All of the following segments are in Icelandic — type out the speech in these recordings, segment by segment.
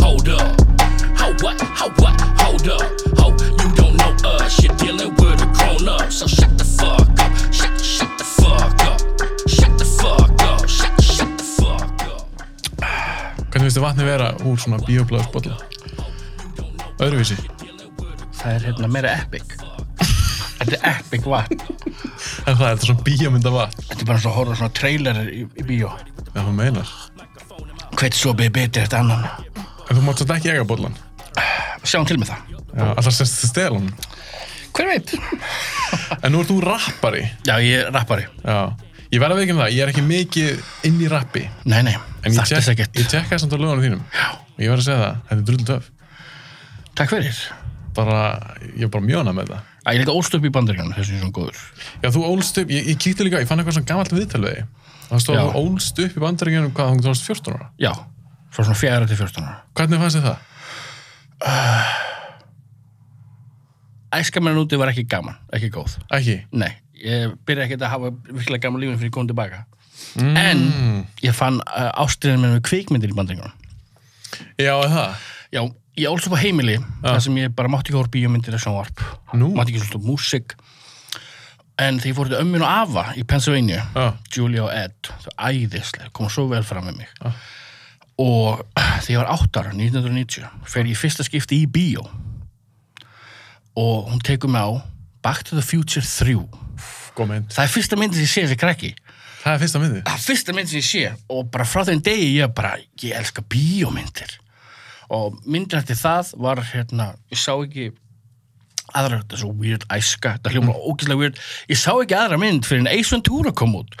hold up. How what? How what? Hold up. Ho, you don't know us. You're dealing with a grown up. So shut the fuck up. Shut, shut the fuck up. Shut the fuck up. Shut, shut the fuck up. Hvernig finnst þið vatni vera úr svona bíoblaðsbólla? Öðruvísi. Það er hérna meira epic. Þetta er epic vatn. En það er þetta svona bíómynda vatn. Þetta er bara svo að horfa á svona trailer í, í bíó. Já, þú meinar. Hvert svo beði betri eftir annan. En þú mátt svolítið ekki eiga bóllan. Sjáum til með það. Já, allar sérst til stelun. Hver veit? En nú ert þú rappari. Já, ég er rappari. Já. Ég verð að veikja um það, ég er ekki mikið inn í rappi. Nei, nei. En ég, Þarft þess tek, ekkert. ég tekkaði samt á lögunum þínum. Já. Og ég verð að segja það, þetta er drullu töf. Takk fyrir. Bara, ég er bara mjóna með það. Æ, ég er líka ólstöp í bandaríkanum, þess að ég er svona góður. Já, þú ólst upp, ég, ég kíkti líka, ég fann eitthvað svona gammalt viðtal við þig. Það stóð Já. að þú ólst upp í bandaríkjunum hvað þú tónst 14 ára. Já, frá svona fjara til 14 ára. Hvernig fannst þið það? Æskamann úti var ekki gaman, ekki góð. Ekki? Nei, ég byrja ekki að hafa virkilega gaman lífin fyrir ég kom tilbaka. Mm. En ég fann uh, ástriðin minn við kvikmyndir í bandaríkanum. Já, er það? Já, ég ólst upp á heimili, þar sem ég bara mátti ekki horfa bíómyndir að sjónvarp. Nú? Mátti ekki svolítið músík. En þegar ég fór til ömmin og afa í Pennsylvania, Já. Julia og Ed, það var æðislega, kom svo vel fram með mig. Og þegar ég var áttara, 1990, fer ég í fyrsta skipti í bíó. Og hún tekur mig á Back to the Future 3. Góð mynd. Það er fyrsta myndin sem ég sé þessi krakki. Það er fyrsta myndi. Það er fyrsta mynd sem ég sé og bara frá þeim degi ég bara, ég elska bíómyndir og myndin eftir það var hérna, ég sá ekki aðra, þetta er svo weird æska þetta hljóma mm. ógeðslega weird ég sá ekki aðra mynd fyrir en Ace Ventura kom út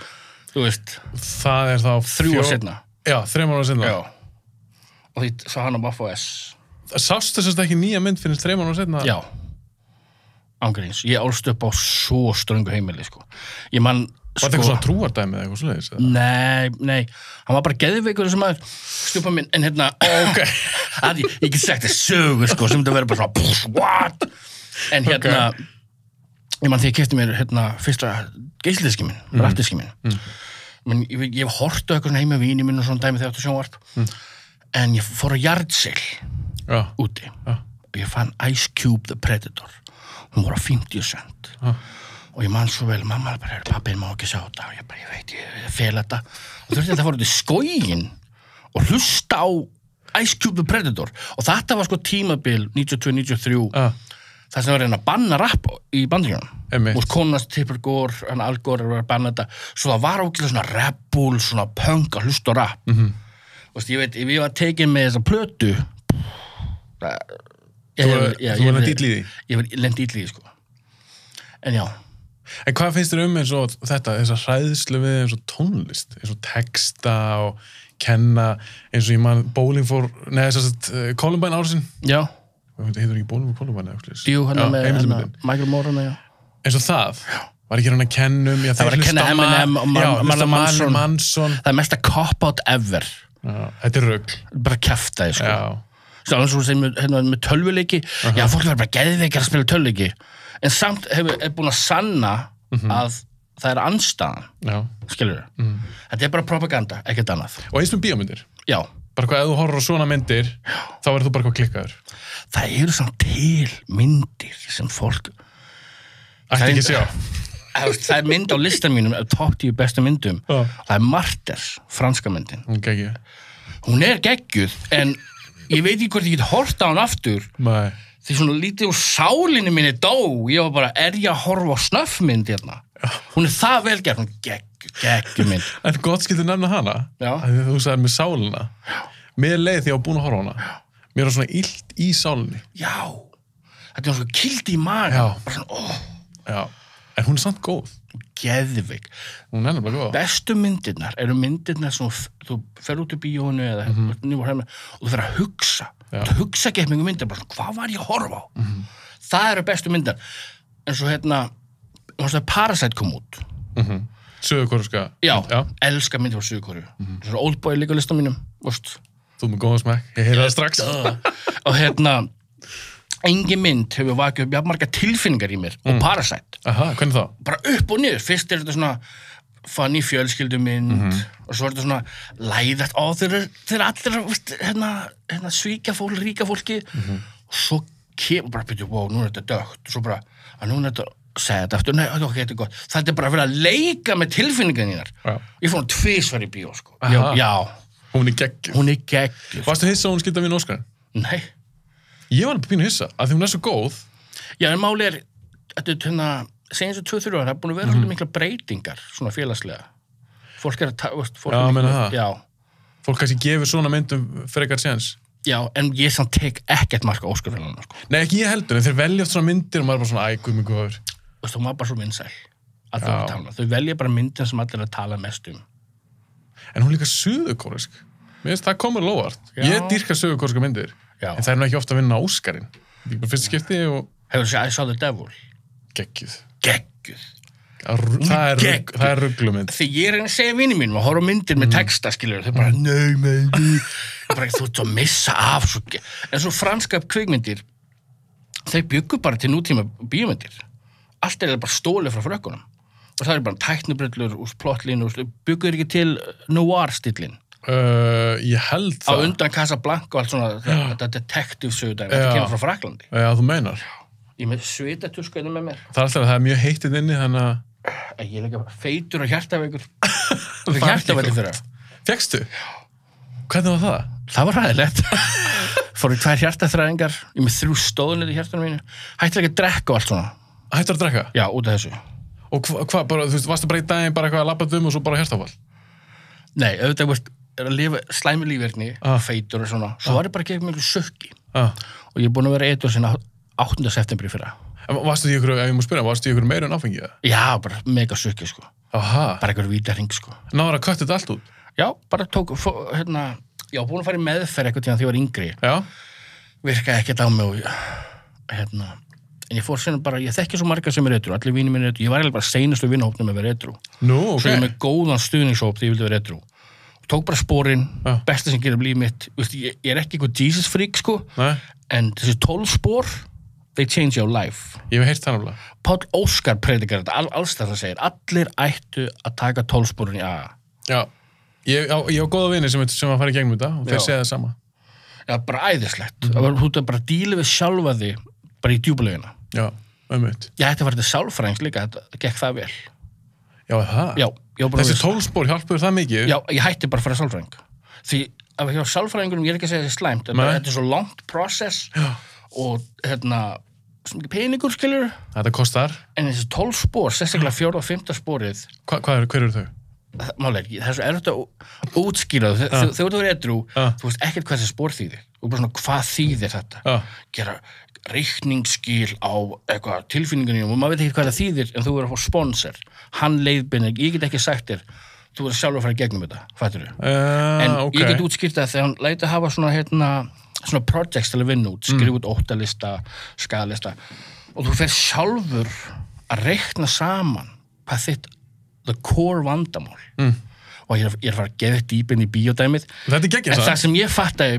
þú veist, Það er þá þrjú fjó- ár setna Já, þrjum ára setna. já og því sá hann á Buffo S Sástu sérst ekki nýja mynd finnst þrjum ára setna? já ángríns, ég álst upp á svo ströngu heimili sko, ég sko- mann Var þetta eitthvað svona trúardæmi eða eitthvað svoleiðis? eða? Nei, nei, hann var bara geðveikur sem að stjúpa minn, en hérna ok, að ég, ég get sagt þess sögur sko, sem þetta verður bara svona pff, what? en hérna ég mann því ég kefti mér hérna fyrsta geisldiski minn, mm. rattiski minn mm. Men, ég, ég hef hortu eitthvað svona heima víni minn og svona dæmi þegar þetta sjónvarp en ég fór á jarðseil Mm. Já. úti og ég fann Ice Cube the Predator hún voru á 50 cent og ég man svo vel, mamma bara, pappin má ekki sjá þetta og ég bara, ég veit, ég fel þetta og þurfti þetta að fara út í skógin og hlusta á Ice Cube the Predator og þetta var sko tímabil 92-93 Já. það sem var að reyna að banna rapp í bandingunum Einmitt. og konast Tipper Gore, hann Al Gore var að banna þetta svo það var ákveðlega svona rappul svona punk að hlusta á rapp mm Mhm. -hmm. og ég veit, ef ég var tekin með þessa plötu það- ég Þú- hef- já, þú ég var hef- lent illa í því? ég var lent ítli í því, sko en já, En hvað finnst þér um eins og þetta, þess að hræðslu við eins og tónlist, eins og texta og kenna, eins og ég man bowling for, neða þess að uh, Columbine ársinn, já, heitur ekki bowling for Columbine eða eitthvað djú hann með hana, heimildamöndin, Michael Moore hana, já eins og það, var ekki hann að kennum, já, Það var að kenna Eminem og Mar- Marlon Manson. Marlon Manson, það er mesta cop-out ever já, þetta er rögl, bara kæfta því, sko já, Svo alveg svo sem með, hérna, með tölvuleiki Já, fólk verður bara geðveikar að spila tölvuleiki En samt hefur er búin að sanna að það er anstæðan já, skilur við Þetta er bara propaganda, ekkert annað og eins með bíómyndir, Já, bara hvað, ef þú horfur á svona myndir, þá verður þú bara hvað klikkaður, það eru samt til myndir sem fólk ætti er- ekki að sjá, Þú veist, Það er mynd á listan mínum af top 10 bestu myndum Já. Það er Marters, franska myndin hún okay, ekki, Hún er geggjuð, en ég veit ekki hvort ég get horta hann aftur maður, því svona lítið úr sálinni minni dó ég var bara, er ég að horfa á snöffmynd hérna? Hún er það vel gert, hún gegg, geggjum mynd En gott skildur nefna hana Já. að Þú sagði með sálina Mér leið því að ég var búin að horfa á hana Mér var svona illt í sálinni Já, þetta er svona kildi í Já. maga bara svona, ó, Já. En hún er samt góð geðvik Hún er nefnilega góð Bestu myndirnar eru myndirnar sem þú f- þú fer út í bíónu eða mm -hmm. og þú fer að hugsa Mhm. Já. Mhm. þú hugsa ekki eitthvað um myndir, bara svona, hvað var ég að horfa á? Það eru bestu myndar en svo hérna, þú veist að Parasite kom út Söðurkorska Já, Já. Mhm. elska myndi frá Suðukorju mm -hmm. Svona Oldboy líka á listan mínum, veist Þú ert með góðan smekk Ég heyrði það strax og hérna engin mynd hefur vakið upp jafnmarga tilfinningar í mér og Parasite, Aha, hvernig þá? bara upp og niður fyrst er þetta svona funny fjölskyldumynd og svo er þetta svona læðast á þeir, þeir allir veist, hérna, hérna, svíka fólk, ríka fólki og svo kemur bara byrju, wow, nú er þetta dögt og svo bara, að núna er þetta segja þetta aftur, nei, ok, þetta er gott þetta er bara að vera að leika með tilfinningarnar Já. ég fór hún tvisvar í bíó, sko Aha. já, já, Hún er geggjum. hún er geggjur Varstu hissa að hún skildi að vinna Óskarinn? nei, Ég var pínu hissa, að því hún er svo góð. já, en máli er þetta er hérna, segjum svo 2-3 ára það er búin Mhm. að vera alveg mikla breytingar svona félagslega fólk er að ta, veist, fólk Já, er miklu- meina það. já, Fólk kannski gefur svona myndum frekar séns. já, en ég samt tek ekkert marka Óskarfélagana, sko Nei, ekki ég heldur, en þeir velja oft svona myndir og maður er bara svona, æ, guð mig góður. Þú veist, hún var bara svo vinsæl að Já. þau tala, þau velja bara myndin sem allir eru að tala mest um En hún er líka söðukórisk. Mér finnst það komur lóvart. Já. Ég dýrka söðukóriska myndir. Já. En það er nú ekki ofta að vinna Óskarinn. Þetta er bara fyrst skipti og hefur þessi I saw the devil geggjuð. geggjur Það er rugg- það er rugg- geggjuð. það er rugglumind. þegar ég reyni að segja vinni mínum að horfa á myndir Mhm. með texta skilur þau bara nei með því bara þú ert svo að missa af svo ge-" en svo franska kvikmyndir þeir byggu bara til nútíma bíómyndir allt er það bara stólið frá frökkunum og það er bara tæknubröllur úr plottlínu og byggu þeir ekki til noir stillin Uh, ég held á það. undan Casablanca og allt svona þetta detective sögudæmi þetta Já. kemur frá Fraklandi Já, þú meinar. ég er með svitatusku einu með mér Það er alltaf að það er mjög heittið inni, þannig að... Æ, ég er ekki feitur og hjartaveikur Það er ekki hjartaveikur gott. fyrir það Fékkstu? Hvernig var það? Það var ræðilegt. Fór í tvær hjartaþræðingar, ég er með þrjú stóðnir í hjartanum mínu. Hætti ekki að drekka og allt svona. Hættur að drekka? Já, út af þessu. Og hvað, hva, bara, þú veist, varstu bara í daginn bara eitthvað að labba um og svo bara hérstafall? Nei, auðvitað veist, er að lifa slæmi lífverkni, Ah. feitur og svona. Svo var ég bara að gefa mig einhver sökki. Ah. Og ég er búin að vera eitthvað sinna 8. septembri fyrir það. En Varstu í ykkur, ef ég má spyrja, varstu í ykkur meira en áfengið? Já, bara mega sökki, sko. Aha, Bara einhver víta hring, sko. náður að kött þetta allt út? Já, bara tók, fó, hérna, já, búin að fara í meðferð eitthvað tíðan því ég var yngri. Já, virkaði ekkert á mig og hérna en ég fór sinna bara, ég þekki svo marga sem er etru allir vinir minni er etru, ég var eiginlega bara seinustu vinahópnum að vera etru, nú, svo ég er ok. með góðan stuðningshóp þegar ég vildi vera etru tók bara spórin, Já. besta sem gerir blíð mitt Vist, ég, ég er ekki eitthvað Jesus freak sko Nei, en þessi 12 spór they change your life ég hef heyrt það náttúrulega. Páll Óskar predikar þetta, all, alls það það segir allir ættu að taka 12 spórin í AA Já, ég, á, ég á góða vini sem, sem að fara í gegnum þetta og þeir Já. segja það sama. það er bara æðislegt Mhm. það var hútt að bara díla við sjálfa því bara í djúbulegina Já, ömmut. ég ætti að fara til sálfræðings líka, þetta gekk það vel Já, er það. Já, ég var búin að Þessi lesa. tólspor hjálpur það mikið? Já, ég hætti bara að fara sálfræðing Því að hjá sálfræðingunum, ég er ekki að segja þessi slæmt þetta, Nei. þetta er svo langt process Já. og hérna, svo mikið peningur skilur Þetta kostar. en þessi 12 spór, sérstaklega fjóra og fymta spórið Hva, hvað eru, hver eru þau? það- máli er, ekki, það er svo erfitt að ú- útskýra þau, þegar þú verður edru Já. þú veist ekkert hvað þessi spór þýðir og bara svona, hvað þýðir þetta Já, gera reikningsskil á eitthvað tilfinningunum og maður veit ekki hvað það þýðir en þú verður að fá sponsor, hann leiðbinir ég get ekki sagt þér, þú verður sjálfur að fara í gegnum þetta, fættur þau uh, en ok. ég get útskýrt það þegar hann læti að hafa svona, hérna, svona projects til að vinna út, skrifa út óttalista skadalista og þú fer sjálfur að reikna saman hvað þitt the core vandamál mm. og ég er, ég er að fara að gefa dýp inn í bíódæmið Þetta er en geggjast það sem ég fattaði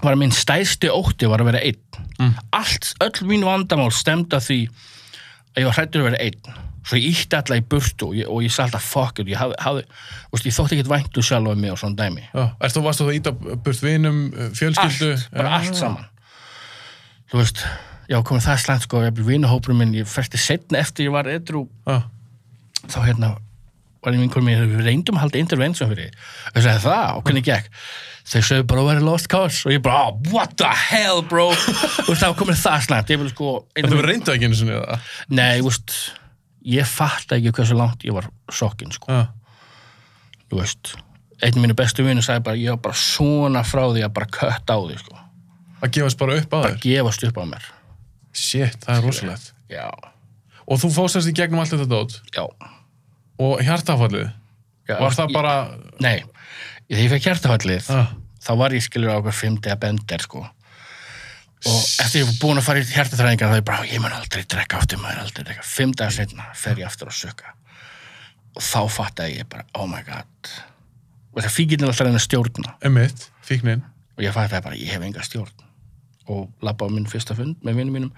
var að minn stæðsti ótti var að vera einn allt, öll mín vandamál stemd að því að ég var hrættur að vera einn svo ég ítti alla í burtu og ég, og ég sagði alltaf fuck it, ég hafði, hafði þú veist, ég þótti ekkert væntu sjálf um mig og svona dæmi Já, ertu, varstu það að íta burt vinum, eh, fjölskyldu? allt, bara Já. allt saman þú veist, já komið það slæmt sko, ég byrði vinahópurum minn, ég fætti setna eftir ég var edru, Já. þá hérna var ég vinkonum mér, við reyndum að halda intervention fyrir því, og ég sagði það, og hvernig gekk þau sögðu bara, "Oh, I lost cause og ég bara, oh, what the hell bro þú veist, þá komið það slæmt, ég vil sko Þetta var reynda ekki einu sinni það. nei, þú veist ég fatt ekki hversu langt ég var sokkin sko, Já. þú veist einn af mínu bestu vinnu sagði bara, ég var bara svona frá því að bara kött á því sko, Að gefast bara upp á þér. gefast upp á mér Shit, það er rosalegt. já, Og þú fóstast í gegnum allt þetta dót Já. og hjartafallið. Já, Var það ég- bara... Nei, þegar ég fekk hjartafallið, Ah. þá var ég skilur á okkur fimmtega bender, sko. Og eftir ég var búin að fara í hjartatræðingar, þá ég bara, ég mun aldrei drekka aftur, maður aldrei drekka. Fimm dagar setna fer ég aftur að sökka. Og þá fattaði ég bara, oh my god. Og það fíkinn er alltaf að reyna að stjórna. Emitt, fíknin. Og ég fattaði bara, ég hef enga stjórn. Og labba á minn fyrsta fund með vinnum mínum.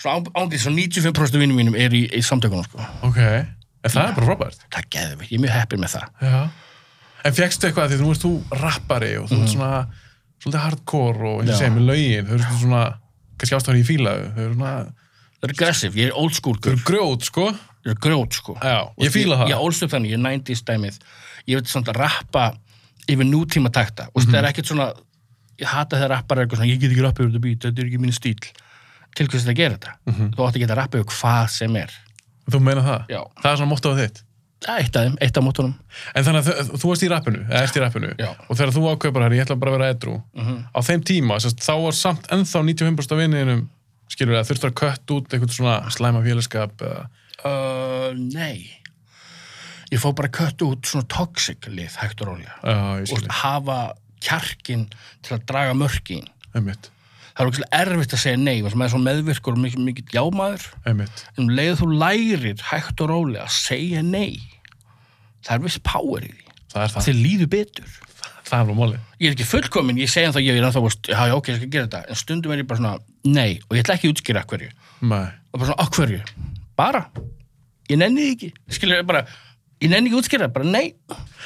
Svo ángið, svo 95% vinnum mínum er í, í samtökunum, sko. Ok. Er En það er bara frábært. það geðum ég er mjög heppin með það Já. En fjækstu eitthvað því þú veist þú rappari og þú ert svona svolítið hardcore og eins og Já. segja með lögin, þau eru svolítið svona, kannski ástæður ég fílaðu, þau eru svona, það er aggressiv, ég er old school þau girl eru grjót, sko. ég er grjót sko Já, ég fíla það. ég, ég ólst upp þannig, ég er 90s dæmið ég veit svona að rappa yfir nútíma takta og Mhm. það er ekkert svona ég hata þegar rappar er eitthvað svona ég get ekki rappa yfir þetta být, þetta er ekki mín stíl til hvers er þetta að gera þetta Mhm. þú átt að geta rappa yfir hvað sem er Þú meina það? Já. Það er svona mottoð þitt. Það er eitt af þeim, eitt af mótunum En þannig að þú- þú varst í rappinu, eða ert í rappinu, Já. og þegar þú ákveður bara, herri, ég ætla bara að vera edru, á þeim tíma, sérst, þá var samt ennþá 95% af vinninum, skilur það, þurftur að kött út eitthvað svona slæma félagskap, eða- uh, nei ég fór bara að köttu út svona toxic lið hægt og rólega já, ég og skilur, hafa kjarkin til að draga mörkin einmitt, það er okkur erfitt að segja nei þannig að maður er svona meðvirkur og mikið, mikið jámaður einmitt, en um leið þú lærir hægt og rólega að segja nei það er viss power í því það er það, þið líður betur það er nú málið. ég er ekki fullkomin, ég segja þá ég er ennþá að, já, já, ok, ég skal gera þetta, en stundum er ég bara svona nei, og ég ætla ekki að útskýra af hverju Nei, og bara svona, á hverju? Bara, ég nenni því ekki skilur, bara, ég nenni ekki að útskýra bara nei,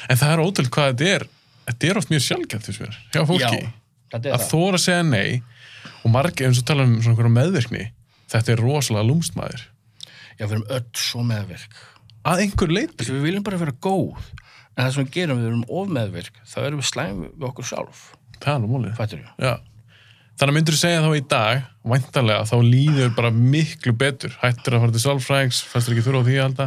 en það er ótrúlega hvað þetta er, þetta er oft mjög sjálfgætt þess verður, hjá fólki, já þetta er að það, þóra að segja nei, og margir, eins og tala um svona einhverja meðvirkni, þetta er rosalega lúmstmaður, já, við erum öll svo meðvirk að einhver leiti, Þessi, við viljum bara vera góð en það sem við gerum, við erum of meðvirk þá erum við slæm við okkur sjálf það er nú málið. fættur ég, Já. Þannig myndur þú segja þá í dag, væntanlega, þá líður bara miklu betur. Hættur að fara til sálfræðings, fæstur ekki þurfa á því að halda.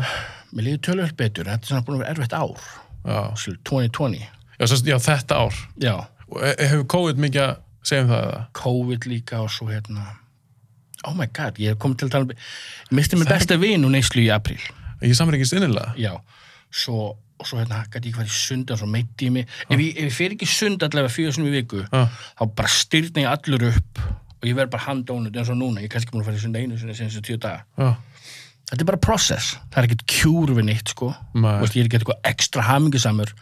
mér líður tölvöld betur þetta er svona búin að vera erfitt ár Já, Skilur, 2020, já, sérst, já þetta ár. já Og e- Hefur COVID mikið að segja um það eða? COVID líka og svo hérna oh my god, ég hef komið til að tala um ég misti mér besta vin úr neyslu í apríl Ég samrengist innilega. já, svo, og svo hérna gæti ég hvað í sund og svo meitti ég mig ef ég, ef ég fer ekki í sund allavega fjóðu sinni í viku Já. þá bara styrna ég allur upp og ég verð bara handónut eins og núna ég er kannski búin að fara í sund einu sinni sinni þessu tíu daga Já, þetta er bara process, það er ekkert kjúr við neitt sko, Nei. Þú veist, ég er ekki eitthvað ekstra hamingisamur,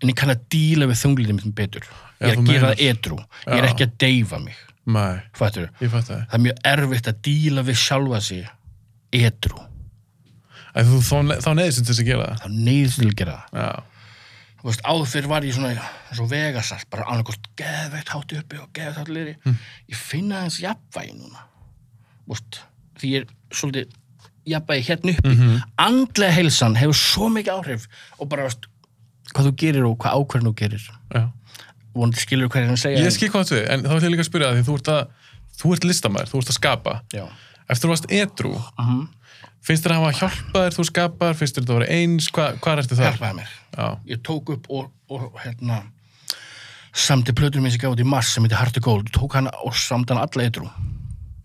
en ég kann að díla við þunglindin mitt betur, Já, ég er þú að meinar. gera það edru, ég er Já. ekki að deyfa mig mæ, fattur, ég fætti það. það er mjög erfitt að díla við sjálfa sig edru, Að þú þá, ne- þá neyðist til þess að gera það. þá neyðist til að gera það Já, Þú veist, áður fyrir var ég svona eins og vegasalt, bara annarkost geðveitt hátt uppi og geðveitt hátt liðri ég finna þess jafnvægi núna Þú veist, því ég er svolítið jafnvægi hérna uppi andlega heilsan hefur svo mikið áhrif og bara veist, hvað þú gerir og hvað ákverðin þú gerir já. vonandi skilur hvað ég er að segja Ég skil hvað þú við, en þá ætlum ég líka að spyrja það, því þú ert að, þú ert listamæður, þú ert að skapa. Já. Eftir þú varst edru, Mhm. finnst þér að hafa hjálpað þér, þú skapar, finnst þér þetta að vera eins, hvað, hvað ertu þar? hjálpaði mér Já. ég tók upp og, og hérna samti plötur minn sem gaf út í mars sem heitir Heart to Gold, tók hana og samt hana alla eitrú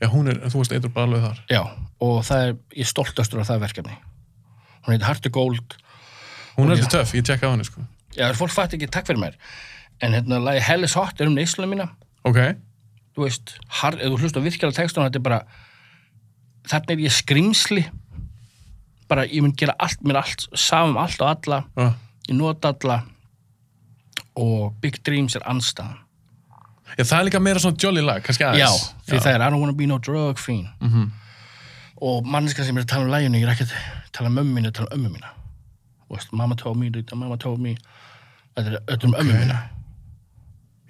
Já, hún er, þú varst eitur bara alveg þar. Já, og það er, ég er stoltastur af það verkefni. Hún heitir Heart to Gold. Hún er alltaf töff, ég tjekka á henni, sko. Já, fólk fætti ekki, takk fyrir mér. En hérna, lagi Hell is Hot er um neysluna mína. Ok, Þú veist, har, ef þú hlust á virkilega textuna, þetta er bara, þarna er ég skrimsli. Bara, ég mun gera allt, mér allt, samum allt og alla. já. Ég nota alla. Og Big Dreams er anstæðan. Já, það er líka meira svona jolly lag, kannski Já, aðeins. því það er I don't wanna be no drug fiend. Og manneska sem er að tala um læginu, ég er ekkert að tala um ömmu mínu, ég er að tala um ömmu mína. Þú veist, mamma told me, þetta mamma told me, þetta er öllum okay. ömmu mína.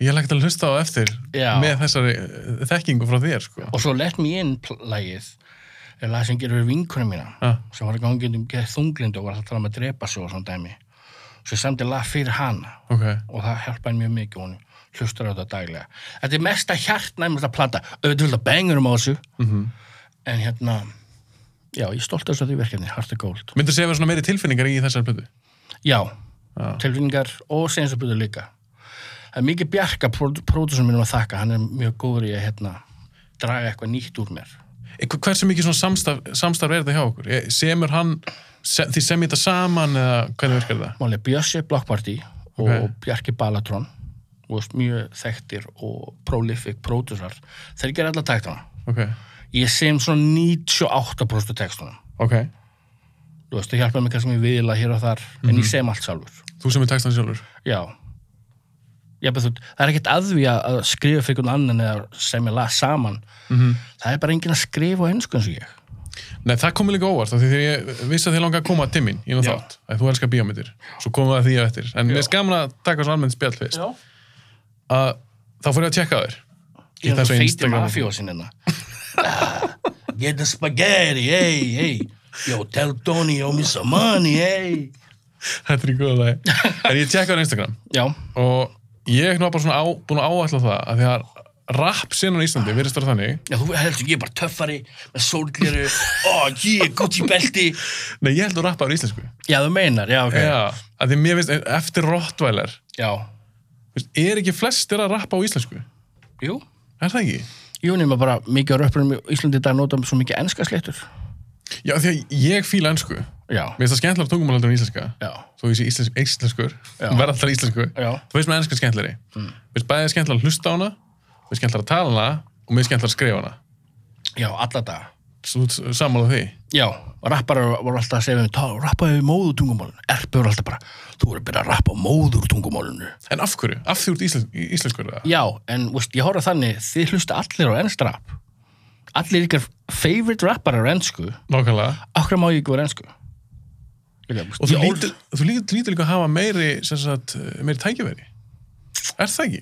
Ég er lægt að hlusta á eftir Já. með þessari eh, þekkingu frá þér, sko. Og svo Let Me In pl- lagið er lag sem gerir við vinkunum mína, Já. sem var að gangi um geð þunglindi og var alltaf að tala um að drepa sig og svona dæmi. Svo ég samdi lag fyrir hana Ok, og það hjálpa henni mjög mikið og hún hlustar á þetta daglega. Þetta er mesta hjartnæmast að plata, auðvitað vil það bengurum á þessu, Mhm. en hérna, já, ég er stolt af þessu því verkefni, Heart of Gold. myndur segja vera svona meiri tilfinningar í þessari plötu? Já, Já. tilfinningar og seinsablutur líka. Það er mikið bjarga pródusum mínum um að þakka, hann er mjög góður í að hérna, draga eitthvað nýtt úr mér. Eh, hv- Hversu mikið svona samstarf, samstarf er þetta hjá okkur? Eh, Semur hann, se, því sem ég þetta saman eða hvernig virkar það? Máli Bjössi Block Party og Ok. Bjarki Balatron, þú veist, mjög þekktir og prolific pródusar, þeir gera alla taktana. Ok, Ég sem svona 98% textunum. ok. Þú veist, það hjálpa mér kannski mér viðla hér og þar, en ég sem allt sjálfur. Þú sem er textan sjálfur. Já. Já, þú, það er ekkert að því að að skrifa Mhm. fyrir einhvern annan eða sem ég las saman. -hmm. Það er bara enginn að skrifa á ennsku eins og ég. Nei, það komið líka óvart af því þegar ég vissi að þið langa að koma til mín í nú Já. þátt, að þú elskar bíómyndir svo komum við að því að eftir, en mér er skaman að taka svo almennt spjall fyrst að þá fór ég að tjekka á þér Ég er þessu það feiti Instagram. mafjósin hérna. Get the spaghetti, hey, hey. Yo, tell Tony, yo, me some money, hey. Þetta er í góða lagi. En ég tjekka á Instagram Já, og ég er nú bara svona á, búin að áætla það að því að rap síðan á Íslandi virðist vera þannig já, þú heldur ég er bara töffari með sólgleru, oh, yeah, Gucci belti. Nei, ég held að rappa á íslensku. Já, þú meinar, já, ok. Já, að því mér finnst eftir Rottweiler, Já, veist, er ekki flestir að rappa á íslensku? jú. Er það ekki? Jú, nema bara mikið á röppunum í Íslandi í dag nota svo mikið enska sléttur. Já, því að ég fíla ensku. Mér Já, finnst það skemmtilega tungumál heldur en íslenska. já, Þó ég sé íslens, íslenskur, Já. verð alltaf íslenskur. já, Þú veist með enska skemmtilegri. Mm. Veist bæðið skemmtilega að hlusta á hana, veist skemmtilega að tala hana og mér skemmtilega að skrifa hana. já, alla dag. Svo þú ert sammála því. Já, rapparar voru alltaf að segja við mig, rappaðu við móður tungumálun. Erpið voru alltaf bara, þú voru að byrja að rappa á móður tungumálunu. En af hverju? Af því úr íslens, íslenskur það? Já, en veist, ég horfa þannig, þið hlusta allir á ennst rap. Allir ykkar favorite rapparar á ennsku, Nákvæmlega. okkur má ég ekki vera ennsku. Og þú lítur, þú lítur, lítur líka að hafa meiri, sem sagt, meiri tækiveri. Er það ekki?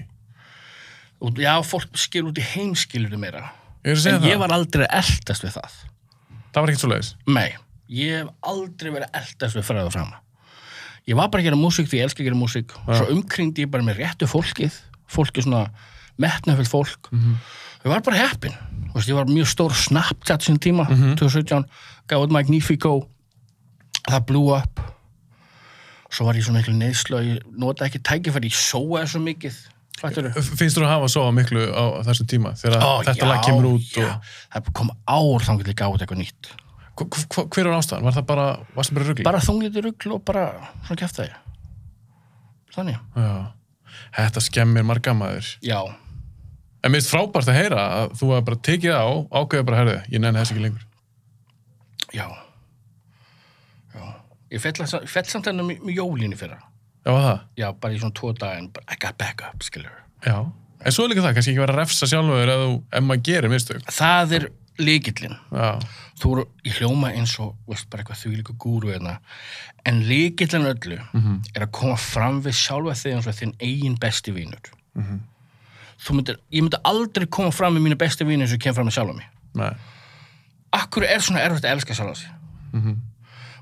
Já, fólk skilur út í heimskilur meira. Ég er að segja En það. ég var aldrei að eldast við það. Það var ekkert svo leiðis. Nei, ég hef aldrei verið að eldast við fræða fram. Ég var bara að gera músík því ég elska að gera músík. Svo umkringdi ég bara með réttu fólkið, fólkið svona metnafjöld fólk. Mhm. Ég var bara heppin. Þú Veist, ég var mjög stór Snapchat sinni tíma, Mhm. 2017, gaf út Magnifico, það blew up. Svo var ég svona miklu neðslu að ég nota ekki tækifæri, ég sóaði svo mikið. Fattur Finnst þú að hafa svo miklu á þessum tíma þegar Ó, þetta já, lag kemur út já. Það kom ár þangar til að gáða eitthvað nýtt. og Hv- hv- hver var ástæðan? Var það bara, varst það bara ruggli? Bara þungliti rugl og bara svona kæftæði. Þannig. Já. Þetta skemmir marga maður. Já. En mér finnst frábært að heyra að þú hafa bara tekið á, ákveðið bara að herði, ég nenni þess ekki lengur. Já. Já. Ég fell, að- fell samt um ennum með jólinni fyrra. Já, var það? Já, bara í svona tvo daginn. bara, I got back up, skilur. Já. En svo er líka það, kannski ekki vera að refsa sjálfur ef, þú, ef maður gerir mistök. Það er líkillinn. Já. Þú eru í hljóma eins og, veist, bara eitthvað því líka gúru eðna. En líkillinn öllu er að koma fram við sjálfa þig eins og þinn eigin besti vínur. Þú myndir, ég myndi aldrei koma fram við mínu besti vínur eins og ég kem fram með sjálfa mig. Nei. akkur er svona erfitt að elska sjálf á sig Mhm.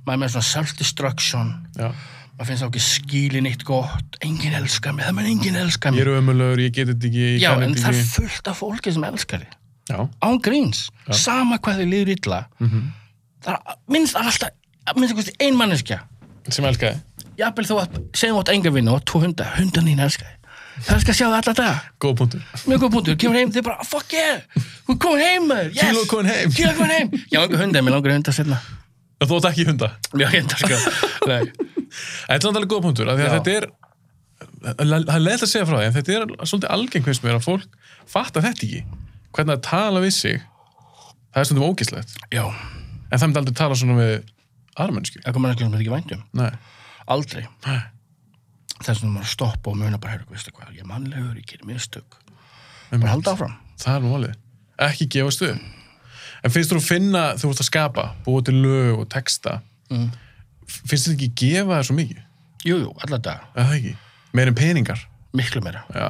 maður er með svona self-destruction Já. maður finnst þá ekki skílin eitt gott enginn elskar mig, það menn enginn elskar Ég mig er ömulögur, ég get þetta ekki, ég já, kann en þetta það er ekki. fullt af fólki sem elskar þig Já. án gríns, sama hvað þið liður illa Mhm. það er minnst það er alltaf minnst það ein manneskja Sem elskaði. jafnvel þú að segjum átt enga vinnu og tvo hunda, hundan þín elskar þig það elskar að sjá það alla dag Góð punktur. mjög góð punktur, kemur heim, þið bara, "Ah, fuck yeah hún komin heim, maður, yes Kíló komin heim. kíló komin heim, já, enga hunda, mér langar hunda setna En Þú átt ekki hunda. mjög hunda, sko Nei. En Þetta er alveg góð punktur, af því að Já. þetta er það er leitt að segja frá því, en þetta er svolítið algeng finnst mér að fólk fattar þetta ekki hvernig að tala við sig það er stundum ógislegt, Já, en það myndi aldrei tala svona við armennsku, eitthvað manneskja sem þetta ekki vænt um. nei, Aldrei. Nei. Þess vegna maður að stoppa og muna bara, heyrðu, veistu hvað, ég er mannlegur, ég gerir mistök. Einmitt. Bara halda áfram. það er nú málið ekki gefa stuð en finnst þú að finna, þú ert að skapa búið til lög og texta Mm. finnst þú ekki gefa það svo mikið Jú, jú, allar dag. eða það ekki, meir en peningar Miklu meira, já,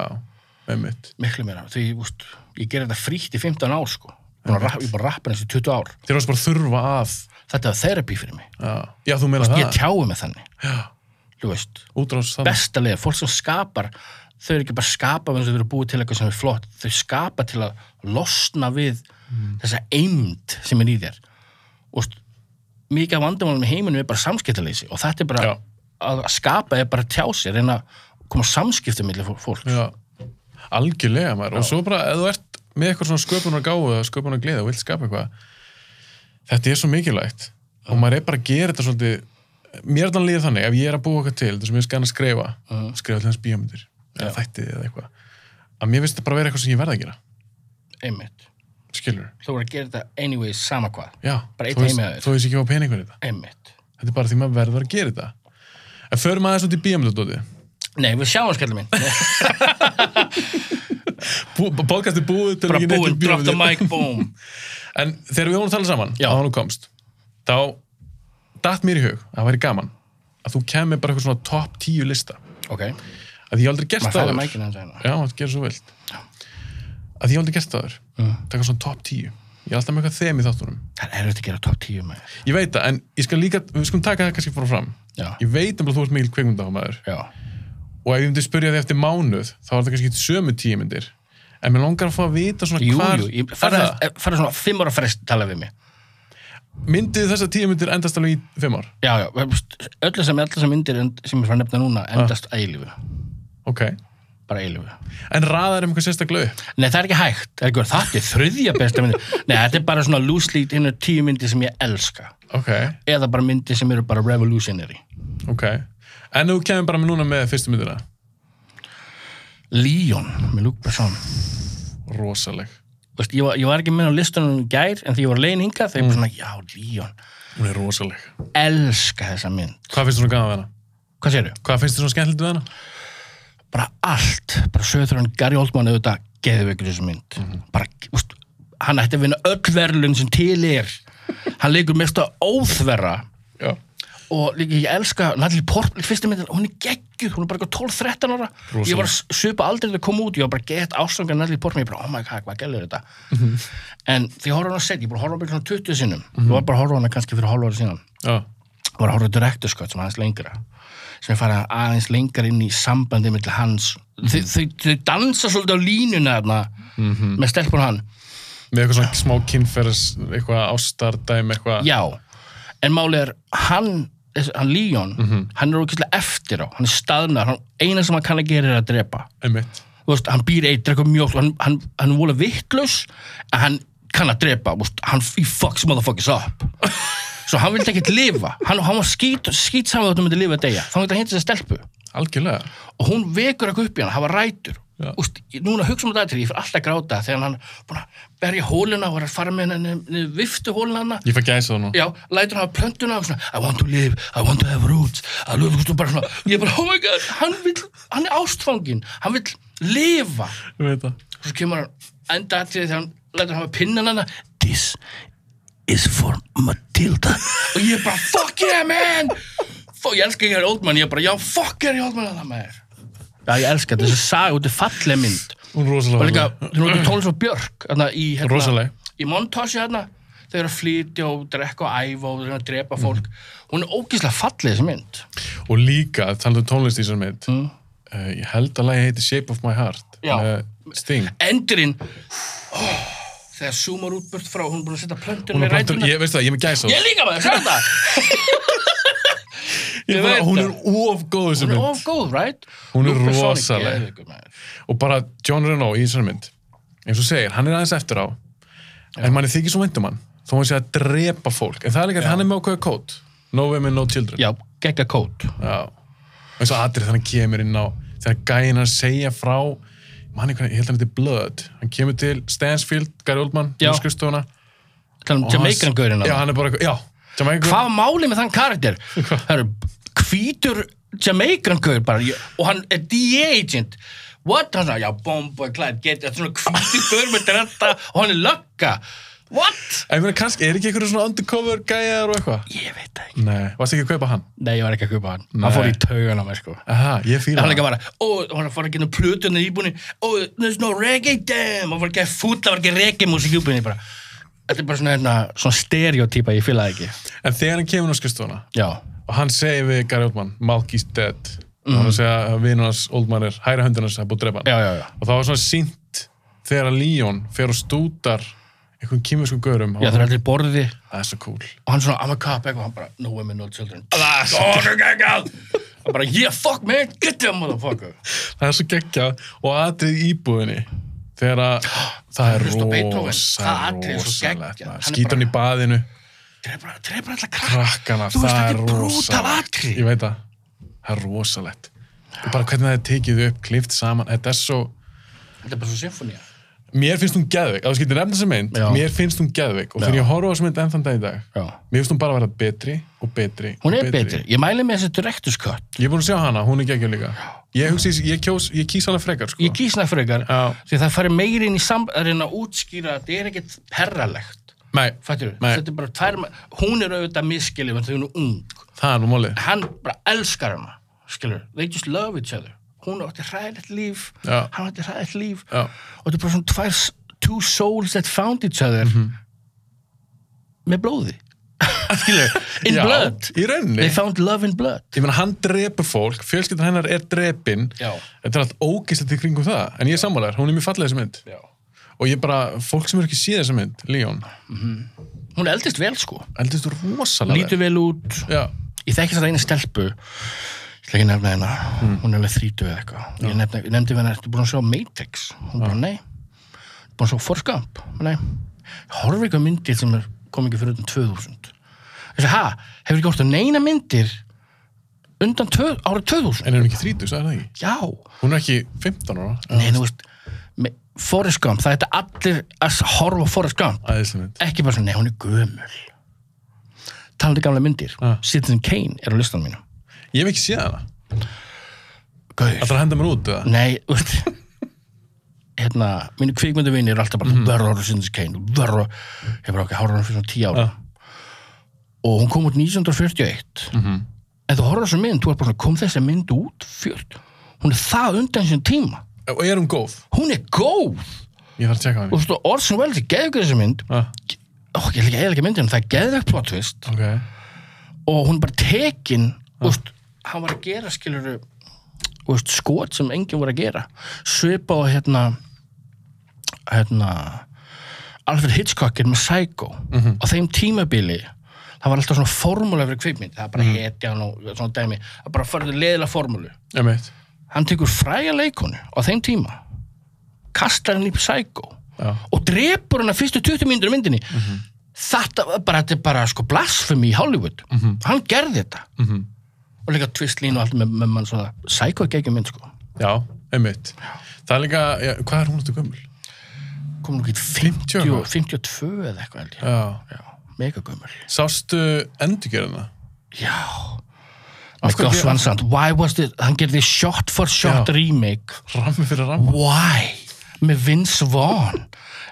með mitt miklu meira. Því, úst, ég gerir þetta frítt í 15 ár, sko. Búin að rapp- Ég er bara rappa þessi 20 ár. þér varst bara að þurfa að Þetta er þerapi fyrir mig. já, já þú meina Ég það, tjái með þannig. Já. Þú veist, útrás það besta leið, fólk sem skapar, þau eru ekki bara að skapa með þess að þau eru búið til eitthvað sem er flott, þau skapa til að losna við Mm. þessa eimd sem er í þér og st- mikið af vandamálum í heiminum er bara samskiptaleysi og þetta er bara Já. að skapa er bara að tjá sér en að koma á samskiptum millir fólk Já, algjörlega maður og svo bara ef þú ert með eitthvað svona sköpunar gáðu eða sköpunar gleði og vilt skapa eitthvað þetta er svo mikilvægt og maður er bara að gera þetta svolítið mér er þannig líður þannig, ef ég er að búa eitthvað til þetta sem ég skan að skrifa, skrifa til hans bíómyndir eða þættið eða eitthvað að mér finnst þetta bara vera eitthvað sem ég verð að gera einmitt, skilur, þú voru að gera þetta anyway sama hvað, já, Bara einn þú veist heima hjá þér. þú veist ekki hvað peningur þetta, einmitt þetta er bara því maður verður að gera þetta en förum aðeins út í bíómyndadóti Nei, við sjáum skallum minn Bara podcast er búið til ekki neitt um búinn, drop the bíómyndir. mic, boom En þegar við vorum að tala saman, Já. að hann komst, þá datt mér í hug að það væri gaman að þú kemur bara eitthvað svona top 10 lista ok, að því ég hef aldrei gert maður fæði áður. mækina hans eina Já, það gerir svo vilt að því ég hef aldrei gert það þar taka svona top 10 ég er alltaf með eitthvað þem í þáttunum það er þetta að gera top 10 maður ég veit það, en ég skal líka, við skulum taka það kannski frá fram já, ég veit um að þú ert mikil kveikmyndámaður já, og ef ég myndi spyrja þig eftir mánuð þá er það kannski ekki sömu tímyndir en mér langar að fá að vita svona jú, hvar jú ég- er farðu það? eh, farðu svona 5 ára frest tala við mig myndið þessar tímyndir endast alveg í fimm ár já, já, öllu sem, öllu sem myndir end- sem ég fann nefna núna Ah. endast að eilífu ok, bara eilífu en raðar um eitthvað sérstaklega upp Nei, það er ekki hægt. Það er ekki verið það er þriðja besta myndi. Nei, þetta er bara svona loosely hinn er tíu myndi sem ég elska. ok, Eða bara myndi sem eru bara revolutionary. ok en þú kemur bara með núna með fyrstu myndina Leon með Luke Besson. rosaleg, Vist, ég, var, ég var ekki með á listunum í gær, en því ég var legin hingað, þegar ég bara svona, já, Leon. hún er rosaleg Elska þessa mynd. hvað finnst þú svona gaman við hana? Hvað séru? hvað finnst þú svona skemmtilegt við hana? Bara allt. Bara söður hann Gary Oldman auðvitað geðveikur í þessu mynd. Bara, vist, hann ætti að vinna öll verðlun sem til er. Hann leikur mest að óþverra. já, og líka ég elska Natalie Portman, fyrstu myndin, hún er geggjuð hún er bara eitthvað 12-13 ára Rosaleg. ég var söpa aldrei þegar kom út, ég var bara gett ástöngar Natalie Portman, ég bara, oh my god, hvað gælir þetta en því ég horfði á hana sett, ég búið að horfa á mig svona 20 sinnum, ég var bara að horfa á hana kannski fyrir hálfa ára síðan, já, ég var að horfa á director cut sem var aðeins lengra, sem ég fara aðeins lengra inn í sambandi mitt hans þau, þau, þau dansa svolítið á línuna þarna, með stelpun hann með eitthvað svona smá kynferðis eitthvað ástardæmi, eitthvað Já, en málið er hann, þessi- hann Leon, hann er ókvæslega eftir á, hann er staðnar, hann, eina sem hann kann að gera er að drepa. einmitt, Þú Veist, hann býr eitt, drekkur mjólk, hann, hann, hann er vola vittlus, en hann kann að drepa, þú veist, hann he fucks motherfuckers up. Svo hann vildi ekkert lifa, hann, hann var skýt, skýt saman þáttum myndi lifa að deyja, þá myndi hann hindi sér stelpu algjörlega og hún vekur eitthvað upp í hann, hafa rætur Já. Úst, núna hugsa um þetta atriði, ég fyrir alltaf að gráta þegar hann búin að berja hóluna og er að fara með henni viftu hóluna hana ég fæ gæsa það nú já, lætur hann hafa plöntuna og svona, I want to live, I want to have roots I love, og bara svona, ég bara, oh my god hann vill, hann er ástfangin hann vill lifa Ég veit það. og svo kemur hann enda aðrið þegar hann lætur hann hafa pinnan hann this is for Matilda og ég bara, fuck yeah man Fó, ég elska Gary Oldman, ég bara, já, fuck Gary Oldman að það maður já, ég elska þetta, þessi saga, þetta er falleg mynd Hún er rosalega og líka, falleg. þú notur tónlist og Björk þarna í, hérna, Rosaleg. í montási hérna þau eru að flytja og drekka og æfa og reyna að drepa fólk hún er ógeðslega fallið þessi mynd og líka, talaðu um tónlist í þessar mynd uh, ég held að lagi heiti Shape of my heart Mm. Já. með Sting endurinn oh, þegar zoomar út burt frá hún er búin að setja plöntunum hún í er plantur, rætuna ég veist það, ég er með gæsa ég líka maður, sér þetta ég veit hún það. er of góð þessu hún er mynd of góð, right? Hún er Luke Besson rosaleg. geðveikur, maður. og bara John Renault í þessari mynd eins og segir, hann er aðeins eftir á en manni þykir svo vendum hann þó hann sé að drepa fólk, en það er líka að hann er með ákveða kót No Women, No Children já, gegga kót Já. eins og atrið þegar hann kemur inn á þegar gæinn er að segja frá manni, ég held að hann heiti Blood hann kemur til Stansfield, Gary Oldman Já. Norskustofuna þannig að um Jamaican gaurinn Já, hann. hann er bara eitthvað, já Jamaican hvað var málið með þann karakter það eru hvítur Jamaican gaur bara ég- og hann er D-agent what, hann sagði, já, bomba, klæð, get þetta er svona hvítur gaur með dretta og hann er lögga, what En ég meina kannski, er ekki einhverju svona undercover gæjar og eitthvað? ég veit það ekki, Nei, varst ekki að kaupa hann? nei, ég var ekki að kaupa hann hann fór í taugan á mig, sko Aha, ég fýla hann líka bara, ó, hann fór að geta plötun í íbúinni, ó, there's no reggae damn, hann fór ekki að fúta, hann var ekki reggae músík í íbúinni, bara, þetta er bara svona, hérna, svona stereotýpa, ég fíla það ekki En þegar hann kemur á skrifstofuna já, og hann segir við Gary Oldman, Malky's dead og hann segja að vinur hans Oldman er hæra höndin hans að búið að drepa hann Mhm. já, já, já og það var svona sínt þegar að Leon fer og stútar einhvern kýmiskum görum Já, það er allir borði það er svo cool og hann svona, I'm a cop, eitthvað, hann bara, no women, no children Góður geggjað Hann bara, yeah, fuck man, get them motherfucker það er svo geggjað og atrið í íbúðinni þegar að það er Hlusta á Beethoven. rosa, Það atrið er svo geggjað. rosalegt Hann er skýt hann í baðinu, Trefra, trefra alltaf krakk krakkana Þú veist, það er þetta er brútal rosalegt atri ég veit það, það er rosalegt og bara hvernig það er tekið upp, klift saman þetta er svo, Þetta er bara svo symfónía mér finnst hún geðveik að þú skýtir nefna sem mynd, Já. mér finnst hún geðveik og þegar ég horfa á sem mynd enn þann dag í dag Já. mér finnst hún bara að vera betri og betri Hún og er betri, ég mæli með þessi director's cut Ég er búin að sjá hana, hún er geggjum líka. Ég hugsi, ég, kjós, ég kýs hana frekar, sko. Ég kýsna frekar Já. því það fari meiri inn í sambærin að reyna að útskýra að þetta er ekkert herralegt Nei, Fattur við? Nei. Þetta er bara tvær ma- Hún er auðvitað miskilið en þau eru ung það er nú málið. Hann bara elskar hana Skilur, they just love each other Hún átti hræðilegt líf Já. Hann átti hræðilegt líf Já. Og þetta er bara svona tvær s- Two souls that found each other Með blóði Skilur, in Já, blood í rauninni. They found love in blood Ég meina, hann drepur fólk, fjölskyldan hennar er drepin. Já. Þetta er allt ógæstlegt í kringum það. En ég er sammálaður, hún er mjög fallega þessi mynd. Já. Og ég bara, fólk sem er ekki síða þessa mynd, Leon, Hún eldist vel sko eldist rosalega. Lítur vel út Já, ég þekki þetta einu stelpu ég ætla ekki að nefna hérna hún er alveg þrítu eða eitthvað ég nefna, nefndi við hérna, ertu búin að sjá Matrix hún bara, nei, ertu búin að sjá Forrest Gump nei, ég horfi ekki á myndir sem er, kom ekki fyrir utan 2000 ég sagði, ha, hefur ekki orðið neina myndir undan tvö, árið 2000 en er hún ekki 30, sagði það ekki? já, Hún er ekki 15 ára. nei, þú veist me- Forrest Gump, það er þetta allir að horfa á Forrest Gump Æðislega mynd. ekki bara svona, nei, hún er gömul talandi gamla myndir Ah. Citizen Kane er á listanum mínum Ég hef ekki séð hana. Gauð. Það er að henda mér út, eða? Nei, þú veist hérna, mínu kvikmyndavinni er alltaf bara mm. verður ára sinns kein, verður ég bara okkar, horfður hann fyrir svona tíu ára Já. og hún kom út 1941 en þú horfður á þessu mynd, þú er bara svona kom þessi mynd út, fjört hún er það undan sinni tíma, Og er hún góð? hún er góð Ég þarf að tjekka og hann. þú veist, Orson Welles er geðveikur í þessi mynd Ah, ó, ég ætla ekki að eða ekki myndin, það er geðvegt plot twist ok. og hún er bara tekin, þú veist, hann var að gera skilur veist, skot sem enginn voru að gera svipa á hérna hérna Alfred Hitchcock er með Psycho á þeim tímabili það var alltaf svona formúla fyrir kveipmynd það er bara hetjan og svona dæmi það er bara fyrir leðilega formúlu Ég veit. hann tekur fræja leikonu á þeim tíma kastar henni í Psycho Já. Mhm. og drepur henni fyrstu 20 mínútur í myndinni þetta var bara, þetta er bara sko blasfemi í Hollywood hann gerði þetta Mhm. og líka tvistlín og allt með, með mann svona Psycho er geggjum mynd sko Já, einmitt. Það er líka, já, hvað er hún áttu gömul? kom nú ekki 50, 50 og 52 eða eitthvað held ég Já. já, mega gömul Sástu endurgerðina? já Af með hverju- Gus Van Sant, why was this hann gerði shot for shot Já. remake Rammi fyrir ramma? why með Vince Vaughn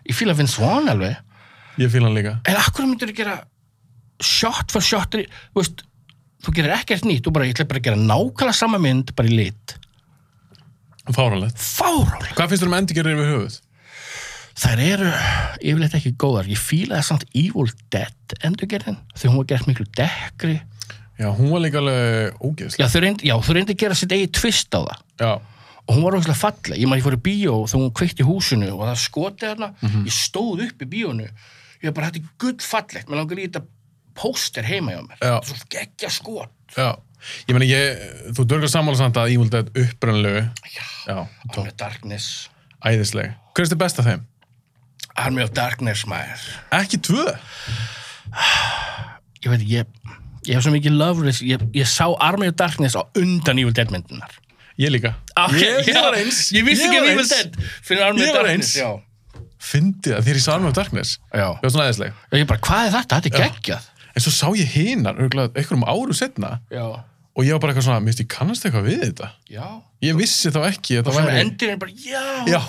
ég fíla Vince Vaughn alveg Ég fíla hann líka. en akkur myndur þú gera shot for shot re- þú veist, þú gerir ekkert nýtt þú bara, ég ætla bara að gera nákvæmlega sama mynd bara í lit, Fáralegt. fárálega Hvað finnst þér um endurgerðir yfir höfuð? þær eru yfirleitt ekki góðar ég fílaði samt Evil Dead endurgerðin þegar hún var gert miklu dekkri Já, hún var líka alveg ógeðslega. já, þau reyndi, já, þau reyndi að gera sitt eigi tvist á það Já. og hún var ógæslega falleg, ég maður ég fór í bíó þegar hún kveikt í húsinu og það skoti hana ég stóð upp í bíónu ég var bara hætti gull fallegt, mér langar í þetta póster heima hjá mér Já. svo geggja skot Já. Ég meina, ég, þú dörgar sammála samt að Evil Dead upprönnlegu. já, Já. Army of Darkness Æðisleg. Hver er þetta besta þeim? Army of Darkness maður Ekki tvö. ég veit, ég, ég hef svo mikið love this, ég, ég sá Army of Darkness á undan Evil Dead myndunar Ég líka. ég, ég var eins. ég vissi ekki var um Evil eins. Dead fyrir Army Ég of var Darkness eins. já. Fyndi það, þér í Sarmum Darkness. Já. Ég var svona æðisleg. ég bara, hvað er þetta, þetta er geggjað En svo sá ég hinar, örgulega, einhverjum áru setna já, og ég var bara eitthvað svona, minnst, ég kannast eitthvað við þetta. já Ég vissi þá ekki að það og svo væri... endir bara, já, Já,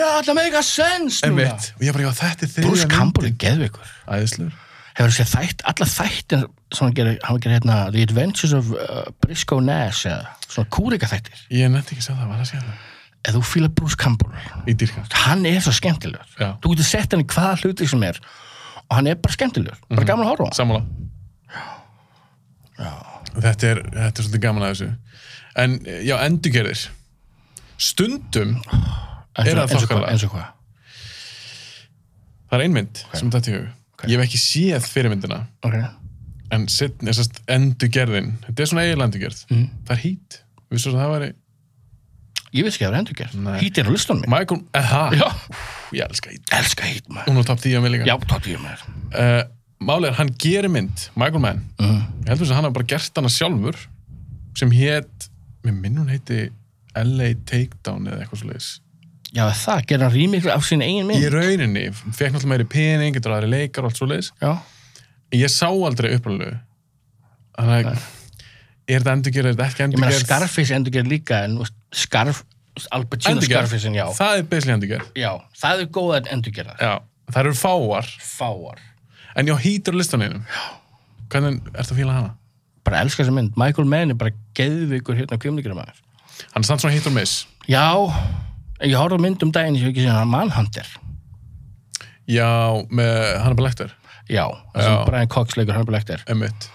já það make a sense núna. einmitt. Og ég bara, já, þetta er þriðja Bruce mynd. Campbell er geðveikur Æðislegur. hefur sér þætt, alla þættin sem hann gerir, hann gerir hérna The Adventures of uh, Briscoe Nash eða svona kúrika þættir Ég nefndi ekki að segja það, var að segja það. eða þú fílar Bruce Campbell Í dýrka. hann er svo skemmtilegur Já. þú getur sett hann í hvaða hluti sem er og hann er bara skemmtilegur, Mhm. bara gaman að horfa á hann. Sammála. Þetta er, þetta er svolítið gaman að þessu. En, já, endurgerðir. Stundum, Er það eins og, eins og hvað, þokkalega? eins og hvað það er einmynd okay. sem þetta hefur. Ég hef ekki séð fyrirmyndina, okay. en setn, sest, endurgerðin, þetta er svona eiginlega endurgerð. Mm. Það er hít. Vissu að það væri... ég veist ekki að það er endurgerð, Nei. hít er á listan minn Michael, eða, já, ég elska hít. elska hít maður Hún á top 10 á mig líka. já, tótt ég maður uh, málið er, hann gerir mynd Michael Mann, ég heldur þess að hann hafa bara gert hana sjálfur sem hét, mér minn hún heiti LA Takedown eða eitthvað svoleiðis já, það gerir hann rýmikli af sín eigin í minn rauninni, fekk náttúrulega meiri pening getur aðri leikar og allt svoleiðis já, ég sá aldrei upprænlegu þannig að er þetta endurgerð, er þetta ekki ég meina endurgerð Scarface endurgerð líka en þú veist, Scarf, Albert Gino Scarface já, það er beislega endurgerð já, það er góða endurgerðar já, það eru fáar fáar en ég á hýtur listaninu hvernig ertu að fíla hana? bara elska þessa mynd, Michael Mann er bara geðvikur hérna kvimleikir maður hann er samt svona hýtur miss já, ég horfði á mynd um daginn sem ég hef ekki séð hann Manhunter já, með hann er bara lektur já, það sem Já. Brian Cox leikur hann er bara lektir emitt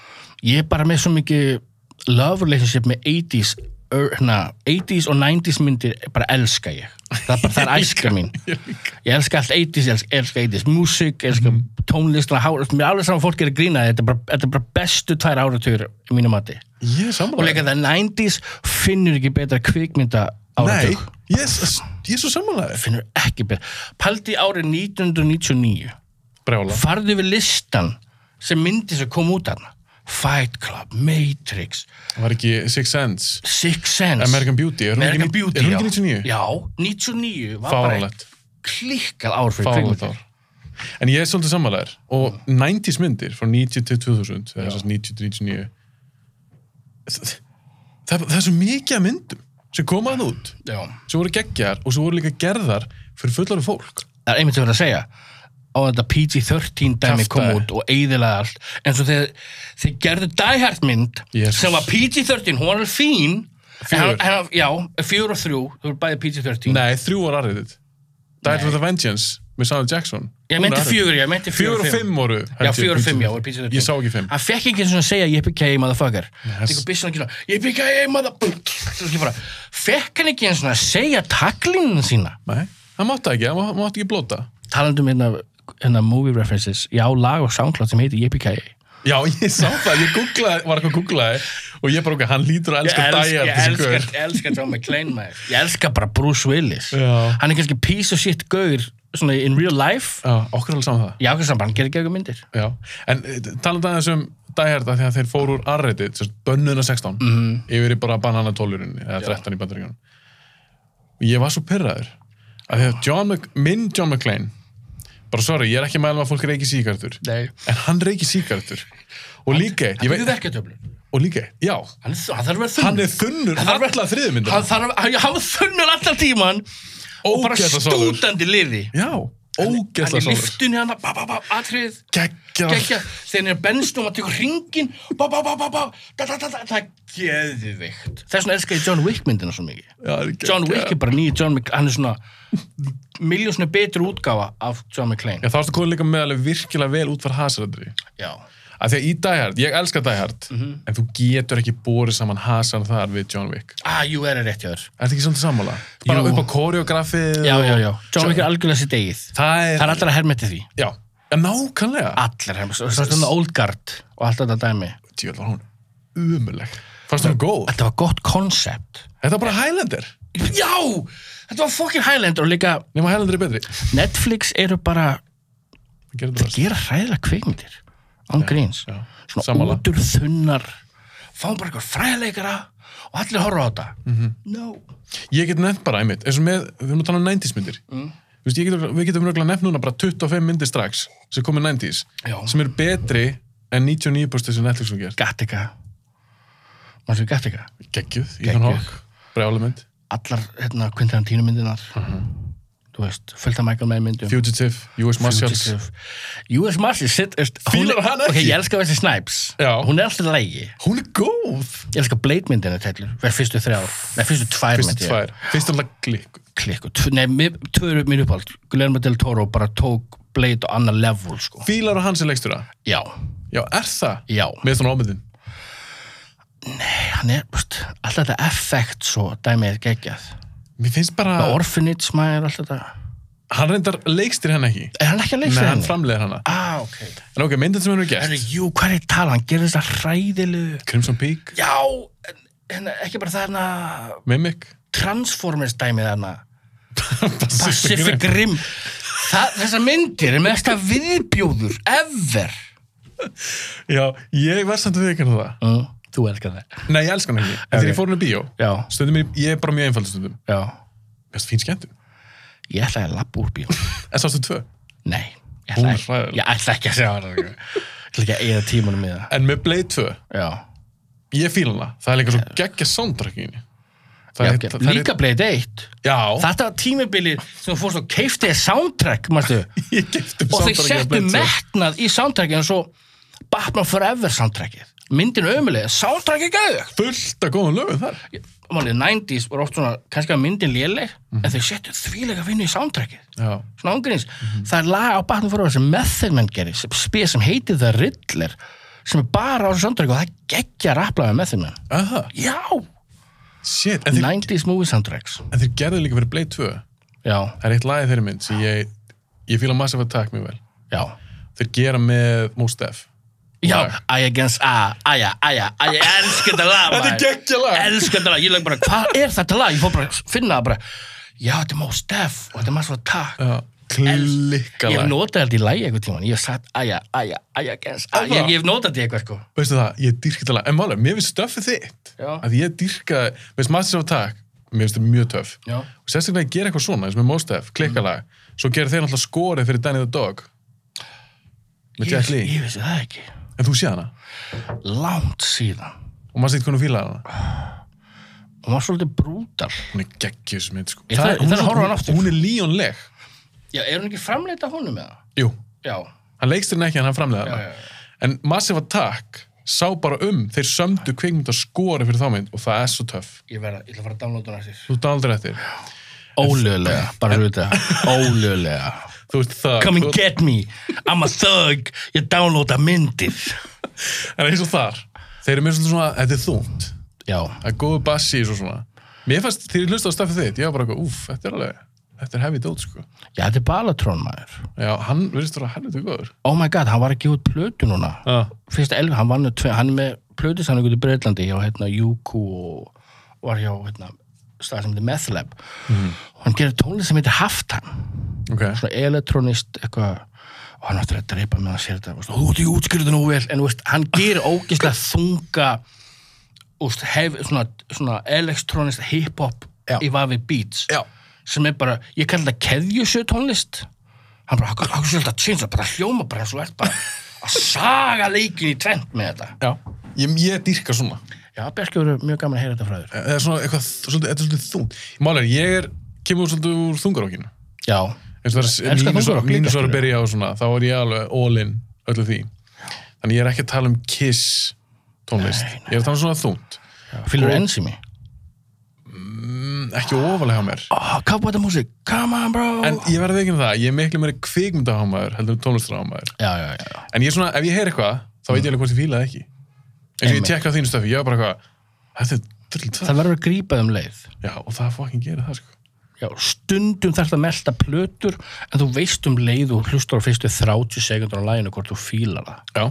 ég er bara með svo mikið love relationship með 80s ör, hérna, 80s og 90s myndir bara elska ég það er bara, það er æska mín ég elska allt 80s, ég elska, elska 80s músík, elska mm -hmm. tónlist og hár, mér er alveg saman fólk er að grína þetta er bara, þetta er bara bestu tvær áratugur í mínu mati ég er og samanlega líka það 90s finnur ekki betra kvikmynda nei, áratug ég er, s- ég er svo samanlega finnur ekki betra paldi árið 1999 brjála farðu við listan sem myndi sem kom út hann Fight Club, Matrix var ekki Six Sense Six Sense American Beauty, er hún American ekki ní- Beauty er hún já. ekki 99? Já, 99 var bara fáralegt klikkað ár fyrir fáralegt kvikmyndir ár en ég er svolítið samanlegar og 90s myndir frá 90 til 2000 eða þess að 90 til 99 það, það, það er svo mikið af myndum sem koma að út Já. sem voru geggjar og sem voru líka gerðar fyrir fullarum fólk Það er einmitt sem verið að segja á þetta PG-13 dæmi Kjaftaði. kom út og eyðilega allt en svo þegar þeir gerðu Die Hard mynd Jesus. sem var PG-13, hún var alveg fín en Fjögur. hann- hann- Já, fjögur og þrjú þú eru bæði PG-13 nei, þrjú var aðrið þitt Die Hard with a Vengeance með Samuel Jackson Ég Hún er meinti R-rated. fjögur, ég meinti fjögur fjögur og fimm voru Já, held ég, fjögur og fimm, já, PG-13. voru Ah. PG-13 ég sá ekki fimm Hann fekk ekki eins og að segja Yippee-ki-yay, motherfucker Yes. Tekur byssun ekki svona Yippee-ki-yay, motherfucker Fekk hann ekki eins og að segja taglínuna sína nei, hann mátti ekki, hann má- mátti ekki blóta Talandum hérna, hérna movie references Ég á lag og soundcloud sem heitir Yippee-ki-yay já, ég sá það, ég googlaði var eitthvað að googlaði og ég bara okkar, hann lítur að elska Die Hard ég þessi elska, gaur. ég elska John McClane maður Ég elska bara Bruce Willis Já. Hann er kannski piece of shit gaur Svona in real life Já, okkur er alveg saman það Já, hvað saman, hann gerir ekki eitthvað myndir Já, en talað aðeins um Die Hard að því að þeir fóru úr arreitið, sérst bönnuna 16 Mhm. -hmm. yfir í bara banana 12-urinni eða 13 í bandaríkjunum ég var svo pyrraður að því að John Mc, minn John McClane bara sorry, ég er ekki að mæla með að fólk reiki síkartur Nei. en hann reiki síkartur og líka, eitt, ég Hann veit er verketöflur og líka, eitt, já, Hann er þ- hann þarf að vera hann þunn er þunnur Hann var- alla þriðmyndina, Hann þarf að hafa þunnur allan tíman og bara Ógeðslega svalur. stútandi liði já, hann ógeðsla í sálur, liftunni hann ba, ba, ba, atrið geggjað geggja, þegar hann er bennst og maður tekur ringin ba, ba, ba, ba, ba, da, da, da, da, það er geðvikt þess vegna elska ég John Wick myndina svo mikið Já, það er John geggjað. Wick er bara nýja John Mc hann er svona miljósinu betri útgáfa af John Já, McClane þá ertu komin líka með alveg virkilega vel út fyrir hasarandri já, að því að í Die Hard, ég elska Die Hard Mhm. en þú getur ekki borið saman Hasan þar við John Wick ah, jú, er það rétt hjá þér Er þetta ekki svolítið sammála? Bara Jú. upp á koreografið já, og... já, já, John Wick er algjörlega sitt eigið Það er, það er allir að hermeti því já, já, nákvæmlega ah. allir hermeti, það er svona Old Guard og allt þetta dæmi Tjóð var hún umuleg Fannst hún góð? þetta var gott koncept Þetta var bara Highlander já, þetta var fokkin Highlander og líka Nefnum að Highlander er betri Netflix eru bara Það gerir þeir þetta gera hræðilega kvikmyndir án gríns, já. svona Sammála. útur þunnar fáum bara eitthvað fræðileikara og allir horfa á þetta Mhm. no, verst Ég get nefnt bara einmitt eins og með, við erum að tala um 90s myndir Mm. Þú veist, ég getur, við getum röglega nefnt núna bara 25 myndir strax sem komið 90s Já. sem eru betri en 99% sem Netflix hún gert Gattaca maður sem Gattaca Geggjuð, Ethan Geggjuð. Hawke, brjálumynd allar hérna Quentin Tarantino myndinar Mhm. þú veist, fullt af Michael Mann myndum Fugitive, US Marshals Fugitive. US Marshall sitt, veist, hún- Fílar hann ekki? ok, ég elska þessi Snipes Já. hún er alltaf lægi Hún er góð ég elska Blade myndina tællur, verð fyrstu þrjár neða fyrstu tvær Fyrstu myndi ég. tvær, fyrst er alltaf glikku klikku, Tv- nei, mér- tvö eru mín uppáld Guillermo del Toro bara tók Blade á annar level, sko Fílar og hans er leikstjóra já, Já, er það? já, Með svona ámyndin hann er búst, alltaf þetta effekt svo dæmið er geggjað Mér finnst bara, uh. Orphanage maður, alltaf þetta hann reyndar leikstýr henn ekki er hann ekki að Nei, leiksa hann henni? framleiðir hana ah, ok, En ok, myndin sem hann er Herru, gert jú, hvað er ég að tala, hann gerir þetta hræðilegu Crimson Peak, já, en, en ekki bara það hérna Mimic Transformers dæmið hérna Pacific Pacific Rim. Rim Þa, þessar myndir er mesta viðbjóður ever Já, ég verð samt að við ekki hann það uh, þú elskar það Nei, ég elska hann ekki En þegar Ok. ég fór hann í bíó já, Stundum ég, ég er bara mjög einfaldur stundum já Mest fín skemmtum ég ætlaði að lappa úr bíó En sástu tvö nei, ég Hún er ætlaði, hræðileg. ég ætlaði ekki að segja sko. það ég ætlaði ekki að eigða tímanum með það En með Blade 2, já, ég fíla hana Það er líka svo geggja soundtrackinni Það Já, er- gerð. það er- líka bleið eitt Já, Þetta var tímabilið sem þú fórst og keiftiði soundtrack, mæstu ég giftum og þeir settu metnað í soundtrackið en svo Batman Forever soundtrackið myndin ömulega, soundtrackið gæðugt Fullt af góðum lögum þar. Málið 90s var oft svona, kannski að myndin léleg en þeir settu þvílega vinnu í soundtrackið Já, svona ángríns, það er lag á Batman Forever sem Method Man gerir, sem spil sem heitir The Riddler, sem er bara á þessu soundtrackið og það geggja rapplaði Method Man aha, já, shit, en þeir, 90s movie soundtracks en þeir gerðu líka fyrir Blade 2. já, Það er eitt lagið þeirri mynd sem ég, ég fíla Massive Attack mjög vel. já Þeir gera með Mos Def. Já, Lag. æja gens a, æja, æja, æja, ég elska þetta lag Þetta er maður. geggjað lag. Elska þetta lag, ég lag bara, hvað er þetta lag? Ég fór bara að finna það bara Já, þetta er Mos Def og þetta er maður svo takk Já, klikka Ég hef lag. notað þetta í lagi einhvern tímann, ég hef sagt æja, æja, æja gens a Ég ég hef notað þetta í eitthvað sko Veistu það, ég dýrk þetta lag. En málið, mér finnst stöffið þitt. Já. Að ég dýrka, veist Massive Attack, mér finnst þetta mjög töff. Já. Mm. Og sérstaklega að gera eitthvað svona, eins og með Mos Def, klikka lag. Svo gera þeir náttúrulega skorið fyrir Danny the Dog. Með Ég, Jack Lee. ég vissi það ekki En þú sé hana. Langt síðan Og maður sýtt hvernig þú fílaði hana. Hún var svolítið brútal hún er geggjus mynd sko. Ég þarf- ég hún, þarf að horfa á hana aftur. hún er líónleg Já, er hún ekki framleita honum með það? jú, Já, hann leikst hérna ekki en hann framlega Já, já, hana en Massive Attack sá bara um þeir sömdu kvikmynd að skori fyrir þá mynd og það er svo töff, ég verða, ég ætla að fara að downloada hún eftir þú dáldur eftir Ólögulega, bara hluta Ólögulega þú veist það, Come and þú- get me, I'm a thug Ég downloada myndir en eins og þar þeir eru mér svolítið svona, þetta er þúnt Já, það er góðu bassi og svona mér fannst, þegar ég hlusta á stafið þitt, ég var bara eitthvað úf, þetta er alveg, þetta er hefði dót sko já þetta er Balatron maður já, hann verðist vera helviti góður Oh my god, hann var að gefa út plötu núna ah. Fyrsta elvi, hann, var nú tve, hann er með plötu sann ykkur í Breitlandi hjá hérna Juku og var hjá hérna stað sem heitir Methlab og hann gerir tónlist sem heitir Haftan ok, svona elektronist eitthvað og hann áttur að dreipa með hann sér þetta veist, þú ert í útskýrðu nú vel en þú veist, hann gerir ógeðslega þunga úst, hef, svona, svona elektronist hip-hop Já. í vafi beats já, sem er bara, ég kalli þetta keðjusjö tónlist hann bara, hann hann svolítið að tjensa bara hljóma bara eins og ert bara að saga leikin í tvent með þetta já ég, ég dýrka svona já, Bjarki verður mjög gaman að heyra þetta frá þér það er svona eitthvað, svolítið, þetta er svolítið þungt málega, ég er, kemur svolítið úr þungarokkinu já, eins og það er Elskar mínus- þungarokk líka, mínus var skilur. að byrja á svona þá er ég alveg all in öllu því þannig ég er ekki að tala um kiss tónlist, ég er að tala um svona þungt fylgur ennsými Mm, ekki ofalega hjá mér oh, hvað búið þetta músík, come on bro en ég verði ekki um það, ég er miklu meiri kvikmyndahámaður heldur en tónlistahámaður já, já, já, en ég er svona, ef ég heyr eitthvað, þá veit ég alveg hvort ég fíla það ekki eins og ég Einmitt. tekka þínu stöfi, ég var bara eitthvað þetta er drullið það það verður að grípa um leið já, og það fokkin gerir það sko Já, stundum þarf það að melta plötur en þú veist um leið og hlustar á fyrstu 30 sekundur á læginu hvort þú fílar það. já,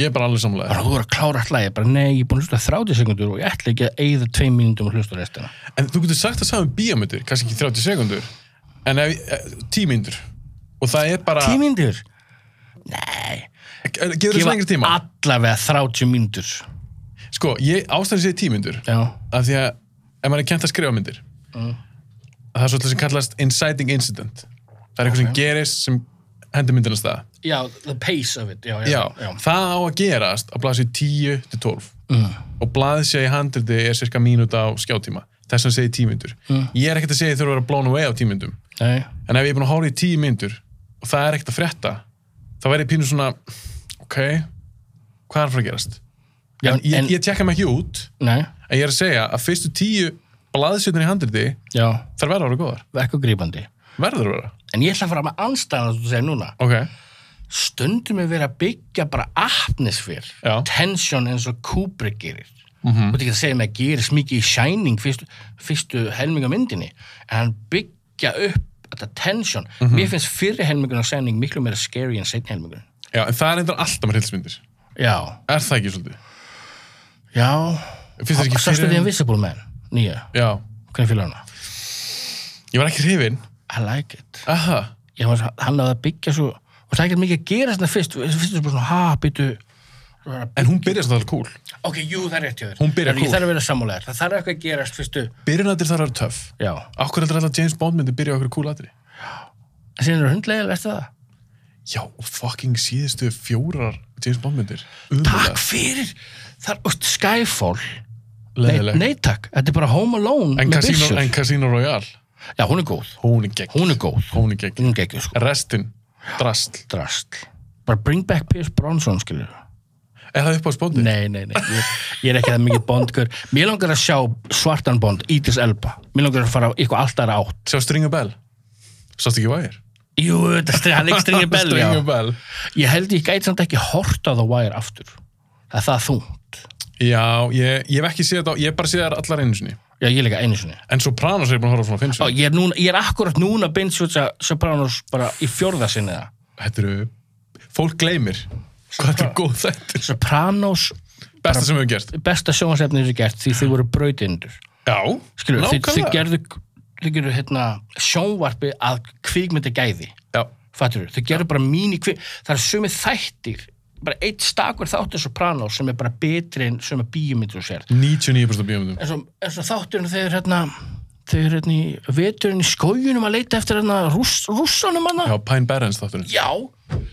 ég er bara alveg samlega Bara þú er að klára allt lægi, bara nei, ég er búin að hlusta á 30 sekundur og ég ætla ekki að eyða 2 mínútum og hlusta á restina. En þú getur sagt það saman bíómyndir, kannski ekki 30 sekundur, en ef, tímyndur. Og það er bara... 10 mínútur? Tímyndur? Getur þessu lengri tíma? allavega 30 mínútur. Sko, ég ástæðan sér tímyndur, Já, af því að ef maður er kent að skrifa myndir, Mm. það er svolítið sem kallast inciting incident. Það er eitthvað sem gerist sem hendur myndina af stað. já, the pace of it, já, já. Já, já. Mm. það á að gerast á blaðsíð 10 til 12 og blaðið sé í handriti er cirka mínúta á skjátíma. Þess að segja tímyndur. Mm. Ég er ekkert að segja þau eru að vera blown away á tímyndum. Nei, en ef ég er búin að hóra í tíu myndur og það er ekkert að frétta þá væri ég pínu svona ok, hvað er að fara að gerast já, en, ég, en, ég tekka mig ekki út nei, en ég er að segja að fyrstu tíu blaðsjötnir í handriti já, þar verður að vera góðar ekki grípandi. verður að vera, En ég ætla að fara með anstæðan þú segir núna. ok, stundum er verið að byggja bara atmosfér, Já. tension eins og Kubrick gerir þú veit ekki að segja með að gerist mikið í Shining fyrstu, fyrstu helminga myndinni en hann byggja upp þetta tension, mér finnst fyrri helmingun á Shining miklu meira scary en setni helmingun já, en það er endur alltaf með hilsmyndir já, er það ekki svolítið já finnst þér ekki sástu því en- Invisible Man, nýja, já, hvernig fylgur hana ég var ekki hrifin I like it, aha, ég var hann að byggja svo, og það er ekkert mikið að gera þetta fyrst, fyrst er bara svona, ha, byttu en hún byrjar svo það cool ok, jú, það er rétt hjá þér Hún byrjar Ég cool. þarf að vera sammálaðar, það þarf eitthvað að gerast fyrstu byrjunandir þar eru töff Já. akkur heldur alltaf James Bond myndi byrja á okkur cool atri En síðan eru hundlegar eftir það. já, og fucking síðustu fjórar James Bond myndir Takk fyrir. Það er, úst, Skyfall Leðileg. Nei, nei takk, þetta er bara Home Alone En með Casino, byssur. en Casino Royale, Já, hún er góð, hún er gegn. hún er góð Hún er gegn. Hún er geggjur sko, Restin, drastl. drastl Bara bring back Pierce Bronson, skilur Er það upp á spóndið? Nei, nei, nei, ég, ég er ekki það mikið bondgur Mér langar að sjá svartan bond, Ítis Elba Mér langar að fara á eitthvað allt aðra átt Sjá Stringer Bell. Sást ekki vægir? Jú, þetta strengi, hann leik strengi bell, já Stringer Bell. Ég held ég gæti samt ekki hort á The Wire aftur Það er það þungt Já, ég, ég hef ekki séð þetta, á- ég hef bara séð þær allar einu sinni. Já, ég leika einu sinni En Sopranos er ég búin að horfa á svona finnst. Ó, ég, er núna, ég er akkurat núna bindsjóta Sopranos bara í fjórða sinni það Þetta eru, fólk gleymir. Hvað þetta er góð þetta? Sopranos, Besta sem við höfum gert. besta sjónvarsefnið sem er gert því þið voru brautindur Já, Skilur, þið, þið nákvæmlega. gerðu, þið gerðu hérna, sjónvarpi að kvikmynda gæði Já, Fattur, þau gerðu bara mín í kvið það er sumi þættir bara eitt stakur þáttir Sopranos sem er bara betri en sumi bíómyndur þú sér 99% bíómyndum. eins og, eins og þátturinn þegar hérna þegar hérna í veturinn í skójunum að leita eftir hérna rúss, rússanum hana Já, Pine Barrens þátturinn. já,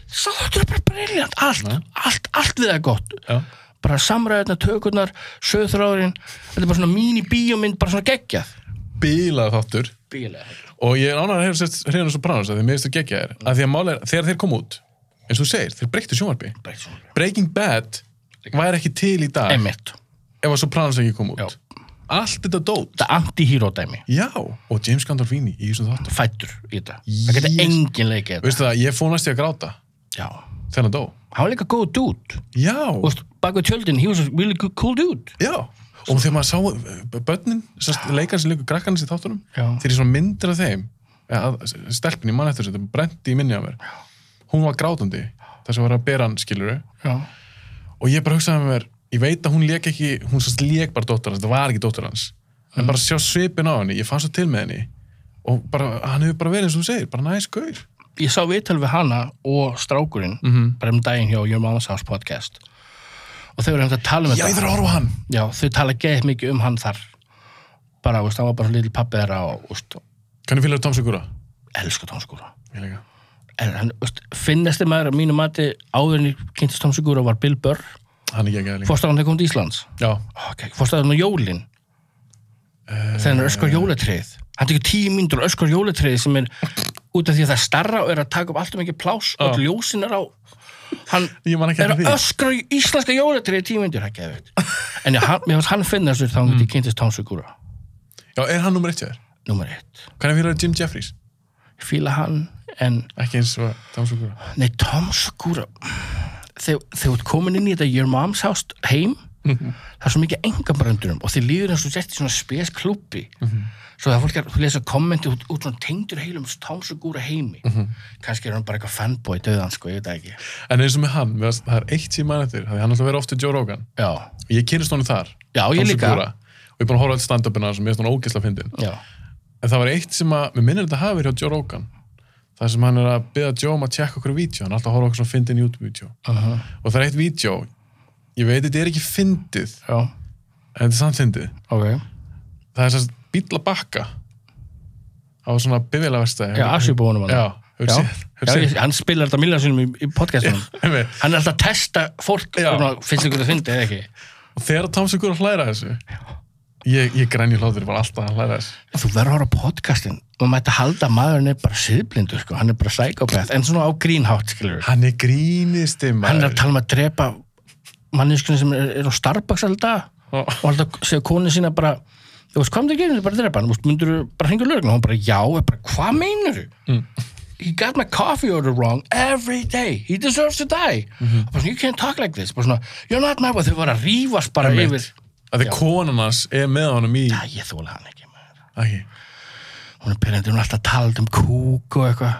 þáttur er bara briljant allt, allt, allt við það er gott Já. bara samræðina, tökurnar, söðráðurinn þetta er bara svona mín í bíómynd bara svona geggjað Bílað þáttur. bíólega og ég er ánægður að hefur sett hreinu um Sopranos að þið meðist að gegja Mm. þér að því að mála er, þegar þeir kom út eins og þú segir, þeir breyktu sjónvarpi Breaking Bad væri ekki til í dag einmitt, ef að Sopranos ekki kom út Já. allt þetta dót þetta er anti-hero dæmi já, og James Gandolfini í þessum þáttum fættur í þetta það getur Yes. engin leikið þetta veistu það, ég fór næst í að gráta já þegar hann dó hann var líka góð dút já, veist, bak við tjöldin, he was a really good, cool dude já og þegar maður sá eh, börnin sest, leikar sem leikur krakkarnir í þáttunum Já. þegar ég svona myndir af þeim eða að- stelpin í mann eftir þessu, þetta brendi í minni af mér hún var grátandi þess að vera að bera hann skiluru já, og ég bara hugsaði með mér ég veit að hún leik ekki, hún sérst leik bara dóttur hans, það var ekki dóttur hans en bara sjá svipin á henni, ég fann svo til með henni og bara, hann hefur bara verið eins og þú segir bara næs gaur ég sá viðtal við hana og strákurinn Mhm. bara um daginn hjá Your Mama's House podcast og þau eru hægt að tala um já, ég þetta þarf að horfa á hann já, þau tala geðið mikið um hann þar bara, veist, hann var bara lítil pappi þeirra og veist, hvernig fylgur Tom Segura? elsku tónskúra ég líka en hann, veist, finnasti maður að mínu mati áðurinn í kynntist tónskúra var Bill Burr hann er ekki ekki líka fórst á hann þegar kom til Íslands já, okay. fórst að hann á jólin þegar hann öskar jólatreyð hann tekur tíu mínútur og öskar jólatreyð sem er út af því að það er starra og er að taka upp allt um ekki pláss og öll ljósin er á hann Ég man ekki er eftir að því. öskra í íslenska jólatreyð í tíu mínútur það er geðveikt. en ég, hann, mér fannst hann finna þessu þá hann geti kynntist tónsugúra já, er hann nummer eitt hjá þér? nummer eitt hvernig fylgur Jim Jeffries? Ég fíla hann en ekki eins og Tom Segura nei tónsugúra þegar þegar þú ert komin inn í þetta your mom's house heim Mhm. það er svo mikið engabröndurum og þið líður eins og sett í svona spes klúpi Mhm. svo það fólk er, þú lesa kommenti út, út svona tengdur heilum támsugúra heimi Mhm. kannski er hann bara eitthvað fanboy döðan sko, ég veit það ekki en eins og með hann, mér fannst- það er eitt sem mann eftir af því hann ætla að vera ofta Joe Rogan já, og ég kynist honum þar Já, ég Tom líka. Segura. og ég er búin að horfa á allt stand-upina hans og mér finnst hann ógeðslega fyndin já, En það var eitt sem að, mér minnir þetta hafi verið hjá Joe Rogan. Það sem hann er að byggja Joe um að tjekka okkur vídeo, hann er alltaf að horfa okkur svona fyndin YouTube-vídeó. Og það er eitt vídeo, ég veit þetta er ekki fyndið, já, en þetta er samt fyndið. ok Það er sérst bíl að bakka á svona bifilaverstæði. já, Asjubónum hann Já, hefur já, séð, já hefur séð. ég, hann spilar þetta millarsunum í, í podcastunum einmitt. hann er alltaf að testa fólk Já. svona, finnst ykkur það fyndi eða ekki Og þegar Tom Segura hlæra að þessu, ég, ég grænji hlátur, ég var alltaf að hlæra að þessu. þú verður að horfa á podcastin og maður ætti að halda að maðurinn er bara siðblindu sko. hann er bara psychopath, en svona á grínhátt skilur Hann er grínisti maður. hann er að tala um að drepa manneskunni sem er, er á Starbucks alltaf Já. og alltaf segja konu sína bara þú veist hvað myndir gerir, bara drepa hann Þú veist, myndir bara hringa lögna og hún bara já, er bara, hvað meinar þú he got my coffee order wrong every day he deserves to die bara, svona, you can't talk like this bara, svona, you're not my wife, þau var að rífast bara Einmitt. yfir Að því konan hans er með honum í... Æ, ég þóla hann ekki maður. Æ, hún er pyrrandi, hún er alltaf talað um kúk og eitthvað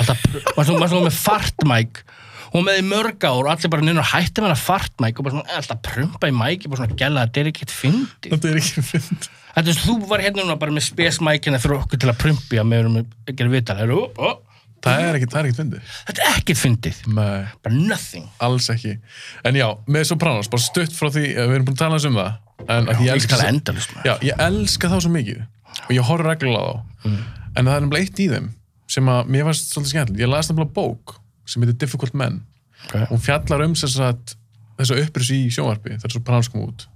alltaf, maður svo- maður svo með fartmæk hún með í mörg ár og allir bara neina hætti með hana fartmæk og bara svona alltaf prumpa í mæki, bara svona gæla, þetta er ekkert fyndi þetta er ekki fyndið. þetta er þú var hérna núna bara með spesmækina fyrir okkur til að prumpi að með erum að gera vital Heru, ó, ó, Það er ekki, það er ekki fyndið. þetta er ekkert fyndið Nei. bara nothing alls ekki en já, með Sopranos, bara stutt frá því eh, við erum búin að tala aðeins um það en já, ég, ég elska, skal endalust maður já, ég elska þá svo mikið og ég horf reglulega á þá en það er nefnilega eitt í þeim sem að mér varst svolítið skemmtilegt, ég las nefnilega bók sem heitir Difficult Men Ok. hún fjallar um sem sagt, þessa upprýs í sjónvarpi þegar Sopranos kom út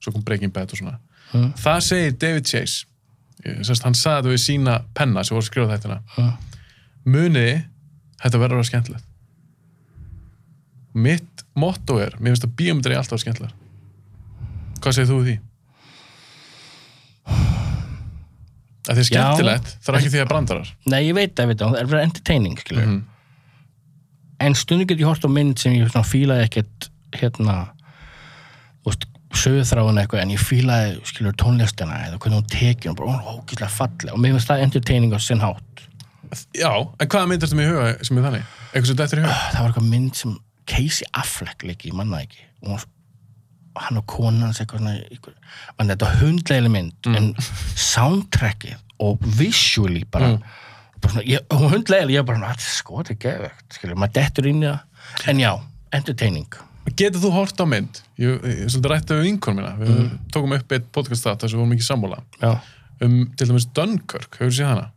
svo kom Breaking Bad og svona það segir David Chase eh, sérst, hann sagði þetta við sína penna sem voru að skrifa þetta Mm. muniði, þetta verður að vera skemmtilegt mitt motto er, mér finnst að bíómyndir er alltaf að skemmtilegar hvað segir þú við því? að því er Já. skemmtilegt það er ekki því að brandarar Nei, ég veit það, veit það, það er verið entertaining, skilur. En stundum get ég hort á mynd sem ég svona, fílaði ekkert, hérna, úst, sögurþráin eitthvað, en ég fílaði, skilur, tónlistina eða hvernig hún tekið, hún bara, hún er ógíslega falleg og mér finnst það entertaining á sinn hátt. já, en hvaða myndir þetta mér í huga sem er þannig? eitthvað sem dættir í huga? Það var eitthvað mynd sem Casey Affleck leik í, manna ekki. Og hún, hann og konan hans eitthvað svona, eitthvað, mann þetta var hundlegli mynd, en soundtrackið og visually bara, bara svona, ég, hún hundlegli, ég bara, svona, "Þetta er sko, þetta er geðvegt, skilur, maður dettur inn í það. En já, entertaining. Getur þú hort á mynd? Ég, ég ég svolítið rætti við vinkonum mína. Við tókum upp eitt podcast þátt þar sem við vorum ekki sammála. Já. Um til dæmis Dunkirk, hefur þú séð hana?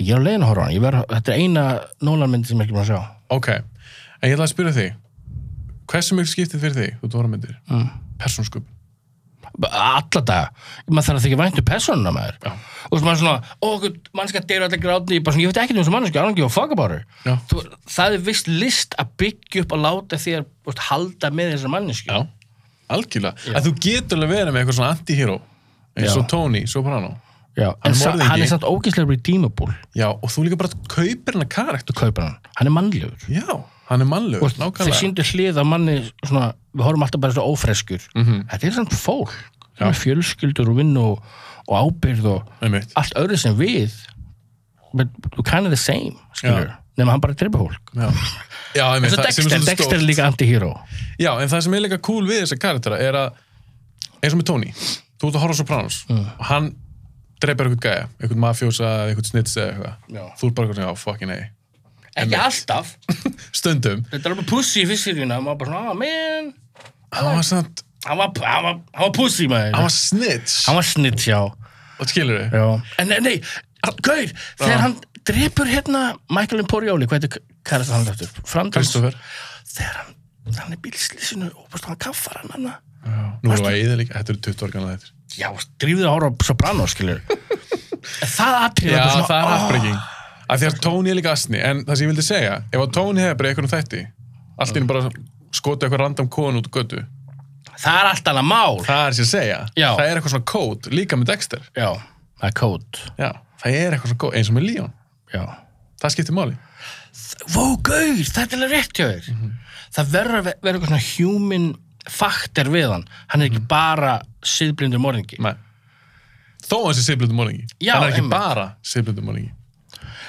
Ég er á leiðin að horfa á hann, ég verð, þetta er eina Nólanmyndi sem ég er ekki búin að sjá. Ok, en ég ætla að spyrja þig. Hversu mjög skiptið fyrir þig þú dóra myndir? Mm. Persónsköp. Bara alla daga, maður þarf að þykja væntu persónuna maður Já. og svo maður svona, ó, mannska deyra allir grátni, ég, bara svona, ég veit ekki um þessu mannska, alveg ekki og fuck about her Já. þú, það er vist list að byggja upp og láta þér veist, halda með þessar mannesku Já, algjörlega. Að þú getur alveg verið með eitthvað svona anti-hero. Já. Eins og Tony, Soprano. Já, er en sa, morðingi. hann er samt ógeðslega redeemable Já, og þú líka bara kaupir hennar karakter. þú kaupir hann, hann er mannlegur Já, hann er mannlegur, Veist, þeir nákvæmlega. síndu hlið að manni svona, við horfum alltaf bara svona ófreskur -hmm. Mhm. þetta er samt fólk það er fjölskyldur og vinn og, og ábyrð og Einmitt. allt öðru sem við but we're kind of the same skilur, Já. nema hann bara drepa fólk Já, Já einmitt, Svo það sem er Dexter, svolítið Dexter stórt. er líka anti-hero Já, en það sem er líka cool við þessa karaktera er að eins og með Tony, þú ert að horfa á Sopranos Mm. og hann dreipar eitthvað gæja eitthvað mafjósa, eða eitthvað snitsa eða Já. eitthvað þú ert bara eitthvað, já, fucking ei ekki alltaf, stundum, þetta er alveg pussy í fyrstýrjuna maður bara svona, ah man hann var samt hann var, hann var, hann var pussy maður hann var snitch, hann var snitt, já, og skilur þið já. en nei, nei hann- gaur, þegar hann drepur hérna Michael Imperioli, hvað heitir kærasta hann eftir, framdans Kristoffer, þegar hann, hann er bílslísinu og bara hann kaffar hann hann nú erum við að eða líka þetta eru 20 organ að þetta já, drífðu að horfa á Soprano, skilur En það atriði Já, bara svona, það er ah, afbreyking að því að Tony er líka asni, en það sem ég vildi segja ef að Tony hefði bara eitthvað um þætti allt í henni bara skotu eitthvað random konu út á götu, það er allt annað mál það er sér að segja Já. það er eitthvað svona kód, líka með Dexter já, það er kód Já, það er eitthvað svona góð, eins og með Leon. já Það skiptir máli. vó, gauð, þetta er alveg rétt hjá þér Mhm. það verður að ve- vera eitthvað svona human faktor við hann hann er ekki Mhm. bara siðblindur morðingi Nei. Þó að þessi siðblöndum morðingi. Já, Hann er ekki einmitt. bara siðblöndum morðingi.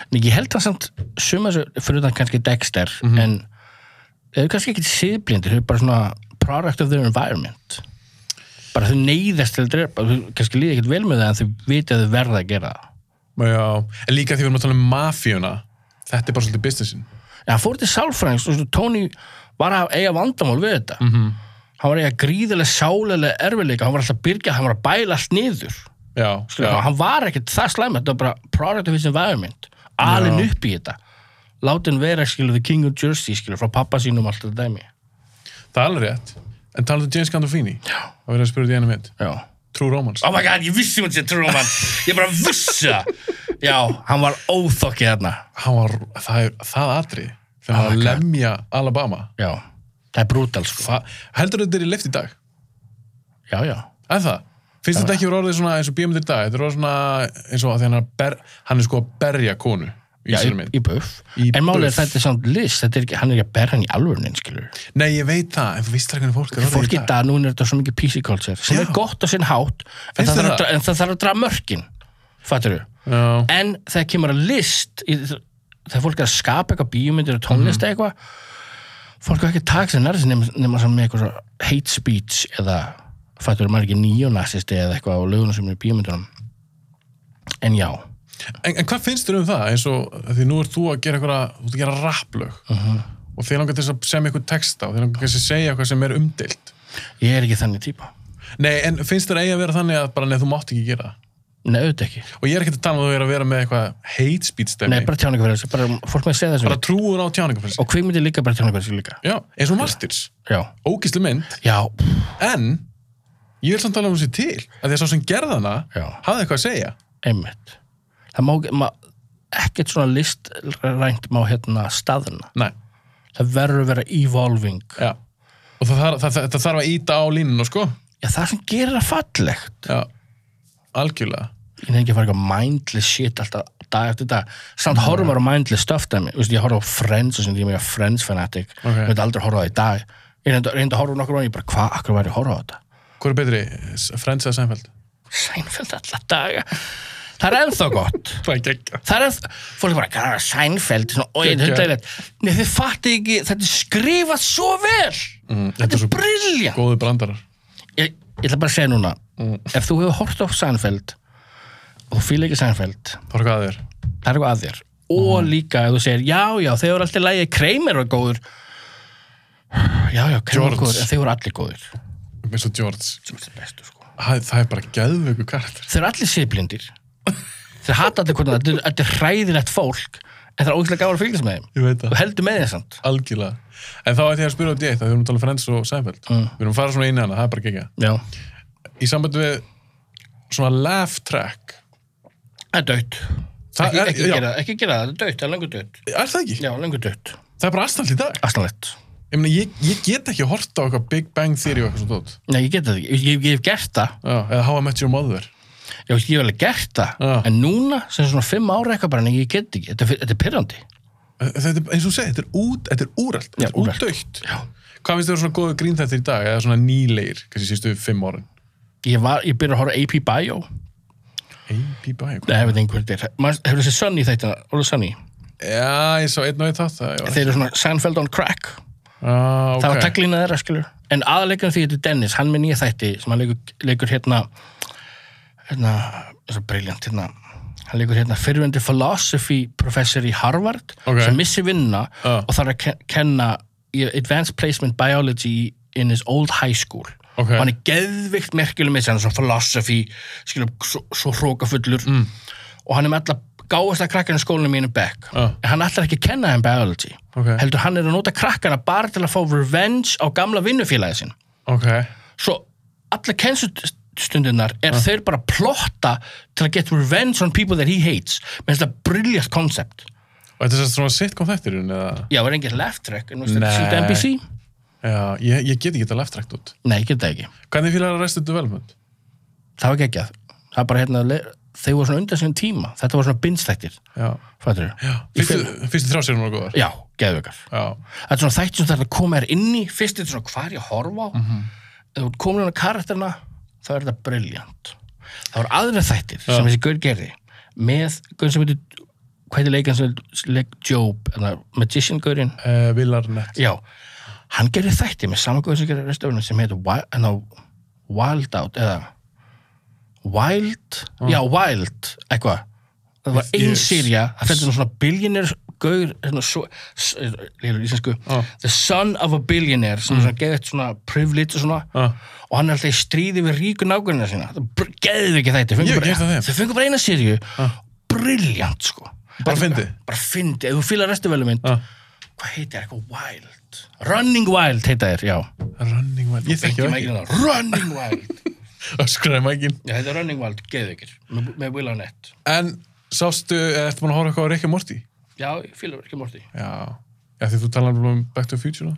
en ég held það samt suma þessu fyrir utan kannski Dexter en þau eru kannski ekki siðblindur þau eru bara svona product of their environment bara þau neyðast til að drepa þau kannski líði ekkert vel með það en þau viti að þau verða að gera það Já, en líka því við erum að tala um mafíuna, þetta er bara svolítið businessin. en hann fór til sálfræðings og svona, Tony var að eiga vandamál við þetta -hmm. hann var að eiga gríðilega sálega erfiðleika, hann var alltaf að byrja hann var að bæla allt niður Já, Skilur, já, hann var ekkert það slæma þetta var bara product of his environment alin Já. upp í þetta látin vera skilur the king of jersey skilur frá pappa sínum og allt þetta dæmi það er alveg rétt. En talaðu um James Gandolfini. Já. Það verður að spyrja því einu mynd. já. True Romance. oh my god, ég vissi hún sér trúum hann ég bara vissi það já, hann var óþokkið þarna Hann var, það er, það atrið, þegar hann var að lemja Alabama. já, það er brútal sko Það, heldur þetta er í lift í dag? já, já, En það? Finnst þetta ekki verið orðið svona eins og bíómyndir í dag? Þetta er orðið svona eins og að því hann er, að ber, hann er sko að berja konu í já sér í, mynd. í buff Í en málið er buff. þetta er samt list þetta er ekki, hann er ekki að berja hann í alvörnin skilur Nei, ég veit það, en þú veist það hvernig fólk er orðið fólk í dag, núna er þetta svo mikið PC culture sem er Já. gott á sinn hátt en Finnst þér það, þarf að það? dra- en það þarf að draga mörkin fattur þú? Já, en þegar kemur að list í- þegar fólk er að skapa eitthvað bíómyndir og tónlist eða eitthvað fólk er ekki að taka sér nærið sem nema saman með eitthvað svo hate speech eða fættur maður ekki nýjónasisti eða eitthvað á löguna sem er í bíómyndunum en já, en, en hvað finnst þér um það? Eins og, af því nú ert þú að gera eitthvað, þú ert að gera rapplög Uh-huh. og þið langar til þess að semja eitthvað texta og þið langar kannski að segja eitthvað sem er umdilt. ég er ekki þannig típa Nei, en finnst þér eigi að vera þannig að bara neð, þú mátt ekki gera það? Nei, auðvitað ekki. Og ég er ekki að tala um að þú er að vera með eitthvað hate speech Nei, stemning. bara tjáningafæri, bara fólk með að segja það sem bara vil. trúur á tjáningafrelsi. Og kvikmyndi líka bara tjáningafæri líka. Já, eins og Martyrs, Já. ógíslu mynd, Já, en Ég vil samt tala um þessi til, að því að sá sem gerða hana Já. hafði eitthvað að segja. einmitt það má, ekki- má ekkert svona listrænt má hérna staðna Nei, það verður að vera evolving já. Og það, það, það, það þarf að íta á línuna, sko. já, það sem gerir það fallegt Já, algjörlega. ég nefnir ekki að fara eitthvað mindless shit alltaf dag eftir dag samt horfum maður á mindless stuff dæmi Vist, ég horfum á Friends og sem ég er mega Friends fanatic Ok. ég veit aldrei að horfa á það í dag ég reyndi reyndi að horfa á nokkur og ég bara hvað, akkur var ég að horfa á þetta Hvor er betri, S- Friends eða Seinfeld? Seinfeld alla daga það er ennþá gott Það er geggjað. það er ennþá, fólk er bara hvað er Seinfeld svona, og ég Geggjað. hundægilegt nei þið fatti ekki, þetta er skrifað svo vel Mm, þetta þetta er svo er briljant Góðu brandarar. ég, ég ætla bara að segja núna Mm. ef þú hefur hort á Seinfeld og þú fýla ekki Seinfeld Það er hvað að þér. það er eitthvað að þér og líka ef þú segir já já þeir voru alltaf lægið Kramer var góður já já Kramer var George. góður en þeir voru allir góður Mér svo George. George er bestu sko Það, það er bara geðveiku karakter. þeir eru allir sýblindir þeir hata allir hvernig þetta er- þetta er hræðilegt fólk en það er ógæslega gáður að fylgjast með þeim Ég veit það. þú heldur með þeim samt Algjörlega. En þá ætti ég að spyrja út í eitt, að við erum að tala um Friends og Seinfeld. Mm. Við erum að fara svona inn í hana, það er bara geggjað. já Í sambandi við svona laugh track, það er dött Það ekki, er- ekki, já. gera, það, ekki gera það, það er dött, það er lengur dött er það ekki? já, lengur dött Það er bara aðstæðan í dag. astanlegt Ég, meina, ég, ég get ekki horta á eitthvað Big Bang Theory og eitthvað svona tótt. Nei, ég geta það ekki, ég, ég, ég hef gert það Já, eða How I Met Your Mother. ég, ég hef alveg gert það Já. en núna, sem svona fimm ára eitthvað bara, nei, ég get ekki, þetta, er- þetta er pyrrandi Þetta er, eins og þú segir, þetta er út, þetta er úrælt, þetta Já, er úrelt. útdaukt. já Hvað finnst þér um svona góðu grín þetta í dag, eða svona nýleir, kannski sístu fimm árin? ég, var, ég byrja að horfa á AP Bio AP Bio, hvað? Nei, ég veit einhver þetta er Manst- Hefur þessi Sunny þetta, Óli Sunny Já, ég sá einn og einn þátt það, já. Þeir eru svona Seinfeld on crack Ah, ok. Það var taglina þeirra, skilur En aðalegurinn því þetta er Dennis, hann með nýja þætti sem hann leikur, leikur hérna hérna, það er svo briljant hérna hann leikur hérna fyrirvendi philosophy professor í Harvard Ok. sem missi vinna Já. og þarf að ken- kenna í advanced placement biology in his old high school Ok. og hann er geðvikt merkjuleg með sig hann er svo philosophy, skilur, svo, svo hrókafullur mm. og hann er með alla gáðast að krakkana í skólinu mínu back Já. en hann ætlar ekki að kenna þeim biology Ok. heldur hann er að nota krakkana bara til að fá revenge á gamla vinnufélagi sinn Ok, svo alla kennstustundunar er Ah. þeir bara að plotta til að get revenge on people that he hates með þetta brilljast koncept og þetta er sem sagt svona sitcom þættirinn, eða? já, er engin left track en þetta Nei. er síðan NBC Já, ég, ég get ekki þetta leftrakt út. nei, ég get það ekki, Hvernig fílar að restu development? það var geggjað það er bara hérna, le- þeir voru svona undan sinni tíma þetta voru svona binstættir, Já. fattur Já, fyrstu, fyrstu þrjá sérum eru góðar. já, geðveikar Já, þetta er svona þætti sem þetta koma þér inn í fyrst er þetta svona hvað er ég að horfa á mm -hmm. ef þú komur hann að karakterna þá er þetta briljant það voru aðra þættir sem þessi gaur gerði með gaur sem heitir hvað heitir leikann sem heitir- leik Job eða Magician gaurinn uh, Villarnett. já, hann gerði þætti með sama gaur sem gerði restaurinn sem heitir Wi- hérna, Wild Out eða Wild Ah. já, Wild, eitthvað það var Ég- ein sírja, það fætti svona billionaire gaur, hérna svo lélur íslensku, Já. the son of a billionaire sem mm. svona geðið svona privilege og svona, Já. og hann er alltaf í stríði við ríku nágrunina sína, það geðið ekki þetta Ég hef gert það Ah. þeim. þau fengur bara eina sírju briljant sko Bara Þetta er fyndið? Ah, bara fyndi, ef þú fýlar restu velu mynd Já. hvað heitir eitthvað wild running wild heita þér, já Running Wild, ég þekki Ekki það mækinn ekki. það, running wild Öskraði mækin. já, þetta er running wild, geðu ykkur með, með Will Arnett, En sástu, eða ertu búin að horfa eitthvað á Rick and Morty? já, ég fýlar ekki morti Já. Já, því þú talar um Back to the Future og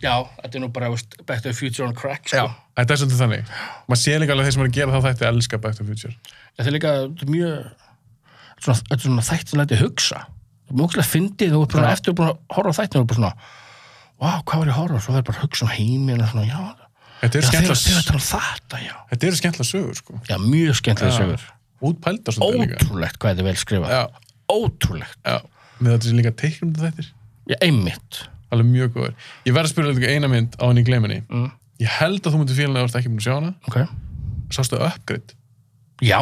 já, þetta er nú bara veist, back to the future on crack sko. Já. Þetta er svolítið þannig. Maður sé líka alveg þeir sem eru að gera þá þætti elska Back to the Future. þetta er líka þetta er mjög svona, þetta er svona þætt sem lætið hugsa mjögslega fyndið, þú er bara eftir að búin að horfa á þættin og þú er bara svona, wow, hvað var ég að horfa á?" svo það er bara að hugsa um heiminn og svona, já, Þetta eru já þeir þeir að skemmtilega, tala um þetta, já þetta eru skemmtilega sögur, sko. já, mjög skemmtilega sögur Útpældar svolítið líka. ótrúlegt hvað þetta er vel skrifað Já, ótrúlegt, já. Með þetta sem líka teiknum þetta þættir. já, einmitt Alveg mjög góður. Ég verð að spyrja líka eina mynd á henni í gleminni. Mm. Ég held að þú myndir fílan að þú ert ekki búin að sjá hana. okay. Sástu Upgrade? Já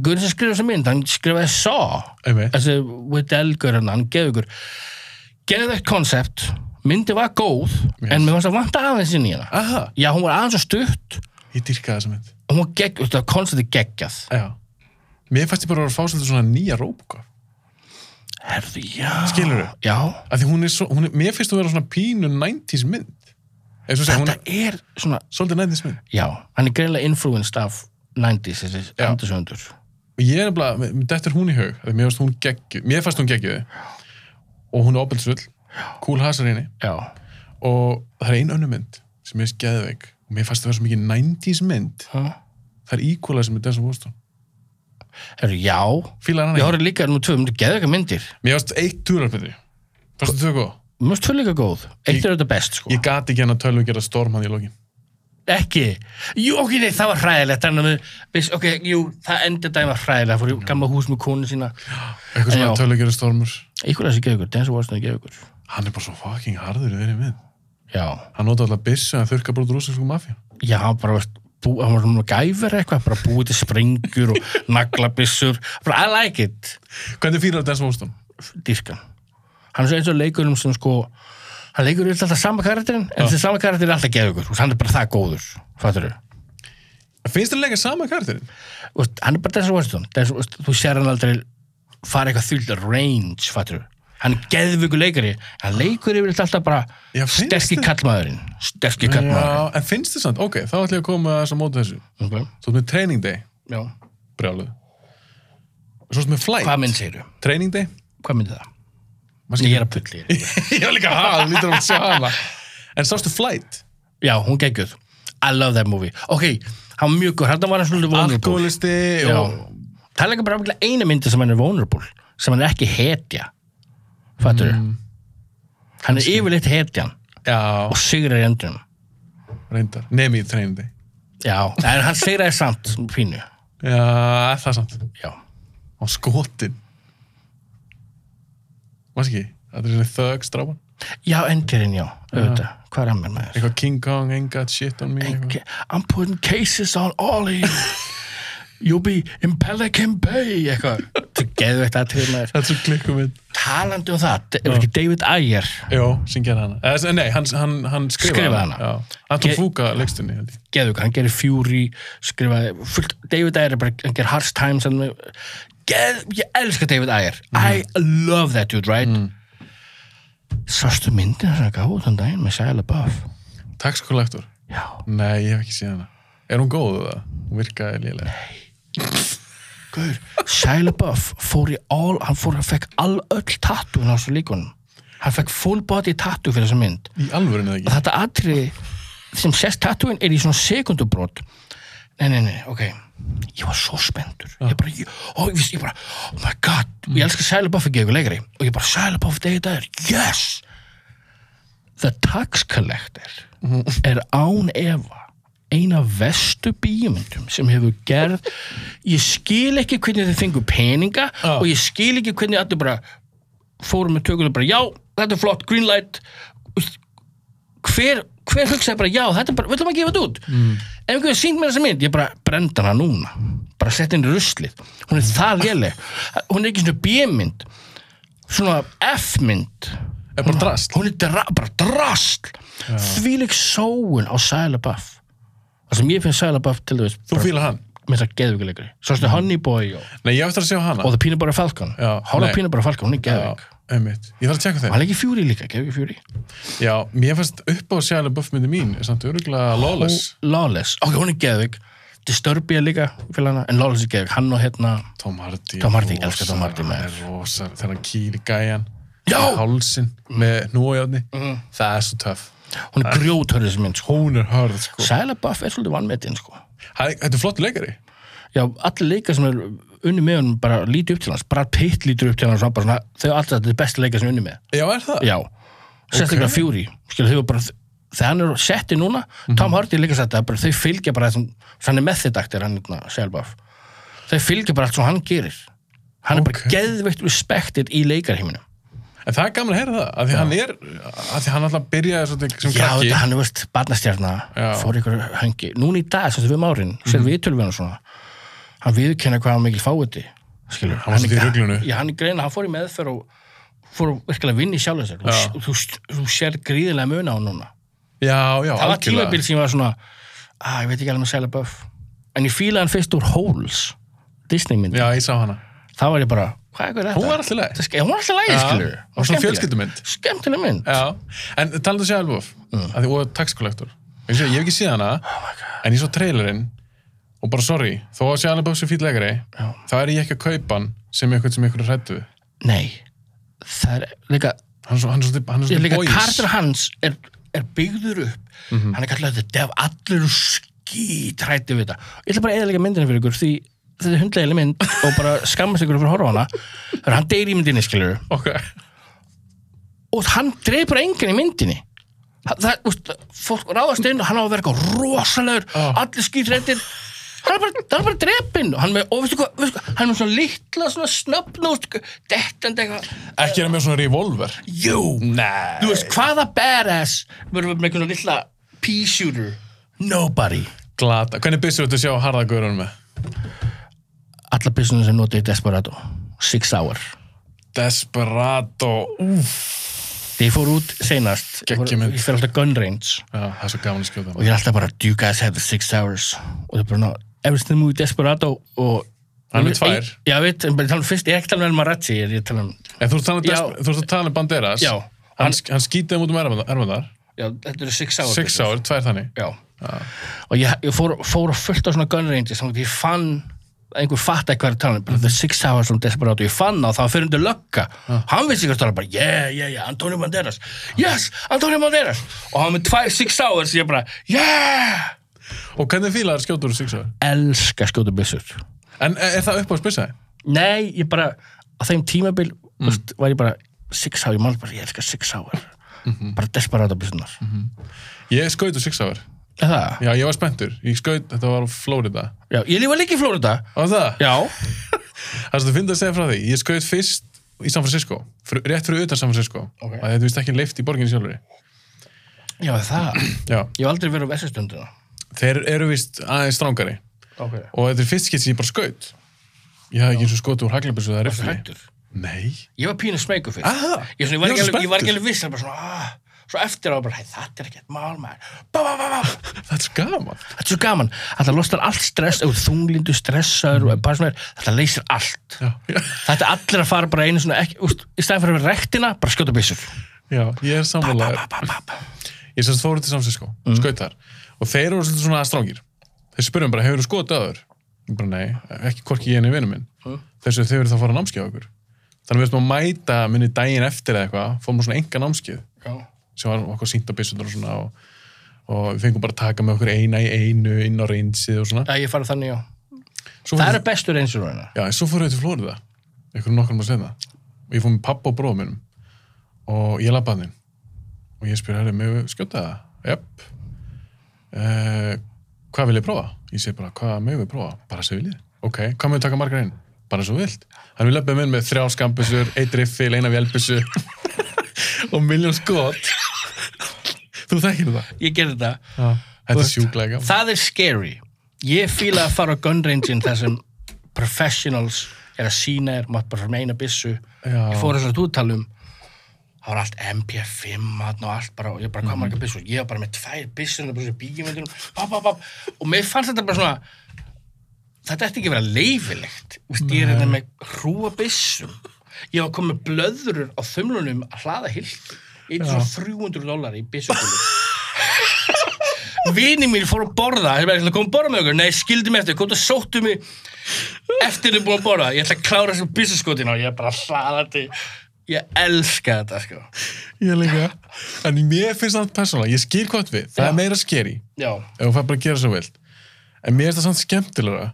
Guðin sem skrifa þessa mynd, hann skrifaði Saw Einmitt. Þessi Whittle Guðin, hérna, hann geði ykkur Geðvegt koncept, myndi var góð En mér fannst að vanta aðeins inn í hana Aha, Já, hún var aðeins og stutt ég dyrkaði þessa mynd. og Hún var gegg, þetta var konceptið geggjað Já. Mér fannst ég bara að fá svolítið svona nýja Robocop. Herðu, já Skilurðu? Já, Ah. að því hún er svo, hún er, mér finnst þú vera svona pínu 90s mynd ef eins og segja, hún þetta er er svona svolítið nættismin já, hann er greinlega influenced af 90s, þessi Já. endursöndur og ég er nefnilega, mér- mér dettur hún í haug af því mér fannst hún geggju, mér fannst hún geggjuði og hún er opeldsvull cool hasar henni já, og það er ein önnu mynd sem er skeðveik og mér fannst það vera svo mikið 90s mynd það er íkvæðlega sem er Denzel Washington Heru, já fílar hann ég ekki, horfði líka nú tvö, myndi geða eitthvað myndir mér fannst eitt túrarpetri fannst þú góð? mér finnst tvö líka góð, eitt er þetta best sko. Ég gati ekki hann að tölvu gera storm hann í lokin ekki, jú ok, nei, það var hræðilegt þannig að við, viss, ok, jú, það endið dæma hræðilega, fór í gamla hús með konu sína eitthvað Já. svona tölvu gera stormur ykkur þessi geða ykkur, Denzel Washington geða ykkur hann er bara svo fucking harður í þeirri mynd já, hann nota alltaf byssu en þurrka bara út rússinsku mafja já, hann bara veist, bú, hann var svona gæfur eitthvað, bara búið til sprengjur og naglabissur, bara I like it hvernig fílar Denzel Washington? dýrkan hann er svo eins og leikurum sem sko hann leikur yfir alltaf sama karakterin en þessi sama karakter er alltaf geðugur og hann er bara það góður fattur finnst þér leika sama karakterinn? þau hann er bara Denzel Washington Denzel, þú veist, þú sér hann aldrei fara eitthvað þvílda range fattur hann er geðugur leikari hann leikur yfir alltaf bara Já, finnst sterski þér- kallmaðurinn sterski kallmaðurinn Já, en finnst þér samt, ok, þá ætlum ég að koma þess að móta þessu. okay. Þú ert með training day, Já. brjáluð. Svo ert með flight. hvað mynd segir þau? Training day? hvað myndi það? Maður ég er að pulli þér. ég var líka, ha, þú lítur að sjá hana. En sástu flight? já, hún geggjöð I love that movie ok, hann var mjög góð hann var hann svolítið vulnerable. Alkoholisti Já. og... Það er líka bara ábyggilega eina myndi sem hann er vulnerable sem hann er ekki hetja Fattur Mm. Hann er yfirleitt hetjan Já, og sigrar í endunum reyndar. Nemi í training day. Já, en hann sigraði samt pínu Já, það er samt. Já, Og skotin. Mást ekki? Það er svona thug stráman. já endurinn, já, auðvitað Hvað er hann með maður? Eitthvað King Kong, ain't got shit on me. eitthvað. Ke- I'm putting cases on all of you You'll be in Pelican Bay eitthvað Þú geðu eitt aðtrið maður Þetta er svo klikkum minn. Talandi um það, er ekki David Ayer Jó, syngja hana. Eða, nei, hann, hann, hann skrifaði Skrifaði hana. Já. Hann tók Ge- fúka leikstunni, held ég. geðug, hann gerir Fury skrifaði, fullt, David Ayer er bara, hann gerir Harsh Times hann, geð, ég elska David Ayer I love that dude, right? Mm. Sástu myndin sem hann gáði þann daginn með Shia LaBeouf Tax Collector? Já, Nei, ég hef ekki séð hana. Er hún góð eða? Hún virkaði lélega. guður Shia LaBeouf fór í all, hann fór, hann fekk all öll tattoo á svo líkunum hann fekk full body tattoo fyrir þessa mynd Í alvöru neða og ekki. þetta atriði sem sérst tattúin er í svona sekundubrót nei, nei, nei, ok ég var svo spendur ég bara, ég, ó, ég, vissi- ég bara, oh my god ég elska Shia LaBeouf að gefa ykkur leikari og ég bara, Shia LaBeouf degi dagur, yes The Tax Collector er án efa eina vestu bíumyndum sem hefur gerð ég skil ekki hvernig þið fengu peninga Já. og ég skil ekki hvernig allir bara fórum með tökulega bara já, þetta er flott, green light hver, hver hugsaði bara já, þetta er bara, við ætlum að gefa þetta út ef einhverju sínt mér þessa mynd, ég bara brenda hana núna, bara sett inn í ruslið hún er það léleg hún er ekki svona B-mynd svona F-mynd Er bara drast. hún er dra, bara drast þvíleg sóun á Shia LaBeouf það sem ég finn Shia LaBeouf til þess Þú fílar hann? með það geðvikuleikri, svo svona Honey Boy og, Nei, ég á eftir að sjá hana. og The Peanut Butter Falcon Mm. Já, hóla nei. Peanut Butter Falcon, hún er geðvik Já, einmitt. Ég þarf að tjekka hann þeim. er ekki fjúri líka, geðvik fjúri Já, mér fannst upp á sjæðlega buffmyndi mín, er samt öruglega lawless. Lawless, ok, hún er geðvik Disturbia líka, fyrir hana en Lawless er geðvik, hann og hérna Tom Hardy. Tom Hardy, rosa, elska Tom Hardy, maður. hann er Rosa, þegar hann kýr í gæjan. Já! Mm. Með hálsin, með nújáðni. Það er svo töff. hún er grjóthörð þessi mynd, sko Hún er hörð, sko. Shia LaBeouf er svolítið vannmetinn, sko Hæ, Þetta er flott leikari. já, allir leikar sem er unni með honum bara líti upp til hans, bara pitt lítur upp til hans og hann bara svona, þau er alltaf þetta er besta leikar sem er unni með Já, er það? já, sérstaklega okay. Fury skil, þau eru bara, þegar hann er setti núna Mhm. Tom Hardy er líka sett að bara, þau fylgja bara þessum, hann er methodaktir hann hérna, Shia LaBeouf, þau fylgja bara allt sem hann gerir, hann er Ok. bara geðveikt respektir í leikarheiminum En það er gaman að heyra það, af því hann er, af því hann alltaf byrjaði svolítið sem Já, krakki. þetta hann er veist barnastjarna Já. fór ykkur höngi. Núna í dag, sem þau við márin, sem við tölum við hann svona hann viðkenna hvað hann mikil fáiði skilur. Hann var svolítið í ruglinu. Já, hann er greina, hann fór í meðferð og fór að virkilega vinna í sjálf þessar. Já. Þú, þú, þú sér gríðilega muna á hann núna. Já, já, Það var tímabil sem ég var svona að, ég veit ekki alveg með sæla buff. En ég fílaði hann fyrst úr Holes, Disney myndi. Já, ég sá hana. Það var ég bara, hvað er þetta? Hún var alltaf leið. Þetta er ske- Hún var alltaf lægi, Já, skilur og svona fjölskyldumynd. Skemmtileg mynd Já, en talaðu sér Elbof mm. því, og Tax Collector ég, sé, ég hef ekki séð hana, en ég svo trailerinn og bara sorry, þó að sér Elbof sem fýll leikari, þá er ég ekki að kaupa hann sem eitthvað sem ykkur er hrættu Nei, það er líka hann er svo- hann er svolítið hann er Ég er svolítið líka boys kartur hans er, er byggður upp hann er kallar þetta def allir skítrætti við þetta ég ætla bara að eða líka myndina fyrir ykkur því þetta er hundlegili mynd og bara skammast ykkur fyrir að horfa á hana þegar hann deyr í myndinni skilur ok, og hann dreipur engan í myndinni það, það, úst, fólk ráðast inn og hann á að vera eitthvað rosalegur Já. allir skítrættir hann er bara, hann er bara dreipinn og hann er með, og veistu hvað, veistu hvað hann er með svona litla svona snöfn og dettandi eitthvað ekki er hann með svona revolver jú nei, Þú veist, hvaða badass verður með einhvern lilla pea shooter? Nobody. glata, hvernig byssur þetta sjá harða gaurunum með Alla byssunum sem notið í Desperado. Six hour. Desperado, úf Þegar ég fór út seinast, ég fór- Geggjum mynd. ég fyrir alltaf gun range já, það er svo gaman að skjóta og ég er alltaf bara, do you guys have the six hours? Og það er bara, no, everything movie Desperado og... Hann er með tvær. Ég- Já, ég veit, en bara ég tala um fyrst, ég er ekki tala um Marachi, ég er ég tala um... en þú ert að tala um Já. Des- þú ert að tala um Banderas Já. hann, hann skýtaði mútum erfandar Já, þetta eru six hour. um six byssur. hour, tvær þannig Já. Og ég, ég fór, fór að fullt á svona gun ranges þannig að ég fann einhver fatt eitthvað að tala um, bara the six hours from Desperado, ég fann það og það var fyrir undir lögga hann vissi ekki að tala bara, yeah, yeah, yeah Antonio Banderas, yes, Antonio Banderas og hann var með tvær six hours ég bara, yeah og hvernig fílar skjótur six hour elska skjótu byssur En e- er er það upp á spysaði? nei, ég bara, á þeim tímabil mm. veist, var ég bara six hour, ég mann bara, ég elska six hour bara Desperado byssunar mm Ég skaut úr 6 hour. það, Já, ég var spenntur. Ég skaut, þetta var á Flórida. já, ég lífa líka í Florida Og það, já, það er svo fyndið að segja frá því. Ég skaut fyrst í San Francisco, fyrir, rétt fyrir utan San Francisco. Ok. Okay. Það er vist ekki leift í borginni sjálfur. já, það Já, ég hef aldrei verið á vessastundina þeir eru vist aðeins strángari. okay. Og þetta er fyrst skitt sem ég bara skaut. Ég hafði ekki eins og skotu úr haglabessu eða Svo rifli. hættur. Nei. Ég var pínu smeyku fyrst. Aha. ég, svona, ég, Ég var var ekki svo alveg, ég var ekki alveg viss, það var bara svona, ah, svo eftir á bara, hey, þetta er ekkert mál, maður. Bá, bá, bá, bá. Það er svo gaman. Þetta er svo gaman. Þetta losnar allt stress, ef þú ert þunglindu stressar, mm. bara svona, þetta leysir allt. Já, já. Þetta er allir að fara bara einu svona, ekki, úst, í staðin fyrir að vera rektina, bara skjóta byssur. já ég er Bá, bá, sammálaður. bá, bá, bá. Ég sem sagt fór til San Francisco, skaut þar og þeir voru svolítið svona strángir þeir spurðum bara, hefur þú skotið aður? Ég bara, nei, ekki hvorki ég enn í vinnu minn þessu þau eru þá að fara á námskeið á okkur þannig við erum að mæta minni daginn eftir eða eitthvað, fórum á svona enga námskeið Já. sem var okkur sínt á byssunar og svona og, og við fengum bara að taka með okkur eina í einu inn á reynsið og svona Já, ég fara þannig, já. svo Það fórum- eru bestur eins og reyna. Já, en svo fórum við til Flórida einhverjum nokkrum að segna og ég fór með pappa og bróðum minnum og ég labbaði hann og ég spyr herri, með skjóta það? Jöpp uh, Hvað vil ég prófa? Ég segi bara, hvað með við prófa? Bara sem viljið Ok, hvað með við taka margar einn? Bara svo vilt Þannig við labbaðum inn með þrjá skambissur, eitt riffil, eina vélbissu og miljón skot Þú þekkir það? Ég gerði þetta. Þetta er sjúklega gaman. Það er scary. Ég fíla að fara á gun range-in þar sem professionals er að sína þér, maður bara fara með eina byssu. Já. Ég fór þess að þú tala um, það var allt MP5 þarna og allt bara, og ég bara, hvað marga byssur? Ég var bara með tvær byssur, bara svo bíjumöndunum, bap, bap, bap, og mér fannst þetta bara svona, þetta ætti ekki að vera leifilegt. Vist, ég er þetta með hrúa byssum. Ég var komið blöðurur á þumlunum að hlaða hilt. Eitt svo 300 dólar í byssukulu. Vini mín fór að borða Þeir bara, kom að borða með okkur Nei, skildi mig eftir, kom þú sóttu mig Eftir þau búin að borða Ég ætla að klára þessu byssuskotin Og ég bara hlaðandi Ég elska þetta, sko Ég líka. En mér finnst það persónulega, ég skil hvað þú átt við, það Já. er meira skeri. Já, ef þú fær bara að gera svo vilt en mér er það samt skemmtilega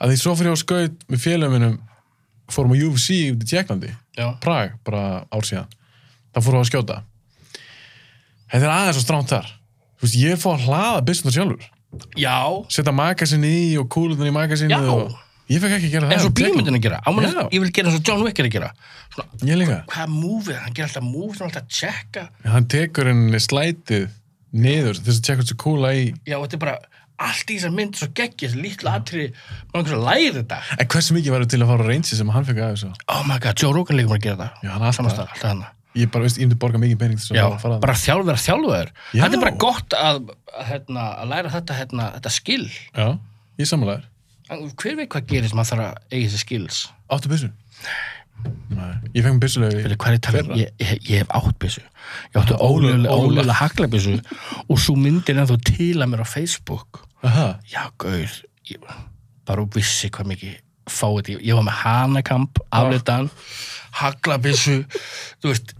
að því svo fyrir ég á skaut með félagum minnum fórum á UFC út í Tjekklandi já, Prag, bara ár síðan það fórum við að skjóta þetta er aðeins og stránt þar Þú veist, ég er fór að hlaða byssunar sjálfur já setja magasinni í og kúlunar í magasinni Já. og... ég fekk ekki að gera það En svo í Tékklandi. bíómyndin að gera Á mann- Já. Ég vil gera eins og John Wick er að gera Svona, ég líka, Hvað múfið, hann gerir alltaf múfið Hann er alltaf að checka hann tekur henni slætið niður þess að tjekka þessi kúla í Já, þetta er bara Allt í þessar mynd svo geggi Þessi lítla atri Mann kannski að læra þetta en hversu mikið var til að fara á reynsi sem hann fekk aðeins Oh my god, Joe Rogan líka mér að gera þetta Já, hann er alltaf- Samastað, alltaf hann ég bara veist, ég myndi borga mikið pening til þess Já, að fara þarna. bara þjálf, vera þjálfaður. Já. Þetta er bara gott að, að, hérna, að læra þetta, hérna, þetta skil. Já, ég samanlegaður. En Hver veit hvað gerist maður þarf að eiga þessi skils? Áttu byssur? Nei. Ég fengið byssulegu Fyrir hvað er talað? Fyrra. um? Ég, ég, ég hef átt byssu. Ég átti ólega, ólega. ólega hagla byssu og svo myndir ennþá til að mér á Facebook. Aha, Já, gauð, ég bara vissi hvað mikið fáið ég. Ég var með hanakamp, aflitaðan, hagla byssu, þú veist,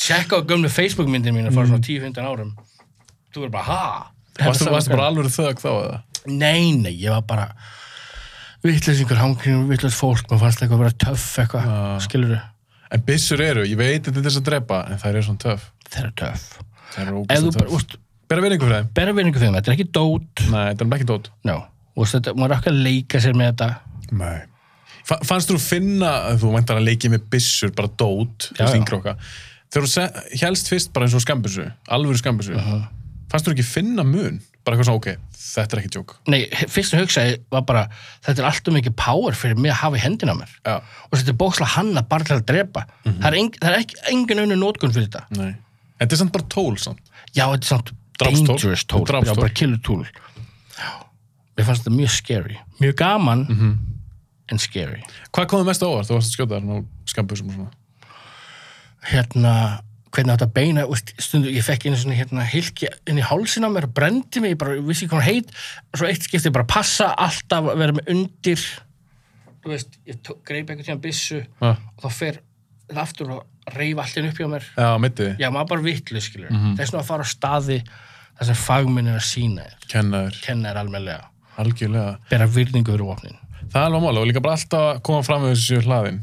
tjekka á gömlu Facebook myndin mín að fara svona 10-15 árum. Þú verður bara, ha? Þetta varstu, er varstu sama- bara alveg þögg þá eða? Nei, nei, ég var bara vittlesingur hangrinum, vittles fólk maður fannst eitthvað að vera töff eitthvað Já. skilur En byssur eru, ég veit þetta er til þess að drepa, en það er svona töff. þeir eru töff Það er Ef þú ógæst bara, töff. úst, Bera verðingu fyrir þeim. bera vinningu fyrir þeim, þetta er ekki dót Nei, þetta er nefnilega ekki dót. no. úst, þetta, maður er ekki að leika sér með þetta Nei. Fa fannst þú finna, þú væntar að leikið með byssur, bara dót, Já, já. þessi yngróka. Þegar þú se- hélst fyrst bara eins og skambissu, alvöru skambissu, fannst þú ekki finna mun? Bara eitthvað svona, ok, þetta er ekki djók. Nei, he- fyrst sem hugsaði var bara þetta er alltaf mikið power fyrir mig að hafa í hendina á mér Já. og þetta er bókslega hanna bara til að drepa það, er eng, það er ekki engin önnu nótkunn fyrir þetta Nei. En þetta er samt bara tól, samt. já, þetta er samt Drápstól. dangerous tól Drápstól. já, bara killutól mér fannst þetta mjög scary mjög gaman en scary Hvað komið mest á óvart? Þú varst að skjóta þarna á skambissum og svona. hérna hvernig átt að beina úst, stundu, ég fekk einu svona hérna hilki inn í hálsina á mér og brendi mig, ég bara ég vissi ekki hvað hún heit og svo eitt skipti bara passa alltaf að vera með undir þú veist, ég tók, greip einhvern tíðan byssu Ha. og þá fer það aftur og reyf allir upp hjá mér Já, mittiði. já, maður bara vitlu, skilur mm Mhm. -hmm. þess að fara á staði þar sem fagminn er að sína þér Kennaður, kenna þér almenlega, algjörlega. bera virðingu fyrir vopnin Það er alveg mála og líka bara alltaf að koma fram með þessu hlaðin.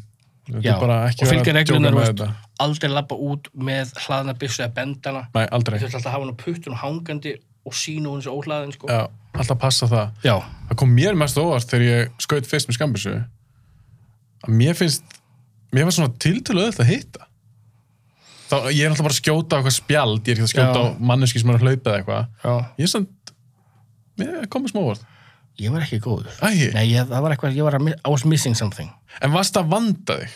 já, og fylgja með reglunar þú veist, þetta. aldrei labba út með hlaðna byssu eða bendana Nei, aldrei. Þú ætla alltaf að hafa hann á puttunum hangandi og sínu hún þessu óhlaðin, sko. Já, alltaf passa það. Já. Það kom mér mest á óvart þegar ég skaut fyrst með skambissu. Að mér finnst, mér var svona tiltölu öðvöld að hitta. Þá, ég er alltaf bara að skjóta á eitthvað spjald, ég er ekki að skjóta á Já. manneski sem er að hlaupa eða eitthvað. Já. Ég er samt, mér komið smá óvart. Ég var ekki góður. Æi. Nei, ég, það var eitthvað, ég var að, mi- I was missing something. En varst að vanda þig?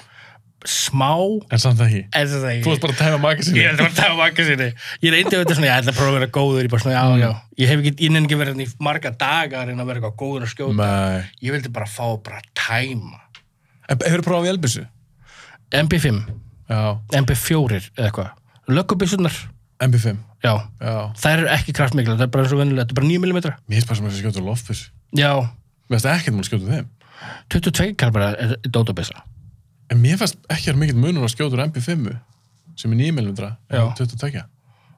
Smá, En samt ekki. er það ekki. Þú varst bara að tæma magasinu. Ég er það að tafa makka sinni. Ég reyndi auðvitað svona, ég ætla að prófa að vera góður, ég bara svona, já, já. Ég hef ekki, ég nenni ekki verið í marga daga að reyna að vera eitthvað góður að skjóta. Nei. Ég vildi bara fá bara að tæma. En hefur þú prófað vélbissu? MP5, Já. MP4 eða eitthvað. Lökkubissunar, MB5? já. Já. Það eru ekki kraftmikla, það er bara eins og venjulega, þetta er bara 9 mm. Mér finnst bara sem að skjóta á loftbissu. Já, Mér finnst ekkert mál að skjóta úr þeim. 22 kalbara er dótabissa. En mér finnst ekki er mikill munur að skjóta úr MB5 sem er 9 mm en Já. 22.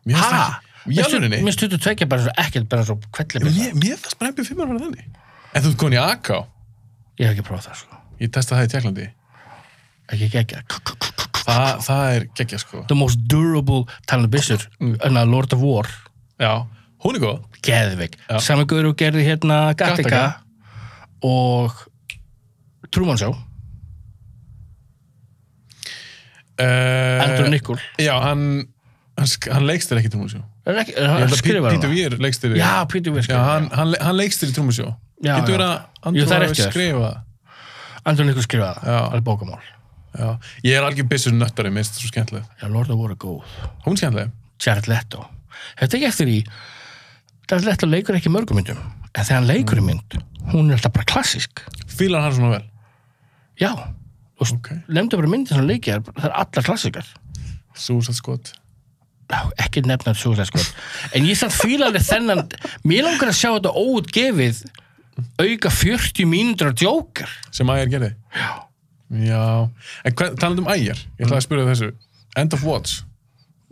Mér finnst Ha? ekki. Í alvörinni? Mér stuðu tvekja bara svo ekkert bara svo kvellibilla. Mér, mér finnst bara MB5 að vera þannig. En þú ert komin í AK. Ég hef ekki prófað það sko. Ég testa það í Tjekklandi. Ekki ekki ekki. Þa, það er geggja sko. The most durable talandi byssur en að Lord of War. Já. Hún er góð. Geðvig. Já. Saman guður og gerði hérna Gattaca Gattaca. og Truman Show. Uh, Andrew Niccol. Já, hann, hann, sk- hann leikst þér ekki trúmusjó. Er ekki, er hann skrifar Pítur hana? Vír leikst þér. Já, Peter Weir Já, skrifar hann, hann, le- hann leikst þér í trúmusjó. Já, Getur já. verið að Andrew Jú, það er hafi eftir þér. skrifað það. Andrew Niccol skrifaði það. Já. Það er bókamál. Já, ég er algjör byssur nöttari, minnst það svo skemmtileg. Já, Lord of War er góð. Hún skemmtileg? Jared Leto. Þetta ekki eftir í Jared Leto leikur ekki í mörgum myndum. En þegar hann Mm. leikur í mynd, hún er alltaf bara klassísk. Fílar hann svona vel? Já, og Ok. okay. nefndu bara myndið sem leikið, það er allar klassikar. Súsat skot. Já, ekki nefna Suicide Squad. En ég samt fíla alveg þennan, mér langar að sjá þetta óutgefið auka 40 mínútur að djókar. Sem ægir gerði? Já. Já. En hvað, talandi um ægir, ég ætlaði að Mm. spyrja þessu. End of Watch,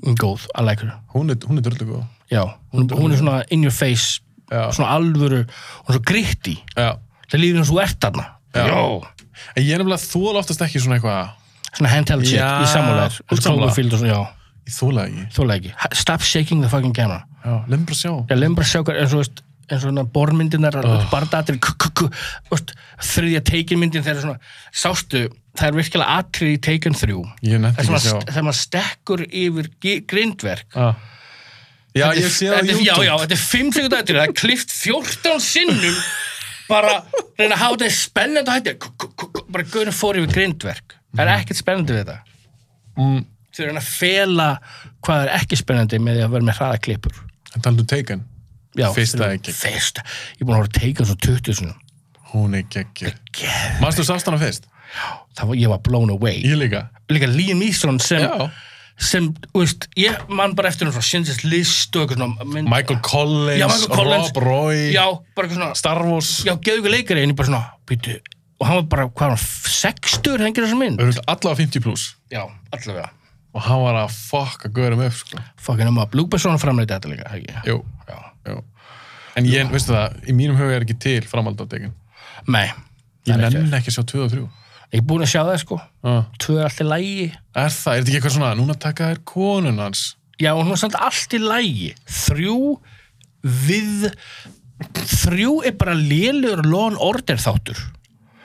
Góð, að leikur. hún er, hún er dröldu góð. Já, hún, hún er svona in your face, Já. svona alvöru, hún er svo gritti. Já. Það líður eins og þú ert þarna. Já. Já. En ég er nefnilega þóla oftast ekki svona eitthvað, Svona handheld shit, Já, í sammálaður. þú ert sammála. Sammálaður. Já, ég þóla ekki. þú leiki. Stop shaking the fucking camera. Já, leið mér bara sjá. Já, lefum bara að sjá hvað, eins og veist, eins og svona bormyndinar, Ah. oh. bardatir, k- k- k- veist, þriðja teikinmyndin þegar svona, sástu, það er virkilega atrið í teikin þrjú. Ég nefndi Þegar ekki maður að sjá. st- þegar maður stekkur yfir gi- grindverk. Já. Já, ég sé það á Þetta er- YouTube. Já, já, þetta er 5 sekund atrið, það er klift 14 sinnum, bara reyna að hafa þetta spennandi og hætti, k- k- k- k- bara gauðin fór yfir grindverk. Það er ekkert spennandi við þetta. Mhm. Mm. Þau reyna að fela hvað er ekki spennandi með því að vera með hraða klippur. En talandi um Taken, Já, Fyrsta þrjú- ekki. Fyrsta, ég er búin að vera að teika svo 20 sinum hún er geggir. Geð- Manstu sást hana fyrst? það var, ég var blown away Ég líka. líka Liam Neeson sem Já. sem, þú veist, ég man bara eftir hann frá Schindler's List og eitthvað svona mynd, Michael Collins, já, Michael Collins, Rob Roy, já, bara eitthvað svona Star Wars. já, geðu ykkur leikari, en ég bara svona býtu, og hann var bara, hvað var hann, sextur hengir þessu mynd? Örugglega Allavega 50 pluss. Já, allavega Og hann var að fucka görum upp, sko. fucking um að Luke Besson framleita þetta líka ekki? Jú, já, jú. En ég, veistu það, í mínum huga er ekki til framhaldandekin. nei, Ég það er nenni ekki að sjá 2 og 3. ég er búin að sjá það sko Ah. tvö er allt í lægi Er það, er þetta ekki eitthvað svona, núna taka þér konun hans? já, og hún er samt allt í lægi þrjú við þrjú er bara lélur lón order þáttur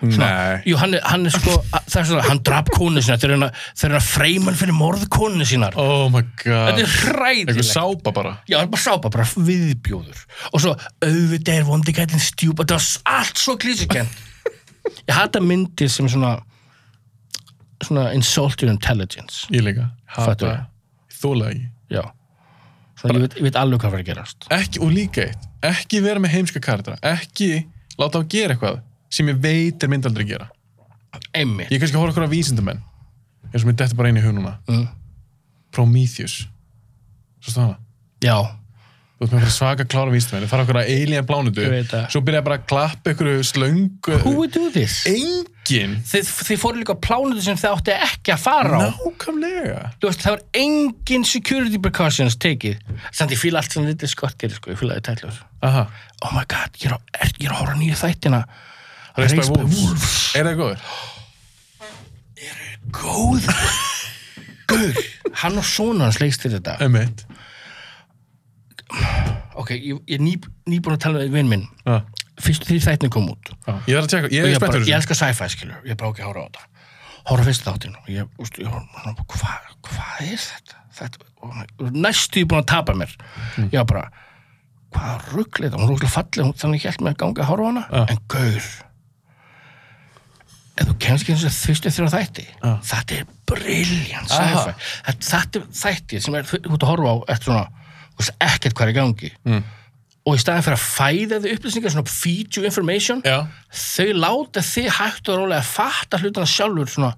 Nei. Jú, hann er, hann er sko, að- það er svona, hann draf konu sína þegar hann að- þegar hann að freyman fyrir morð konu sínar. Oh my god. Þetta er Eitthvað hræðilegt. sápa bara. Já, hann bara sápa, bara viðbjóður. Og svo, auðvitað er vondikællin stjúpa, það var s- allt svo klísikent. Ég hata myndir sem svona, svona insult your intelligence. Ég líka. Fattu Hata. það. Þóla ekki. Já. Svona, ég veit, ég veit alveg hvað verið að gerast. ekki. Og líka eitt. Ekki vera með heimska kardra. Ekki láta á að gera eitthvað sem ég veit er myndaldri að gera. Einmitt. Ég er kannski að horfa okkur á vísindamenn. Eins og mér dettur bara einu í hug núna. Mm. Prometheus. Svo stóð hana. Já. Þú ert með einhverja svaka klára vísindamenn. Það fara okkur að alien plánutu. Ég veit það. Svo byrja bara að klappa ykkur slöngu. Who would do this? Engin. Þið, þið fóru líka á plánutu sem þið átti ekki að fara á. Nákvæmlega. þú veist, það var engin security precautions tekið samt ég fíla allt sem lítið skott gerir sko, ég fíla það í tætlur Aha. oh my god, ég er, á- er, ég er að horfa á nýju þættina Race by Wolves. Er það góður? góð Guð, hann og sonu hans leikst til þetta Emmett. ok, ég, ég er ný, nýbúin að tala við vinn minn Ah. fyrstu því þættin kom út Já. Ég þarf að tjekka, ég Og er ég, bara, spenntur ég þessu. elska sci-fi skilur, ég er bara ok, horfa á þetta horfa á fyrstu þáttin og ég, úst, ég horfa, hvað hva hvað er þetta? þetta oh my, næstu ég búin að tapa mér Mm. ég var bara, hvað ruggleita hún er rugglega fallið, hún þannig hjælt mig að ganga að horfa á hana Já. en gaur en þú kemst ekki eins og fyrstu þrjá þætti Já. þetta er brilljant Aha. sci-fi þetta, þetta er þætti sem er þú ert að horfa á eftir svona, þú veist ekkert hvað er í gangi mm. og í staðin fyrir að fæða þið upplýsingar svona feed you information Já. þau láta þig hægt og rólega að fatta hlutina sjálfur svona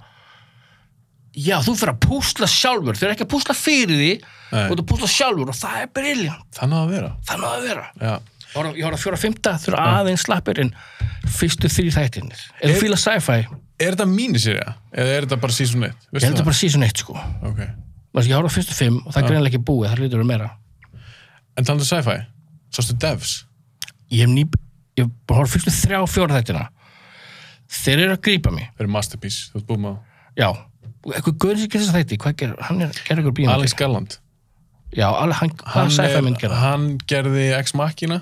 já, þú fyrir að púsla sjálfur þau eru ekki að púsla fyrir því Nei. þú ert að púsla sjálfur og það er briljant Þannig að það vera. þannig á að vera Já. Ég horf- ég horf að fjóra fymta, þau eru aðeins slappir en fyrstu þrý þættinir ef þú fíla sci-fi, Er þetta míniserja? Eða er þetta bara season 1? ég held að bara season 1 sko Ok. Vast, ég horf að fyrstu fimm og það er greinlega ekki búið það lítur að vera meira En talað um sci-fi? Sástu Devs? ég hef ný, ég hef bara horf fyrstu þrjá fjóra þættina þeir eru að grípa mig Það er masterpiece. Þú ert búin með það. já, og eitthvað guður sem gerir þess að þætti hvað gerir, hann er, gerir eitthvað bíum Alex Garland. Já, alveg, hann, Ah. hann Hann sci-fi er- mynd gera. Hann gerði Ex Machina.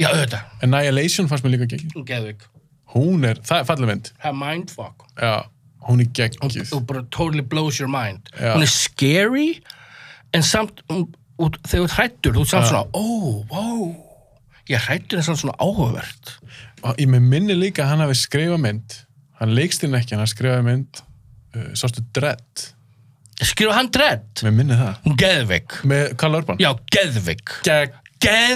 Já, auðvitað. Annihilation fannst mér líka geggjum. Hún geðvik. Hún er, það er fallið mynd. Her mindfuck. Já. Hún er Þú geggjum. bara totally blows your mind. Já. Hún er scary, en samt, hún, út, þegar þú ert hrættur, þú ert samt svona, ó, wow, ég er hrættur en samt svona áhugavert. Ég með minni líka að hann hafi skrifað mynd. Hann leikst inn ekki, en hann skrifaði mynd. Uh, Sástu Dredd. Skrifa hann dredd. Mér minni það. Hún geðvik. Með Karl Urban. Já, geðvik. Gegg.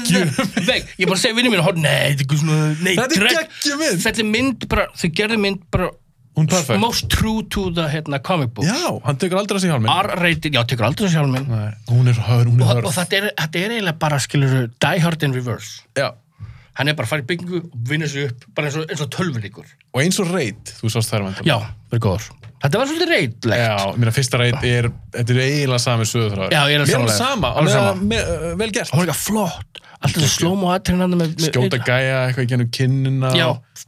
Geðvik. Ég er bara að segja vinnum mínu, hótt, nei, þetta er eitthvað svona, nei, Þetta er Dredd." geggjum mynd. Þetta er mynd bara, þau gerðu mynd bara, Hún er perfect. most true to the, hérna, comic book. Já, hann tekur aldrei að segja hálminn. R-rated, já, tekur aldrei sjálf minn. Nei, hún er hör, hún er og, hör. og þetta, er, þetta er eiginlega bara skilur Die Hard in Reverse Já, hann er bara að fara í byggingu og vinna sig upp bara eins og, eins og tölvulíkur og eins og reit, þú sást þær vantar. já, verið góður þetta var svolítið reytlegt Já, mér að fyrsta reit er, þetta er eiginlega sami söðurþráður. Já, ég er Mér að sammála þér. sama, Alveg alveg sama. sama. Með, uh, vel gert. hún var líka flott alltaf þessu slow-mo aðtrinandi með, með Skjóta gæja, eitthvað í genum kinnina. já,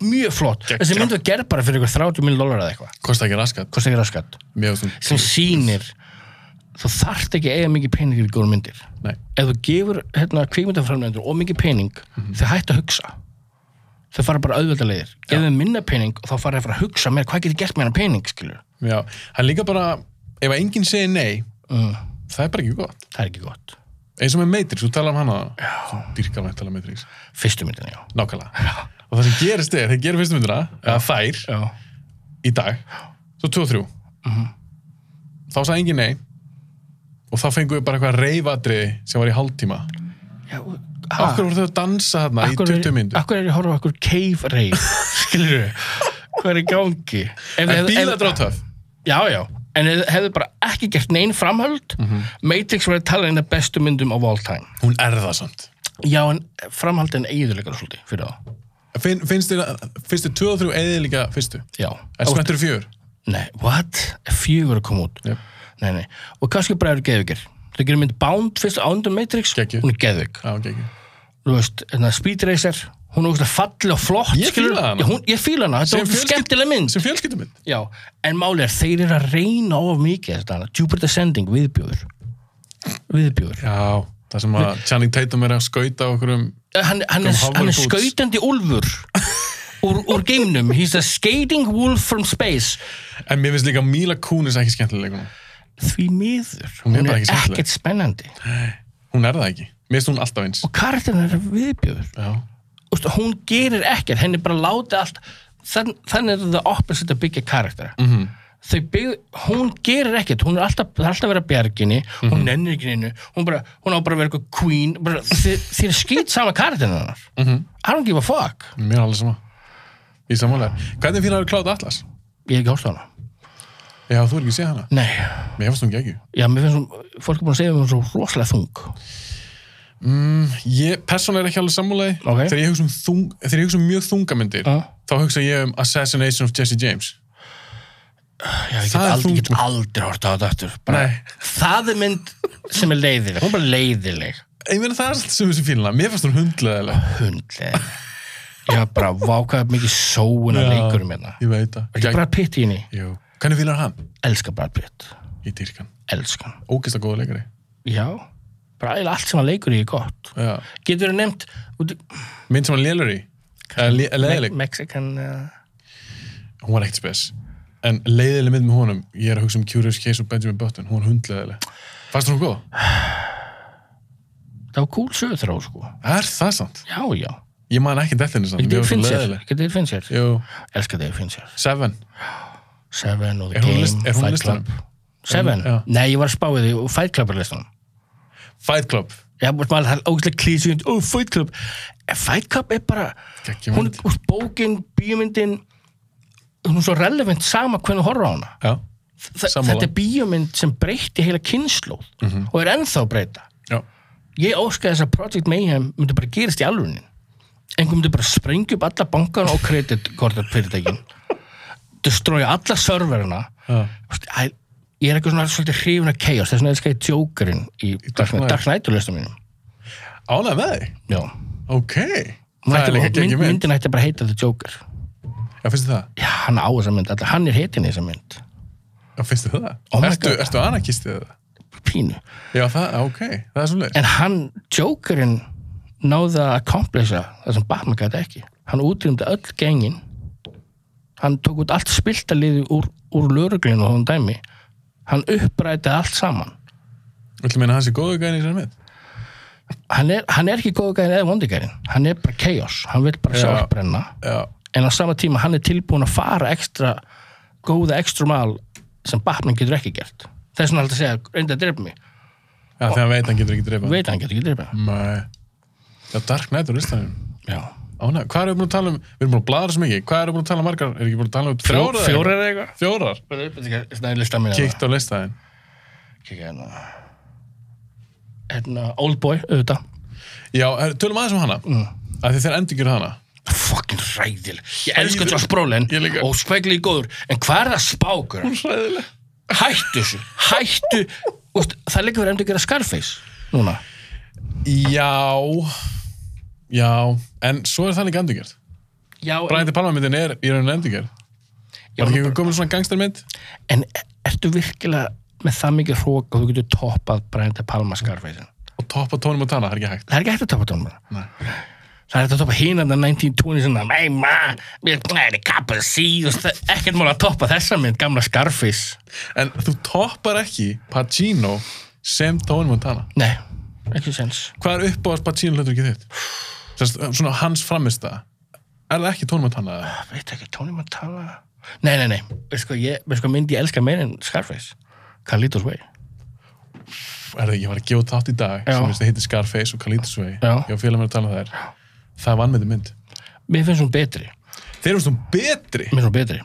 mjög flott Geggjað. þessi mynd var gerð bara fyrir ykkur 30 mil dólar eða eitthvað Kosta ekki raskat. kosti ekki raskat Mér og þú, sem sýnir þú þarft ekki að eiga mikið pening yfir góður myndir nei. ef þú gefur hérna, kvikmyndaframlendur og mikið pening þau hættu að hugsa þau fara bara auðvöldalegir ef þau minna pening þá fara þau að fara að hugsa meira hvað getur gert með hennar pening skilur Já, hann líka bara, ef að enginn segir nei, mm, það er bara ekki gott. það er ekki gott Eins og með Matrix, þú talar um hana. Já. Þú dyrkar með að tala um Matrix. fyrstu myndin já, Nákvæmlega. Og það sem gerist er, þeir gerir fyrstu myndina, eða þær, já. í dag svo 2 og 3 Mhm. þá sagði engin nei og þá fengum við bara eitthvað reyfadri sem var í hálftíma já Ah. Akkur voru þau að dansa þarna í 20 myndu akkur er ég að horfa á okkur cave rave skilur hvað er í gangi Ef þið En hefðu- bíladrátt ef- töff. já, já, en þið hefðu bara ekki gert neinn framhöld Matrix var að tala einn af bestu myndum of all time Hún er það samt. já, en framhaldin eiginleikar svolítið fyrir það, Finn, finnst þér að fyrstu 2 og 3 eða líka fyrstu? já En Ó, spenntur fjör? nei, what? fjögur að koma út Jep. nei, nei. og kannski bara eru geðvikir þau gerir mynd Bound fyrst ándur Matrix Geggjuð. hún er geðvik Já, ok, ekki. þú veist, hérna, Speed Racer hún er ógeðslega falli og flott Ég skilur- fíla hana. Já, hún, ég fíla hana, þetta Sem er ógeðslega fjölskyld- skemmtileg mynd Sem fjölskyldum minn. já, en máli er þeir eru að reyna of mikið þetta hana, Jupiter Descending, viðbjóður viðbjóður Já, það sem að Channing Tatum er að skauta okkur um... Eh, hann, hann, er, Kom, hann er Howard Boots. skautandi úlfur úr, úr geimnum he's a skating wolf from space En mér finnst líka Mila Kunis ekki skemmtileg leikunum. því miður, Hún er hún bara er ekki skemmtileg. ekkert spennandi Hún er það ekki. Mér finnst hún alltaf eins. og karakterin er viðbjóður Já. Úst, hún gerir ekkert, henni bara láti allt þann, þannig er það opposite að byggja karakter mm Mhm. -hmm. þau bygg, hún gerir ekkert hún er alltaf, það er alltaf að vera bjarginni Mhm. hún nennir ekki neinu, hún, bara, hún á bara að vera eitthvað queen, bara, þið, þið er skýt sama karakterin hennar, mm Mhm. -hmm. I don't give a fuck Mér er alveg sama. Í samanlega. Hvernig fílar þú Cloud Atlas? ég hef ekki hóst á hana, Já, þú er ekki séð hana. nei Mér finnst hún ekki. já, mér finnst hún, fólk er búin að segja mér hún er svo rosalega þung Ég persón er ekki alveg sammálaði. Ok. Þegar, ég hugsa um þung, þegar ég hugsa um mjög þungamyndir, Já. þá hugsa ég um Assassination of Jesse James. já, ég get, Það er aldrei, ég þung. get aldrei hórt á þetta aftur bara, Nei. það er mynd sem er leiðileg hún er bara leiðileg Ég meina það er allt sem þessi fílina. Mér finnst hún hundleðileg. hundlega eh. ég var bara vákað mikið sóuna Já. leikurum hérna Ég veit það. ekki Brad Pitt í henni, Jú. Hvernig fílar hann? elska Brad Pitt Í dýrkan. elska hann, Ógist að góða leikari. já bara eiginlega allt sem hann leikur í er gott Já. getur verið nefnt út í Mynd sem hann lélur í. Leðileg. Me- Mexican uh, Hún var ekkert spes. En leiðileg mynd með honum, ég er að hugsa um Curious Case of Benjamin Button. Hún hundleðileg. Fannst hún góð? það var cool sögurþrá sko Er það sant? já, já, Ég man ekki deltinni sant. ekki Mér David finnst hún Fincher leiðileg. ekki David Fincher, Jú, elska David Fincher Seven. Seven og The Er hún á Game, list- er hún á Fight listanum? Club Seven? Já. Nei, ég var að spáði því og Fight Club er á listanum Fight Club. Já, maður maður það er ógæslega klísjönd og Fight Club En Fight Club er bara Geggjum hún, mynd. hún, bókin, bíómyndin hún er svo relevant sama hvernig þú horfa á hana Já. Þa, Sammála. Mhm. þetta er bíómynd sem breytti heila kynnslóð og er ennþá að breyta Já. ég óska þess að Project Mayhem myndi bara gerist í alvörunin einhver myndi bara sprengja upp alla bankana og kreditkortar fyrirtækin destroya alla serverina Já. Veist, æ, ég er eitthvað svona svolítið hrifin að chaos þess vegna elska ég Jokerinn í Knight. Dark Knight Dark Knight og listum mínum Ánægð með þig. já Ok. Hún Það ætti- er líka mynd, geggjum mynd. myndin ætti bara að heita The Joker Já, finnst þið það? já, hann á þessa mynd, allir, hann er heitin í þessa mynd Já, finnst þið það? Oh my ertu, God. ertu anarkistið það? pínu, Já, það, ok. Það er svo leið. en hann Jokerinn náði að accomplisha það sem Batman gæti ekki hann útrýmdi öll gengin hann tók út allt spiltaliði úr, úr löruglinu og hún dæmi hann uppræti allt saman Þú meina að hann sé góðu gæðin í sér mynd? hann er, hann er ekki góðu gæðin eða vondigæðin hann er bara chaos, hann vil bara Já. sjálfbrenna Já. en á sama tíma hann er tilbúin að fara ekstra góða ekstra mál sem Batman getur ekki gert þess vegna alltaf að segja, reynda að drepa mig Já, þegar hann veit að hann getur ekki dreipað. veit að hann getur ekki drepa mig Nei. Já, Dark Knight á listanum. já, Ánægð. Hvað erum við búin að tala um? Við erum búin að bladra svo mikið. Hvað erum við búin að tala um margar? Er ekki búin að tala um þrjórar? fjórar eða eitthvað Fjórar. Bara upp, þetta er svona í lista mín Kíkt á listaðin. kíkja hérna hérna, Oldboy, auðvitað Já, er, tölum aðeins um hana. Mm. Af því þeir endur gera hana. fucking ræðil, ég Hræðileg. elska Josh Brolin Ég líka. og spekli í góður, en hvað er það spákur Ræðileg. hættu þessu, hættu Úst, það líka verið endur að gera Scarface núna, Já, já, en svo er það ekki endurgjert. já, Brian De Palma myndin er í rauninu endurgjert. Var ekki einhver komin svona gangstermynd? en ertu virkilega með það mikið hrók og þú getur toppað Brian De Palma Scarface Og toppa tónum og tana, það er ekki hægt. það er ekki hægt að toppa tónum það er hægt að toppa hínan 1920 sem það, hey man, við erum kappað að sí ekkert mál að toppa þessa mynd, gamla Scarface En þú toppar ekki Pacino sem tónum og tana. nei, ekki sens Hvað er uppáðast Pacino hlutur ekki þitt? Sest, svona hans framista. Er það ekki tónum og tana? eða? veit ekki, Tony Montana nei, nei, nei, veist sko, ég, veist sko mynd ég elska meira en Scarface Carlitos Way Er það ekki, ég var að gefa þátt í dag Já. sem veist, heitir Scarface og Kalitusvei. Já. Ég var félag mér að tala um það er. Það er vannmyndi mynd. mér finnst hún betri Þeir eru svona betri miklu betri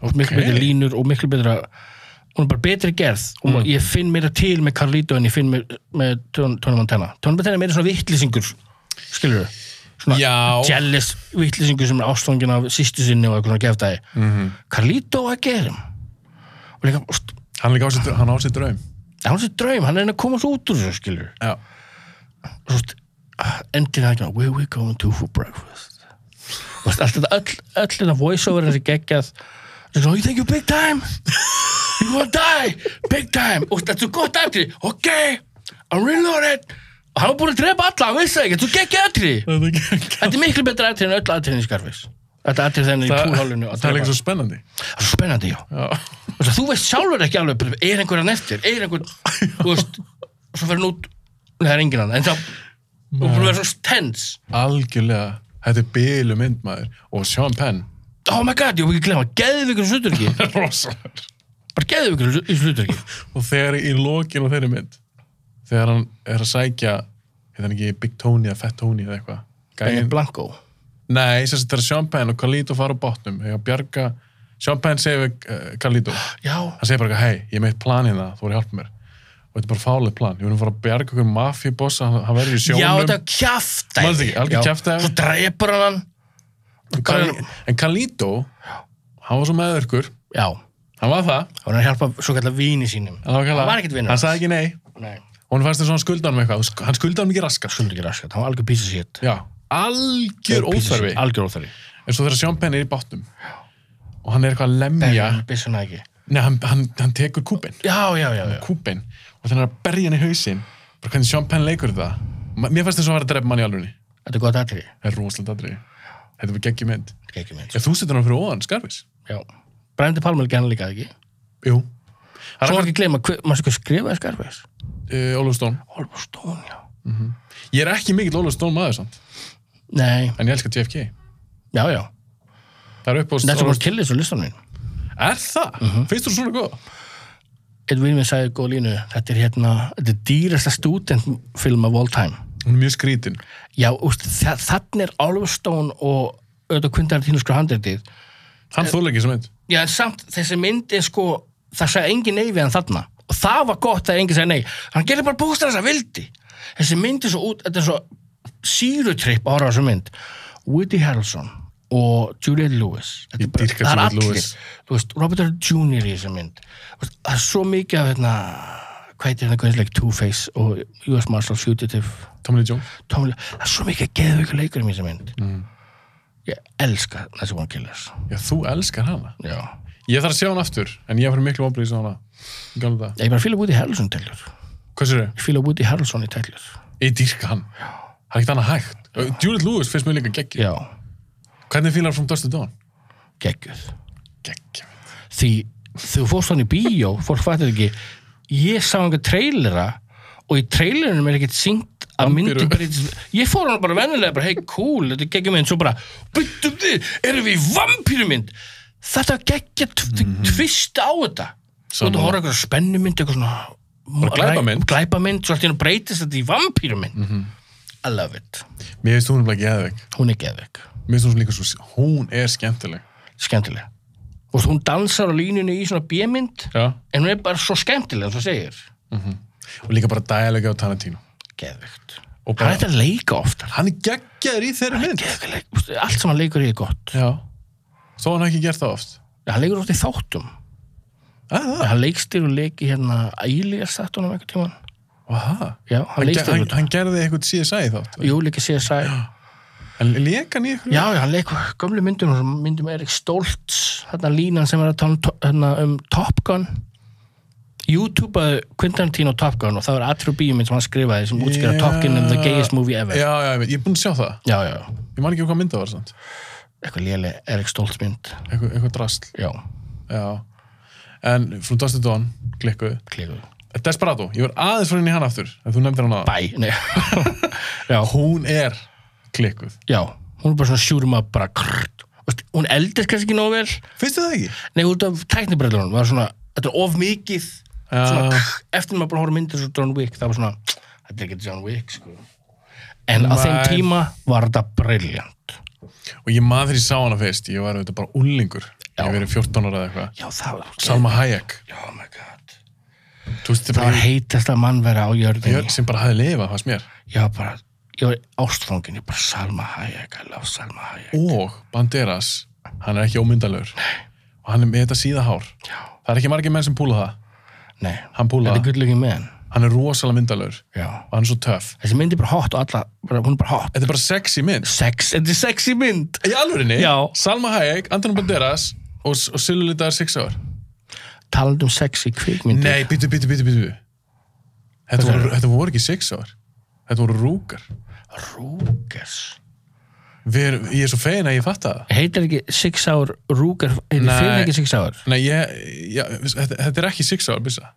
okay. miklu betri línur og miklu betra hún er bara betri gerð og ég finn meira til með Carlito en ég finn með, með Tony Tony Montana Tony Montana er meira svona vittlisingur skilur þau svona Já. jealous vittlisingur sem er ástfangin af sýstu sinni og eitthvað svona gefdæði mm -hmm. Carlito að gerum og líka úst, Hann, er líka á sér- hann á sér draum hann er sér draum, hann er að reyna að komast út úr þessu skilur Já, Svo veist, endin það ekki ná, where we going to for breakfast Þú veist, allt þetta, öll, öll þetta voiceover þessi geggjað Þú veist, oh, you think you big time you gonna die big time, og þetta er svo gott aðri ok, I'm reloaded og hann var búin að drepa alla, hann vissi það ekki, þú geggja aðri það er ekki þetta er miklu betra aðri en öll aðriðin í skarfis þetta aðrið þennan í púlhálinu Það er líka svo spennandi það er svo spennandi, já Já, Þú veist, þú veist sjálfur ekki alveg er einhver hann eftir, er einhver þú veist, svo fer hann út Nei, það er enginn hann, en þá og búin að vera svo tens algjörlega Þetta er bílu mynd maður Og Sean Penn oh my god, ég vil ekki glemma, geðvikur slutturki Rosalega bara geðvikur í slutturki Og þegar í lokin á þeirri mynd Þegar hann er að sækja Hefði hann ekki Big Tony eða Fat Tony eða eitthvað en Gæinn- Blanco Nei, sem þetta er Sean Penn og Carlito fara á botnum Þegar bjarga Sean Penn segir við uh, Carlito Hann já, segir bara eitthvað, hei, ég er meitt plan hérna Þú voru að hjálpa mér Og þetta er bara fálið plan Ég voru að fara að bjarga okkur mafíbossa Hann, hann verður í sjónum já þetta er kjafta Manstu ekki, algjör kjaftæði. svo drepur hann hann En Kali- En Carlito, hann var svo meðurkur já, hann Hann var það var að hjálpa svo kallar vini sínum nákvæmlega. hann var ekkert vinur Hann sagði ekki nei nei, Hún fannst þess að hann skulda hann með eitthvað Þú sk- Hann skulda hann ekki raskat skuldur ekki raskat, hann var algjör písa sétt Já, algjör óþarfi algjör óþarfi En svo þegar Sean Penn er í bátnum Og hann er eitthvað að lemja byssuna ekki Nei, hann, hann, hann tekur kúpin já, já, já, já. Kúpin Og þannig að berja hann í hausinn Bara hvernig Sean Penn leikur það Ma- Mér fannst þess að hann var að drepa mann í alvunni þetta er gott aðri Það er rosalega atriði. Þetta var geggjum mynd já, Ef þú setur hann fyrir ofan, skarfis Brændi Palmer ekki hann líka ekki Jú Það Svo er ekki gleyma, hver- maður sko skrifaði Scarface uh, Ólaf Stón Oliver Stone, já Ég er ekki mikill Ólaf Stón maður samt Nei, En ég elska JFK já, já Það er upp á Þetta var killið svo listanum minn Er það? Finnst þú svona góð? Einn vinn minn sagði góð línu Þetta er hérna, þetta er dýrasta studentfilm of all time Hún er mjög skrítin Já, úst, þa þannig er Oliver Stone og auðvitað kundar þínu sko handreitið Hann þóla ekki sem mynd Já, en samt þessi mynd er sko það sagði engin nei við hann þarna og það var gott að engin sagði nei hann gerir bara bústar þess að vildi þessi mynd er svo út, þetta er svo sírutripp að horfa á þessu mynd Woody Harrelson og Juliette Lewis Þetta er Ég bara- dýrka það er Juliette allir. Lewis. Þú veist, Robert Downey Jr. í þessu mynd Þú veist, það er svo mikið af hérna hvað heitir hérna guðinsleik Two-Face og US Marshal Fugitive Tommy Lee Jones Tomli, það er svo mikið að geða ykkur leikurum í þessu mynd Mm. ég elska þessi one killers Já, þú elskar hana já Ég þarf að sjá hana aftur En ég fyrir miklu oplýs á hana Ég Gamla það Ég bara fíla Woody Harrelson tællur. Hvað sér þau? Ég fíla Woody Harrelson í tællur. Ég dýrka hann Það er ekkert annað hægt Judith Lewis finnst mér líka geggjum Já, Hvernig fílar From Dust to Dawn? geggjöð. Geggjum Því þú fórst hann í bíó, fólk fattir ekki, ég sá einhver trailera og í trailerinum er ekkert syngt að myndi breytist. Ég fór hann bara vennilega, bara hei cool, þetta er geggjum mynd, svo bara, byttum þið, erum við í vampýrumynd? Þetta geggja tvist á þetta. Svo Mhm. Sammála. þú horfður eitthvað spennumynd, eitthvað svona... glæpamynd. Mhm. Glæpamynd, svo allt í hennu breytist þetta í vampýrumynd. I love it. Mér finnst hún bara geðveik Hún er geðveik. Mér finnst hún líka svo Hún er skemmtileg skemmtilega og hún dansar á línunni í svona bjömynd Já en hún er bara svo skemmtilega þú segir, Og líka bara dælega á Tarantino geðvikt Og hann bara ætti að leika ofta Hann er geggjaður í þeirri mynd allt sem hann leikur í er gott Já Þó hann hafi ekki gert það oft hann leikur ofta í þáttum Að það? hann leikstýr og leiki hérna Ælias þáttunum einhvern tímann Aha. já, Hann, hann ge- leikstýr hann, þetta hann gerði eitthvað CSI þátt Jú, líka CSI Hann leka hann í eitthvað Já, já, hann leikur gömlu myndum sem myndum Erik Stoltz þarna línan sem er að tala um to- hérna, um Top Gun YouTubeaði Quintantín og Top Gun og það var Atru Bíumin sem hann skrifaði sem útskýra Top Gun and the gayest movie ever Já, já, ég veit, ég er búinn að sjá það já, já, já. Ég man ekki hvað mynda var samt eitthvað léli Erik Stoltz mynd Eitthvað, eitthvað drasl já, Já En From Dust to Dawn, klikkuð klíkuð Desperado, ég var aðeins frá henni hann aftur En þú nefndir hann aðan bæ, nei já, hú- Hún er klikkuð já, hún er bara svona sjúrma bara krrt, Vist, hún eldist kannski ekki nóg vel Finnstu það ekki? nei, út af tæknibrellunum var svona, þetta er of mikið svona, Já. krr, eftir maður bara horfði á myndir svo John Wick, það var svona þetta er ekki John Wick, sko en á Nei. þeim tíma var þetta brilljant og ég maður þegar ég sá hana fyrst ég var auðvitað bara ullingur ég hef verið 14 ára eða eitthvað Já, það var Salma Hayek Oh my god. þú veist þetta Það var bara heitasta mannvera á jörðinni. ég, sem bara hafði lifað fannst mér Ég var bara, ég var ástfangin, ég bara Salma Hayek, I love Salma Hayek. og Banderas hann er ekki ómyndalur og hann er með þetta síða hár Já. það er ekki margir menn sem púla það Nei, Hann púlaði. Þetta er good looking man. hann er rosalega myndalur Já. og hann er svo töff Þessi mynd er bara hot og alla, bara, hún er bara hot. þetta er bara sexy mynd Sex, þetta er sexy mynd. í alvörinni Já. Salma Hayek Antonio Banderas og, og Silvi Litar 6 ár Talandi um sexy kvikmyndir. Nei, býtu, býtu, býtu, býtu. Þetta, Hvað voru, þetta voru ekki six ár. Þetta voru rúkar. Rúkers. Ver, ég er svo fegin að ég fatt að það. Heitir ekki six hour rúker, heitir Nei. fyrir ekki six hour. Nei, ég, ég, þetta, þetta er ekki six ár, byssa.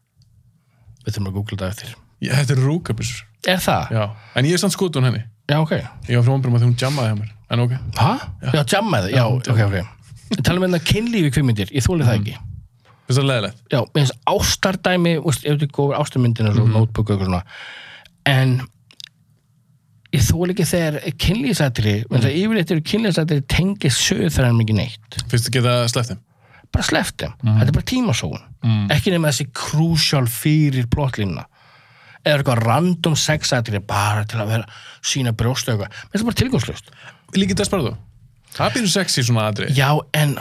Við þurfum að googla þetta eftir. Ég, þetta er rúkar, byssur. Er það? Já. En ég er samt skotun henni. Já, ok. Ég var frá ombrum að því hún jammaði hjá mér. En ok. Hæ? Já, jammaði, já, ok, ok. Mhm. Talum við þetta kynlífi kvikmyndir, ég þóli það ekki. Finnst það leðilegt? já, mér finnst ástardæmi veist, ef þetta er góður ástarmyndin og svo notebook og eitthvað svona en ég þól ekki þegar kynlýsatri, mm. það yfirleitt eru kynlýsatri tengið söðu þegar hann mikið neitt Finnst það geta sleppt þeim? bara sleft þeim, þetta er bara tímasóun Mm. ekki nema þessi crucial fyrir plottlínuna eða eitthvað random sexatri bara til að vera sína brjóstu eitthvað, mér finnst það bara tilgangslust Líkið Desperado. Það býður sexy svona aðri. já, en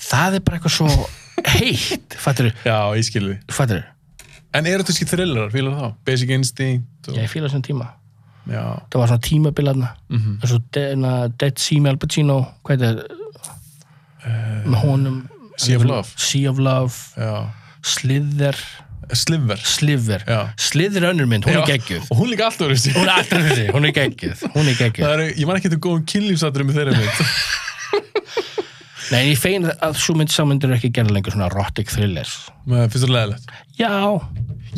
það er bara eitthvað svo heitt, fattur Já, ég skilði. fattur, En eru þetta ekki thrillerar, fílar þá? Basic Instinct og... ég fíla þessum tíma Já. það var svona tímabilarna mm Mhm. -hmm. eins og de, na, Dead Sea með Al Pacino hvað er uh, með honum Eh, Sea of Love. Sea of Love Já. Slither Sliver. Sliver Já. Slither er önnur mynd hún er Já. geggjuð Og hún líka alltaf verið hún er alltaf þessi hún er geggjuð hún er geggjuð Það eru, ég man ekki þetta góðum kynlífsaturum í þeirra mynd. nei en ég fein að svo mynd sammyndir ekki gera lengur svona erotic thrillers Mér finnst það leðilegt. já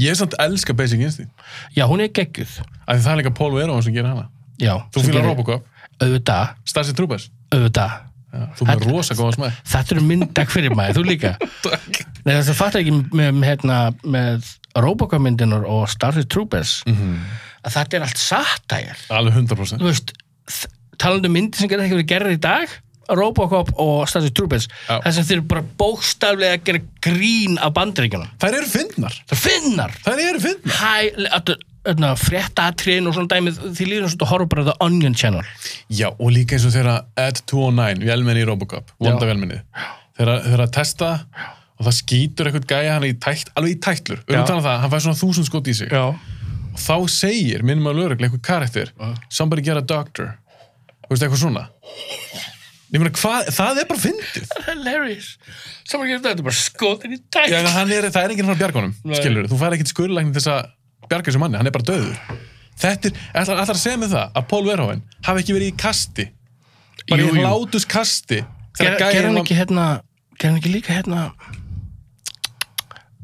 Ég er samt elska Basic Instinct. já hún er geggjuð Af því það er líka Paul Verhoeven sem gerir hana. já Þú fýlar Robocop, auðvitað Starship Troopers. auðvitað Já, þú fyrir rosa góða smæð. þetta eru myndak fyrir maður þú líka Takk. Nei, þess að fatta ekki með, með, hérna, með Robocop myndinar og Star Trek Troopers Mhm. að þetta er allt sattægir Alveg 100%. þú veist, þ- talandi um myndir sem gerði ekki verið gerðið í dag Robocop og Star Trek Troopers Já. þess að þeir eru bara bókstaflega að gera grín af bandaríkjunum Þær eru fyndnar. það finnar Þær eru fyndnar. hæ, öll- öll- fréttaatriðin hérna, og svona dæmið því líður eins og þú horfur bara á The Onion Channel Já, og líka eins og þeirra Ed 209, vélmenni í Robocop. Vonda vélmennið. Þeirra, þeirra testa og það skýtur eitthvað gæja hann í tætt, alveg í tætlur. Já. Örnum að um það, hann fær svona þúsund skot í sig. já, og þá segir minnum að lögregla eitthvað karakter somebody get a doctor þú veist eitthvað svona ég meina hvað, það er bara fyndið hilarious saman gerði þetta bara skotin í Já, en dag hann er, það er enginn frá bjargunum skilur, þú fær ekkit skurðlækni þess að bjarga þessu manni, hann er bara döður þetta er, ætlar, ætlar að segja mig það að Paul Verhoeven hafi ekki verið í kasti bara Jú, í jú. hlátus kasti Ger, ger hann hann ekki hérna ger hann ekki líka hérna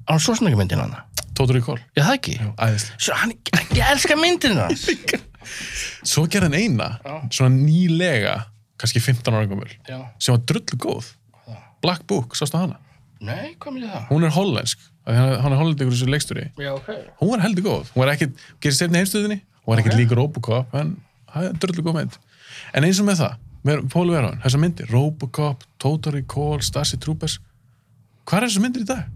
Arnold Schwarzenegger myndin hann tótur í kól, já það ekki æðislega Svo, hann, ég elska myndin hans svo gerði hann eina, svona nýlega kannski 15 ára gömul já. sem var drullu góð Black Book, sástu hana nei, hvað myndi það? hún er hollensk af því hann hann er hollendingur þessu leikstúri já, ok hún var heldur góð, hún var ekkit gerist sefni heimstöðinni, hún var ekkit okay. líka Robocop en það er dröllu góð mynd en eins og með það, með Pólu Verhoen þessar myndir, Robocop, Total Recall Starship Troopers, hvað er þessar myndir í dag?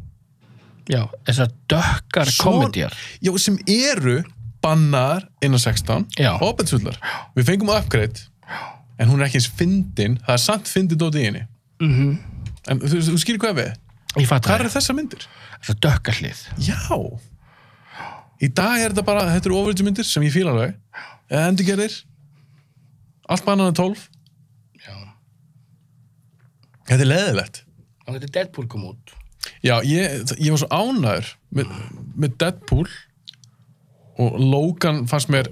já, þessar dökkar Svo- komedjar já, sem eru bannar innan 16 Já. opensvullar, við fengum upgrade en hún er ekki eins fyndin það er samt fyndin dót í henni Mhm. -hmm. en þú, þú skýrir hvað við ég fatt hvað það, eru þessar myndir? þessar dökkar hlið Já Í dag er þetta bara, þetta eru overage myndir sem ég fíla alveg eða endurgerðir allt bannan er 12 já, Þetta er leðilegt hann getur Deadpool kom út Já, ég, ég var svo ánæður með, með Deadpool og Logan fannst mér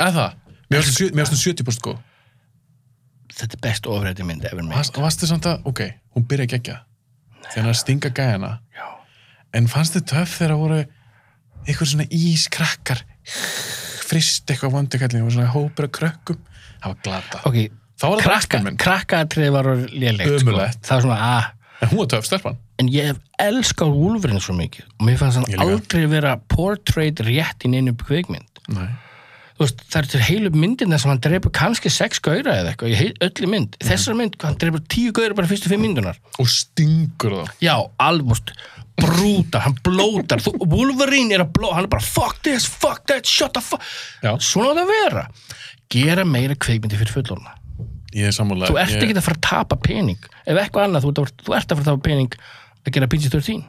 eða, mér varst um 70% góð þetta er best ofrætti mynd ever made Varst- Varstu samt að, ok, hún byrja ekki ekki þegar hann er að stinga gæjana já, en fannst þið töff þegar það voru einhver svona ískrakkar frist eitthvað vondikallin og svona hópur af krökkum það var glata ok Þá var það krakka, Batman. krakkaatriði var lélegt Ömurlegt. það var svona, ah en hún var töff stelpan en ég hef elskað Wolverine svo mikið og mér fannst Ég hann líka. aldrei vera portrayed rétt í neinu kvikmynd Nei. Þú þú veist, það eru til heilu myndin þess að hann dreipur kannski sex gauðra eða eitthvað, í heil, öllu mynd þessar mynd, hann dreipur tíu gauðra bara fyrstu fimm myndunar og stingur þá já, alvöst brútar, hann blótar Þú- Wolverine er að blóta, hann er bara fuck this, fuck that, shut the fuck Já. svona á það að vera gera meira kveikmyndi fyrir fullorna ég er sammála þú ert ég, ekki að fara að tapa pening ef eitthvað annað, þú ert að, þú ert að fara að tapa pening að gera PG-13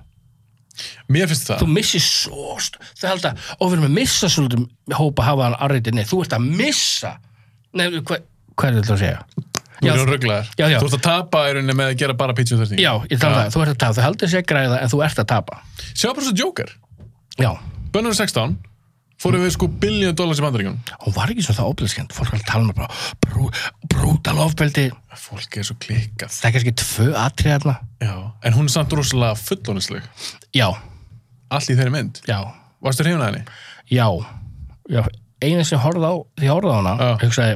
mér finnst það þú missir svo st- þau held að, og við erum að missa svolítið hópa að hafa hann arriti, nei, þú ert að missa nei, hvað hva er þetta að segja Nú já, erum rögglaðar. Já, já. Þú ert að tapa í rauninni með að gera bara pitch 13. já, ég tala um það, þú ert að tapa, þau heldur að segja græða en þú ert að tapa Sjá bara svo Joker. já, Bönnur 16 fórum við sko biljón dólar sem bandaríkjum. hún var ekki svo það óblæskend fólk var að tala með bara brú, brútal ofbeldi, Fólk er svo klikkað. það er kannski tvö atrið þarna, Já. En hún er samt rosalega fullónisleg. já, Allt í þeirri mynd. já Varstu hrifin að henni? já, já eina sem ég horfði á, því ég horfði á hana Já. hugsaði,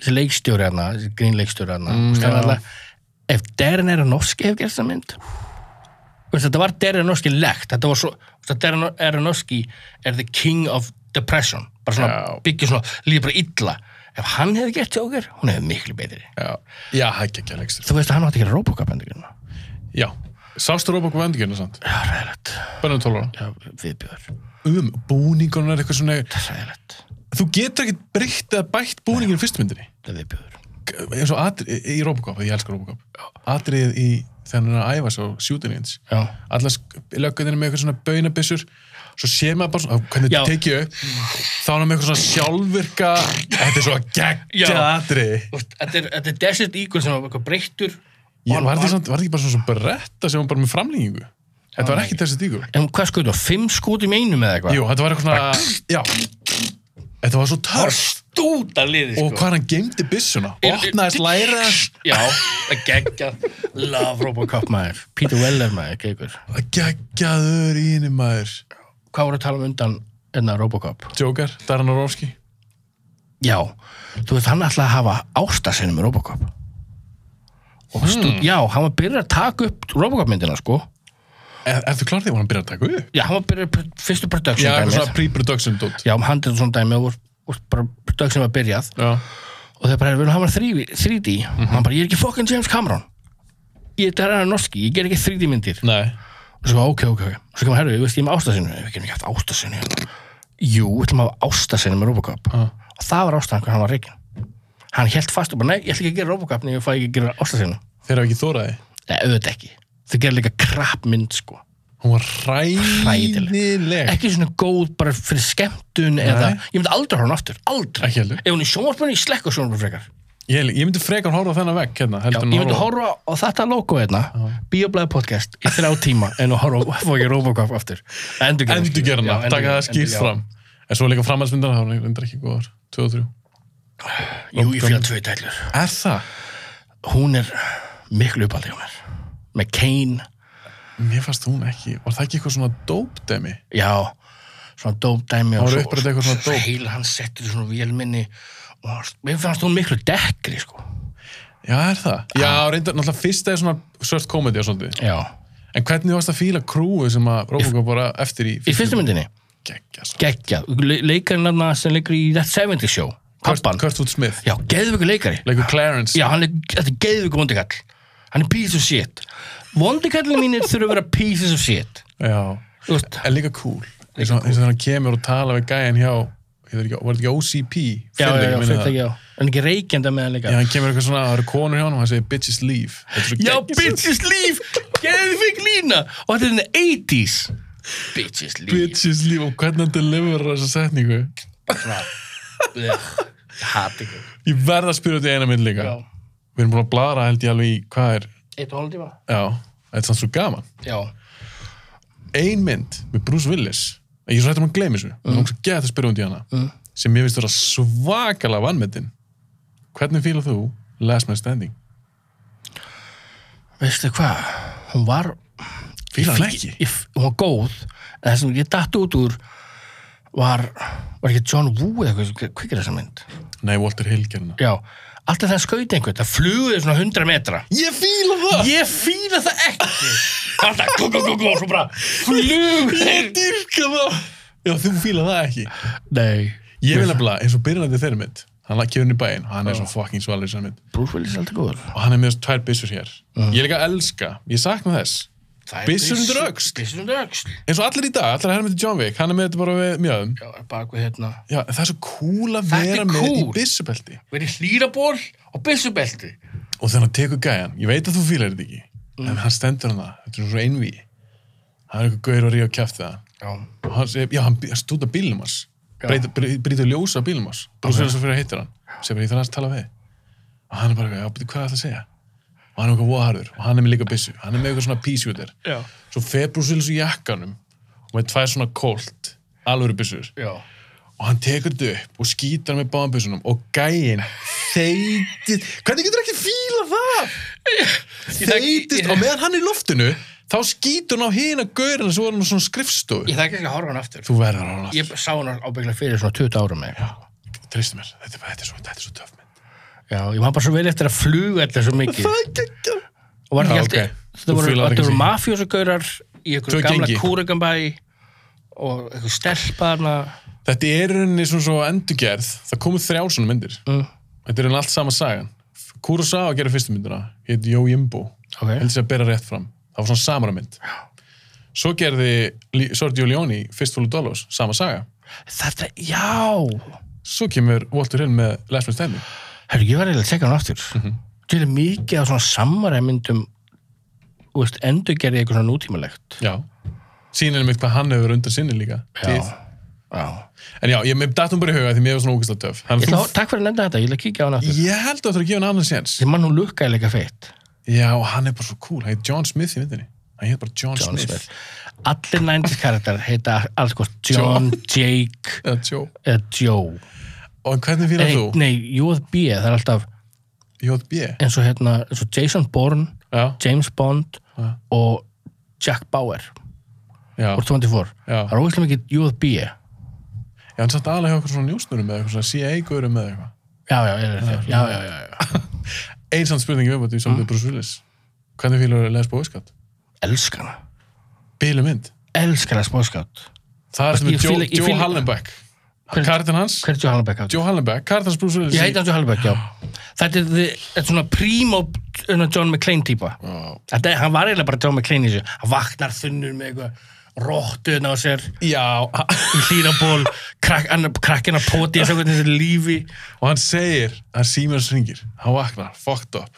þessi leikstjóri hana þessi grínleikstjóri hana mm, ef Darren Aronofsky hefur gert það mynd Þú veist, þetta var Darren Aronofsky legt, þetta var svo þú veist, Darren Aronofsky er the king of depression, bara svona Já. byggja svona, líður bara illa ef hann hefði gert Joker, hún hefði miklu betri Já. Já, hækki ekki að leikstur. þú veist að hann átti að gera Robocop hérna. endurinn Já. Sástu Robocop endurkjörna samt? já, ræðilegt, Bönnur 12 ára. já, viðbjör Um búningunum er eitthvað svona... ræðilegt, Þú getur ekkit breytt eða bætt búningin í fyrstmyndinni. það er viðbjör Eins og atrið í Robocop, ég elskar Robocop. Atrið í þegar hann er að æfa svo sjútinins. já, allar löggunir með eitthvað svona baunabissur svo sé maður bara svona, hvernig Já. þetta tekið upp þá er hann með eitthvað svona sjálfvirka þetta er svo Já. geggja atri Þú veist, þetta er, þetta er Desert Eagle sem var eitthvað breyttur ég, var, þetta samt- var þetta ekki bara svona svona beretta sem var bara með framlýningu þetta var ekki þessi díkur En hvað skoðum þú? Fimm skotum í einum eða eitthvað? jú, þetta var eitthvað svona já, þetta var svo törf Stúta liði, og sko. hvað hann geymdi byssuna opnaðist læra Já, það geggja. Love Robocop, maður. Peter Weller, maður, geggur. geggjaður í henni maður Hvað voru að tala um undan enna Robocop? Joker, Darren Aronofsky Já, þú veist, hann ætlaði að hafa ástasinu með Robocop. Og stú, já, hann var byrjað að taka upp Robocop-myndina, sko. er, er þú klart því að hann byrja að taka upp? Já, hann var byrjað pr- já, fyrstu eitthvað production-dæmið. svona pre-production dot Já, um handið og svona dæmið og voru- voru bara production var byrjað. já, og þeir bara, við viljum hafa hann 3D, 3D. hann bara, ég er ekki fucking James Cameron ég þetta er hann norski, ég ger ekki 3D myndir nei og svo, ok, ok, ok, svo kemur herru, ég veist, ég er með ástasinu við getum ekki haft ástasinu jú, við ætlum að hafa ástasinu með Robocop Ah. og það var ástæðan hvernig hann var reikin hann held fast og bara, nei, ég ætla ekki að gera Robocop nei, ég fæ ekki að gera ástasinu þeir hafa ekki þóraði nei, auðvitað ekki, þau gera líka krap mynd sko, Hún var ræðileg. ekki svona góð bara fyrir skemmtun eða, ég myndi aldrei horfa hann aftur, aldrei Ekki heldur. ef hún er í sjónvarpunni, ég slekku sjónvarpunni frekar Ég, ég myndi frekar horfa á þennan vekk hérna. Já, heldur en ég myndi horfa á þetta logo hérna Bioblæði podcast í þrjá tíma en að horfa á fókja Robocop aftur Endurgerna, Endurgerna, taka það skýrt fram. En svo líka framhaldsmyndana, þá er það ekki góðar. 2 og 3. Jú, ég fíla tvö tællur Er það? Hún er miklu uppaldi hjá mér með Kane, Mér fannst hún ekki. Var það ekki eitthvað svona dópdemi? já svona dópdæmi Hún var upprætt eitthvað svona dóp. heil hann settur í svona vélminni og hann- mér fannst hún miklu dekkri sko Já, er það? Já, reyndar, náttúrulega fyrsta er svona svört komedi og svona. Já, En hvernig varst að fíla krúið sem að Robocop var að- eftir í í fyrstu myndinni Gekkja. geggjað, Le leikarinn þarna sem leikur í That 70 Show, pappan Kurtwood Smith. Já, geðvöku leikari Leikur Clarence. Já, hann er, þetta er geðvík vondikall Hann er piece of shit Vondikallin mínir þurfa að vera pieces of shit Já. Þú veist, En líka cool. Eins og eins og þegar hann kemur og tala við gæjan hjá, ég veit ekki, var þetta ekki OCP? já, já, Fyrirtæki, já, minni það. fyrirtæki, já En ekki reykjanda með hann Já, líka hann kemur eitthvað svona, það eru konur hjá hann og hann segir bitches leave. Þetta er svo Já, geggjað. bitches líf, geðvík lína Og þetta er henni 80s Bitches líf Bitches leave og hvernig hann deliverar þessa setningu. Hatt ykkur Ég verð að spyrja út í eina mynd líka. Já. Við erum búin að blara held ég alveg í hvað er, Eitt og hálftíma já, þetta er samt svo gaman. Já, Ein mynd með Bruce Willis, ég er svo hættur maður að gleymi þessu, mm. og geta að spyrja út í hana, sem ég finnst vera svakalega vannmyndin. Hvernig fílar þú Last Man Standing? veistu hvað Hún var Fílar hann Ég- ekki? ég, hún var góð en það sem ég datt út úr var, var ekki John Woo eða hvað, hvað hvað er þessa mynd Nei, Walter Hill gerðina. já, alltaf það skaut einhvern það fluguði svona 100 metra Ég fíla það! ég fýla það ekki alltaf kú, kú, kú, kú, og svo bara fluguði Ég dyrka það! Já, þú fíla það ekki. nei, Ég vil nefnilega, eins og byrjandi þeirri mynd, hann kemur inn í bæinn, hann er svo fucking svalur í þessari mynd. Bruce Willis er alltaf góður Og hann er með þessar tvær byssur hér. Ég er líka að elska, ég sakna þess. Mm. Byssur undir öxl. Bissur undir öxl Eins og allir í dag, allir að herra með til John Wick, hann er með þetta bara við mjögum. Já, bak við hérna Já, það er svo cool að Þetta er vera með í cool. byssubelti. Verið hlýraból og byssubelti Og þegar hann tekur gæjan, ég veit að þú fílar þetta ekki, en hann stendur hann það, þetta er svo einví. Hann er eitthvað gaur og ríða og kjæfti það. Já Og hann, segir- já, hann, bí- hann stúta bílum hans, Já. breyta- brey- brýtur ljósa á bílum hans, brúsir hans fyrir að hittir hann, sem er í þannig að tala við. Og hann er bara, eitthvað, já, beti, hvað er það að segja? Og hann er eitthvað voðharður, og hann er með líka byssu, hann er með eitthvað svona písjúter. Já. Svo fer brúsils í jakkanum, og með tvær svona kolt, alvöru byssur. Já og hann tekur þetta upp og skýtar með báðanbjössunum og gæinn þeytist hvernig getur ekki fíla það þeytist og meðan hann er í loftinu þá skýtur hann á hina gaurina sem voru hann á svona skrifstofu Ég þekki ekki að horfa hann aftur þú verður á hann Ég sá hann ábygglega fyrir svona 20 árum með Já aftur treystu mér, þetta, er- þetta er svo, þetta er svo töff mynd Já, ég var bara svo vel eftir að fluga þetta svo mikið það er geggja og var Já, ekki alltaf ok. þetta Þú voru, fílar þetta ekki voru sig. mafjósugaurar í Tvö einhverju gamla gengi. kúregambæ og einhver stelpa hana þetta er í rauninni svona svo endurgerð það komu þrjár svona myndir uh, þetta er alltaf sama sagan Kurosawa gerir fyrstu myndina, heit Jó Jimbo ok, heldur sér að bera rétt fram það var svona samarmynd svo gerði Li- Sergio Leone Fistful of Dollars, sama saga þetta, já svo kemur Walter Hill með Last Man Standing herru, ég var eiginlega að tekja hann aftur Mhm. mm til er mikið af svona samaræmyndum þú veist, endur gerði eitthvað svona nútímalegt já sýnir mig hvað hann hefur undan sinni líka já, Tíð. já en já, ég með datum bara í huga því mér var svona ógæslega töf ég Þannig, ætla, að að- takk fyrir að nefna þetta, ég ætla að kíkja á þú, hann aftur ég held að það er að gefa hann annan séns sem mann hún lukkaði leika feitt já, og hann er bara svo cool, hann heit John Smith í myndinni hann heit bara John, John Smith, Smith. allir 90s karakter heita alls hvort John, Jake eða Joe eða Joe og hvernig fyrir Nei, þú? nei, J.B. það er alltaf J.B. eins og hérna, eins og Jason Bourne já, James Bond Ja. og Jack Bauer já, úr 24, já það er óvíslega mikið J.B. já, hann satt aðlega hjá okkur svona njúsnurum eða eitthvað svona CIA-gurum eða eitthvað Já, já, ég er þetta. já, já, já, já. einsamt spurningi viðbútt í Mm. samtöðu Bruce Willis hvernig fílar Les Bóðskatt? elskana, Bílu mynd elskana spóðskátt það er sem Ég er Joe, fíla- ég Joe fíla- Hallenbeck Hver- kartin hans, hver er Joe Hallenbeck átt? Joe Hallenbeck kartin hans Bruce Willis Ég heiti hans Joe Hallenbeck, já Þetta er, þi- þetta er svona primo svona John McClane típa Vá. Þetta er, hann var eiginlega bara John McClane í þessu hann vaknar þunnur með eitthvað róttuðna á sér, já, í hlýraból krak, annar- krakkinn á poti, ég svo hvernig þessi lífi og hann segir hann Siemens ringir, hann vaknar, fucked up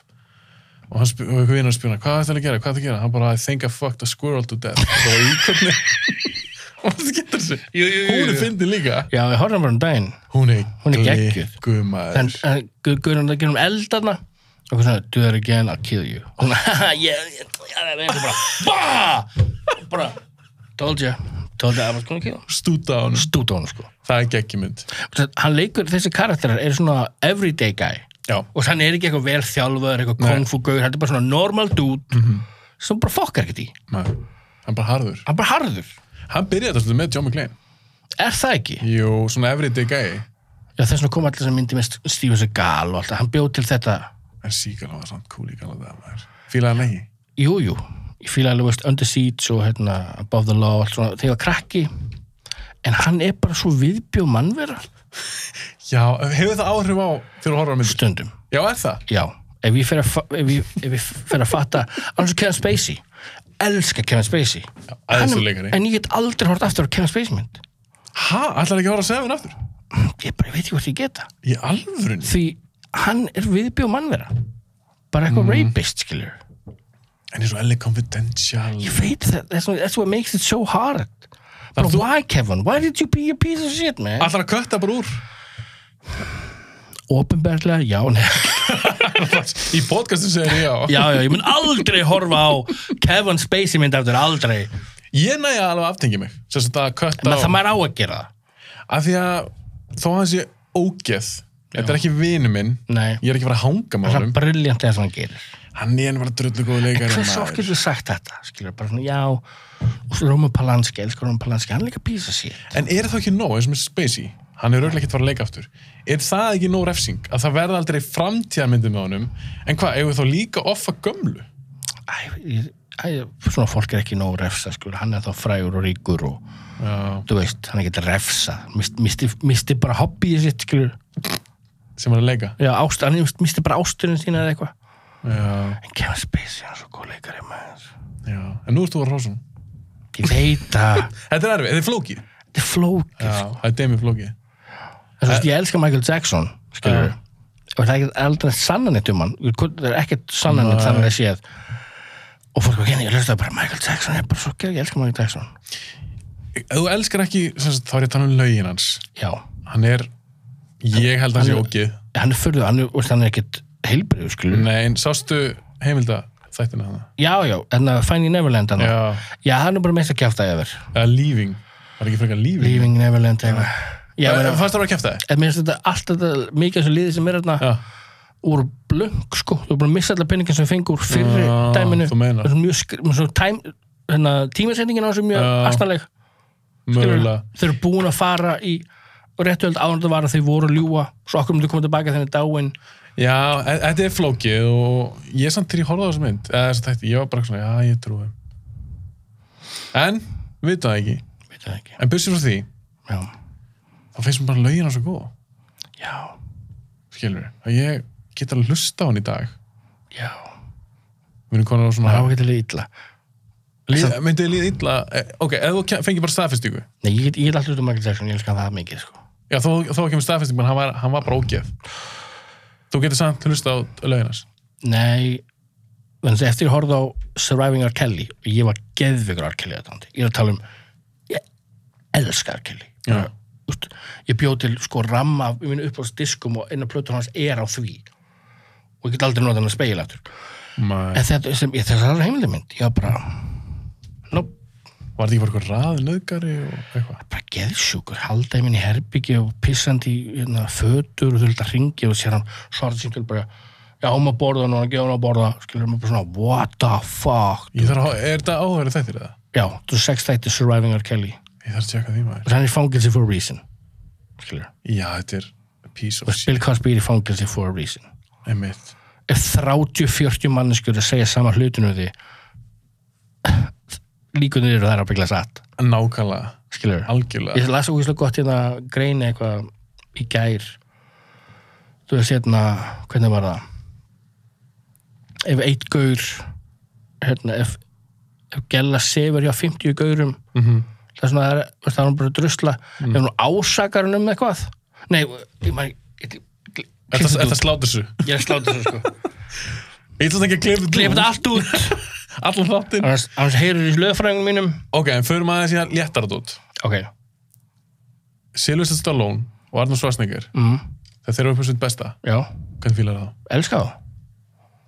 og hann spyr, og einhver vinur spyr hann hvað ætti að gera, hvað ætti að gera, hann bara I think I fucked a squirrel to death og það var í hvernig og það getur sig Jú, jú, jú, hún er jú. fyndin líka Já, ég horfði hann bara um daginn hún er, Hún er geggjuð. gumaður en Guðrún það gerum eldarna og hvað svona, do that again, I'll kill you og svona, yeah, yeah, yeah, yeah, yeah, bara, bah, bara told you, told you I was gonna kill you stúta á hann, stúta honum sko það er geggjumynd Þess, hann leikur, þessi karakterar er svona everyday guy já, og hann er ekki eitthvað vel þjálfaður eitthvað Nei. Mhm. kung fu gaur, hann er bara svona normal dude sem bara fokkar ekkert í maður, hann bara harður hann bara harður, Hann byrjaði þetta svolítið með John McClane. er það ekki? Jú, svona everyday guy. Já, þess vegna kom allir sem myndi með St- Steven Seagal og alltaf, hann bjóð til þetta En síkala var samt cool í galað það maður. Fílaði hann ekki? Jú, jú, ég fíla alveg veist Under Siege og hérna Above the Law og allt svona, þegar ég var krakki en hann er bara svo viðbjóð mannvera Já, hefur það áhrif á þegar þú horfir á myndir? stundum, Já, er það? já ef ég fer að, fa- ef ég, ef ég fer að fatta annars er Kevin Spacey elska Kevin Spacey já, æðislegur leikari. en ég get aldrei hort aftur á Kevin Spacey mynd Ha, ætlar ekki að horfa að segja hann aftur? ég bara veit ekki hvort ég geta Í alvörunni? því hann er viðbjóð mannvera bara eitthvað rapist, skilur En eins og L.A. Confidential. ég veit það, that's, what- that's what makes it so hard But þú- why, Kevin? Why did you be a piece of shit, man? Ætlar að kötta bara úr? Opinberlega, já, nei. Í podcastum segir ég já. já, já, ég mun aldrei horfa á Kevin Spacey mynd eftir aldrei Ég næja alveg að aftengja mig. Sess að kötta menn það á. maður á að gera það Af því að þó hans ég ógeð. Þetta er ekki vinu minn. Nei. Ég er ekki að fara að hanga með það er honum. briljant eða sem hann gerir Hann er bara drullu góð leikar. hversu oft getur þú sagt þetta, skilur bara svona, já og svo Róman Polanski, elskar Róman Polanski hann er líka písa sér En er það ekki nóg, eins og með Spacey, hann er auðvitað ekki að fara að leika aftur. Er það ekki nóg refsing að það verða aldrei framtíðarmyndi með honum, en hvað, eigum við þá líka offa gömlu? æ, ég- æ, svona fólk er ekki nóg að refsa skil, hann er þá frægur og ríkur og Já, þú veist, hann er ekki að refsa Mist- misti, misti bara hobbyið sitt skil, sem er að leika. já, ást, hann misti bara ásturinn sína eða eitthvað Já, en Kevin Spacey hann er svo góð leikari maður já. En nú ert þú að hrósa hún. ég veit að þetta Þetta er erfið, þetta er flókið. er flókið Já, það er demið flókið. En svo veist, ég elska Michael Jackson, skilur og það er ekkert aldrei sannanitt um hann það er ekkert sannanitt þannig að séð og fólk var genið, ég hlustaði bara Michael Jackson, ég er bara svo gerð, ég elska Michael Jackson Ef þú elskar ekki, sem sagt, þá er ég að tala um lögin hans. já, Hann er, ég held að hann sé Hann- ógið. hann er fyrðu, hann er, veist, hann er ekkert heilbrið, skilur Nei, en sástu heimilda þættina hana? já, já, en að Finding Neverland hann Já, já, hann er bara meist að kjæfta yfir eða Leaving. Var ekki frekar Leaving? Leaving Neverland eitthvað já, Já, en fannst það að kæfta þið? mér finnst þetta allt þetta mikið þessu liði sem er þarna Já, úr blöng, sko, þú er búin að missa allar peningin sem fengur fyrri Já, dæminu þú meinar. Þessu mjög skr- með svo tæm, hérna, tímasetningin á þessu mjög Já. astanleg mögulega. þau eru búin að fara í réttuöld ánum þetta var að þau voru að ljúa svo okkur myndu koma tilbaka þenni dáin Já, e- þetta er flókið og ég samt til ég horfði á þessu mynd, eða þessu þætti, ég var bara svona, já, ég trúi. En, við vitum það ekki, veit það ekki en bursið frá því, já, þá finnst mér bara lögina svo góð, já, skilur við. Að ég get alveg hlusta á hann í dag. já Við erum konar á það svona, er ágætilega illa líð, myndið þið líða illa, e, ok, eða þú ke- fengir bara staðfestingu. Nei, ég get, ég get alltaf út um Michael Jackson, ég elska hann það mikið sko. Já, þó, þó kemur staðfestingu, menn hann var, hann var bara ógef. Þú getur samt hlusta á löginas. nei þannig að eftir ég horfði á Surviving R. Kelly og ég var geðvigur R. Kelly aðdáandi. ég er að tala um ég elska R. Kelly Já. Úst, ég bjóð til sko ramma í mínu uppáhaldsdiskum og einu plötur hans er á því og ég get aldrei notað hann að speila aftur Mæ, En þetta sem, ég, þessar er heimildamynd, ég var bara, nú, var þetta ekki bara eitthvað raðnöðgari og eitthvað? bara geðsjúkur, halda ég minn í herbyggi og pissandi í, hérna, fötur og þurft að ringi og sér hann svarað síntul bara, já, hún maður borða núna, gefa hún að borða, skilur maður bara svona, what the fuck, Ég þarf að, hó- er þetta áhverju þættir eða? já, þú er sex þætti Surviving R. Kelly, Ég þarf að tjekka því maður. og hann er í fangelsi for a reason, skilur, Já, þetta er a piece of og shit, Bill Cosby er í fangelsi for a reason, einmitt. ef 30-40 manneskur að segja sama hlutinu því, líkunir eru þær að byggla satt, Nákvæmlega, skilur, algjörlega. ég las ógíslega gott hérna grein eitthvað í gær þú veist hérna hvernig var það ef eitt gaur hérna ef, ef gæla sefur hjá 50 gaurum Mhm. það er svona það er, veist, það er hún bara að drusla ef hún ásakar hann um eitthvað nei, ég maður ég, ég, Er það- er klippa þetta það út. slátur þessu? ég er slátt þessu sko Ég ætla ekki að klifa þetta klipa út. þetta allt út Allan þáttinn. annars, annars heyrur í lögfræðingum mínum Ok, en förum aðeins í það léttara dót. ok, Sylvester Stallone og Arnold Schwarzenegger, mm, það þeir eru upp á sitt besta. já, Hvernig fílar það? elska þá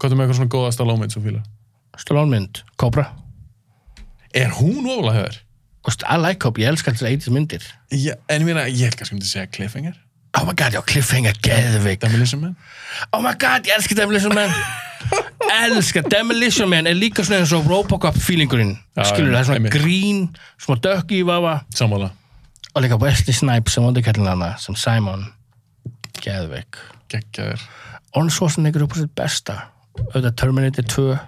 Hvað er með eitthvað svona góða Stallone mynd sem þú fílar? stólónmynd, kobra Er hún ofalega hefur? Þú veist, I like Hope, ég elska alltaf 80s myndir Já, en ég meina, ég held kannski um til að segja cliffhanger. Oh my god, já, Cliffhanger, geðvig Demolition Man. Oh my god, ég elska Demolition Man Elska, Demolition Man er líka svona eins og Robocop feelingurinn Já, Skilur, já, það er svona einmitt. grín, svona dökki í vafa Sammála. Og líka Wesley Snipes sem vondurkallin hana, sem Simon Geðvig Geggjaður. Orn Schwarzenegger er upp á sitt besta Auðvitað Terminator 2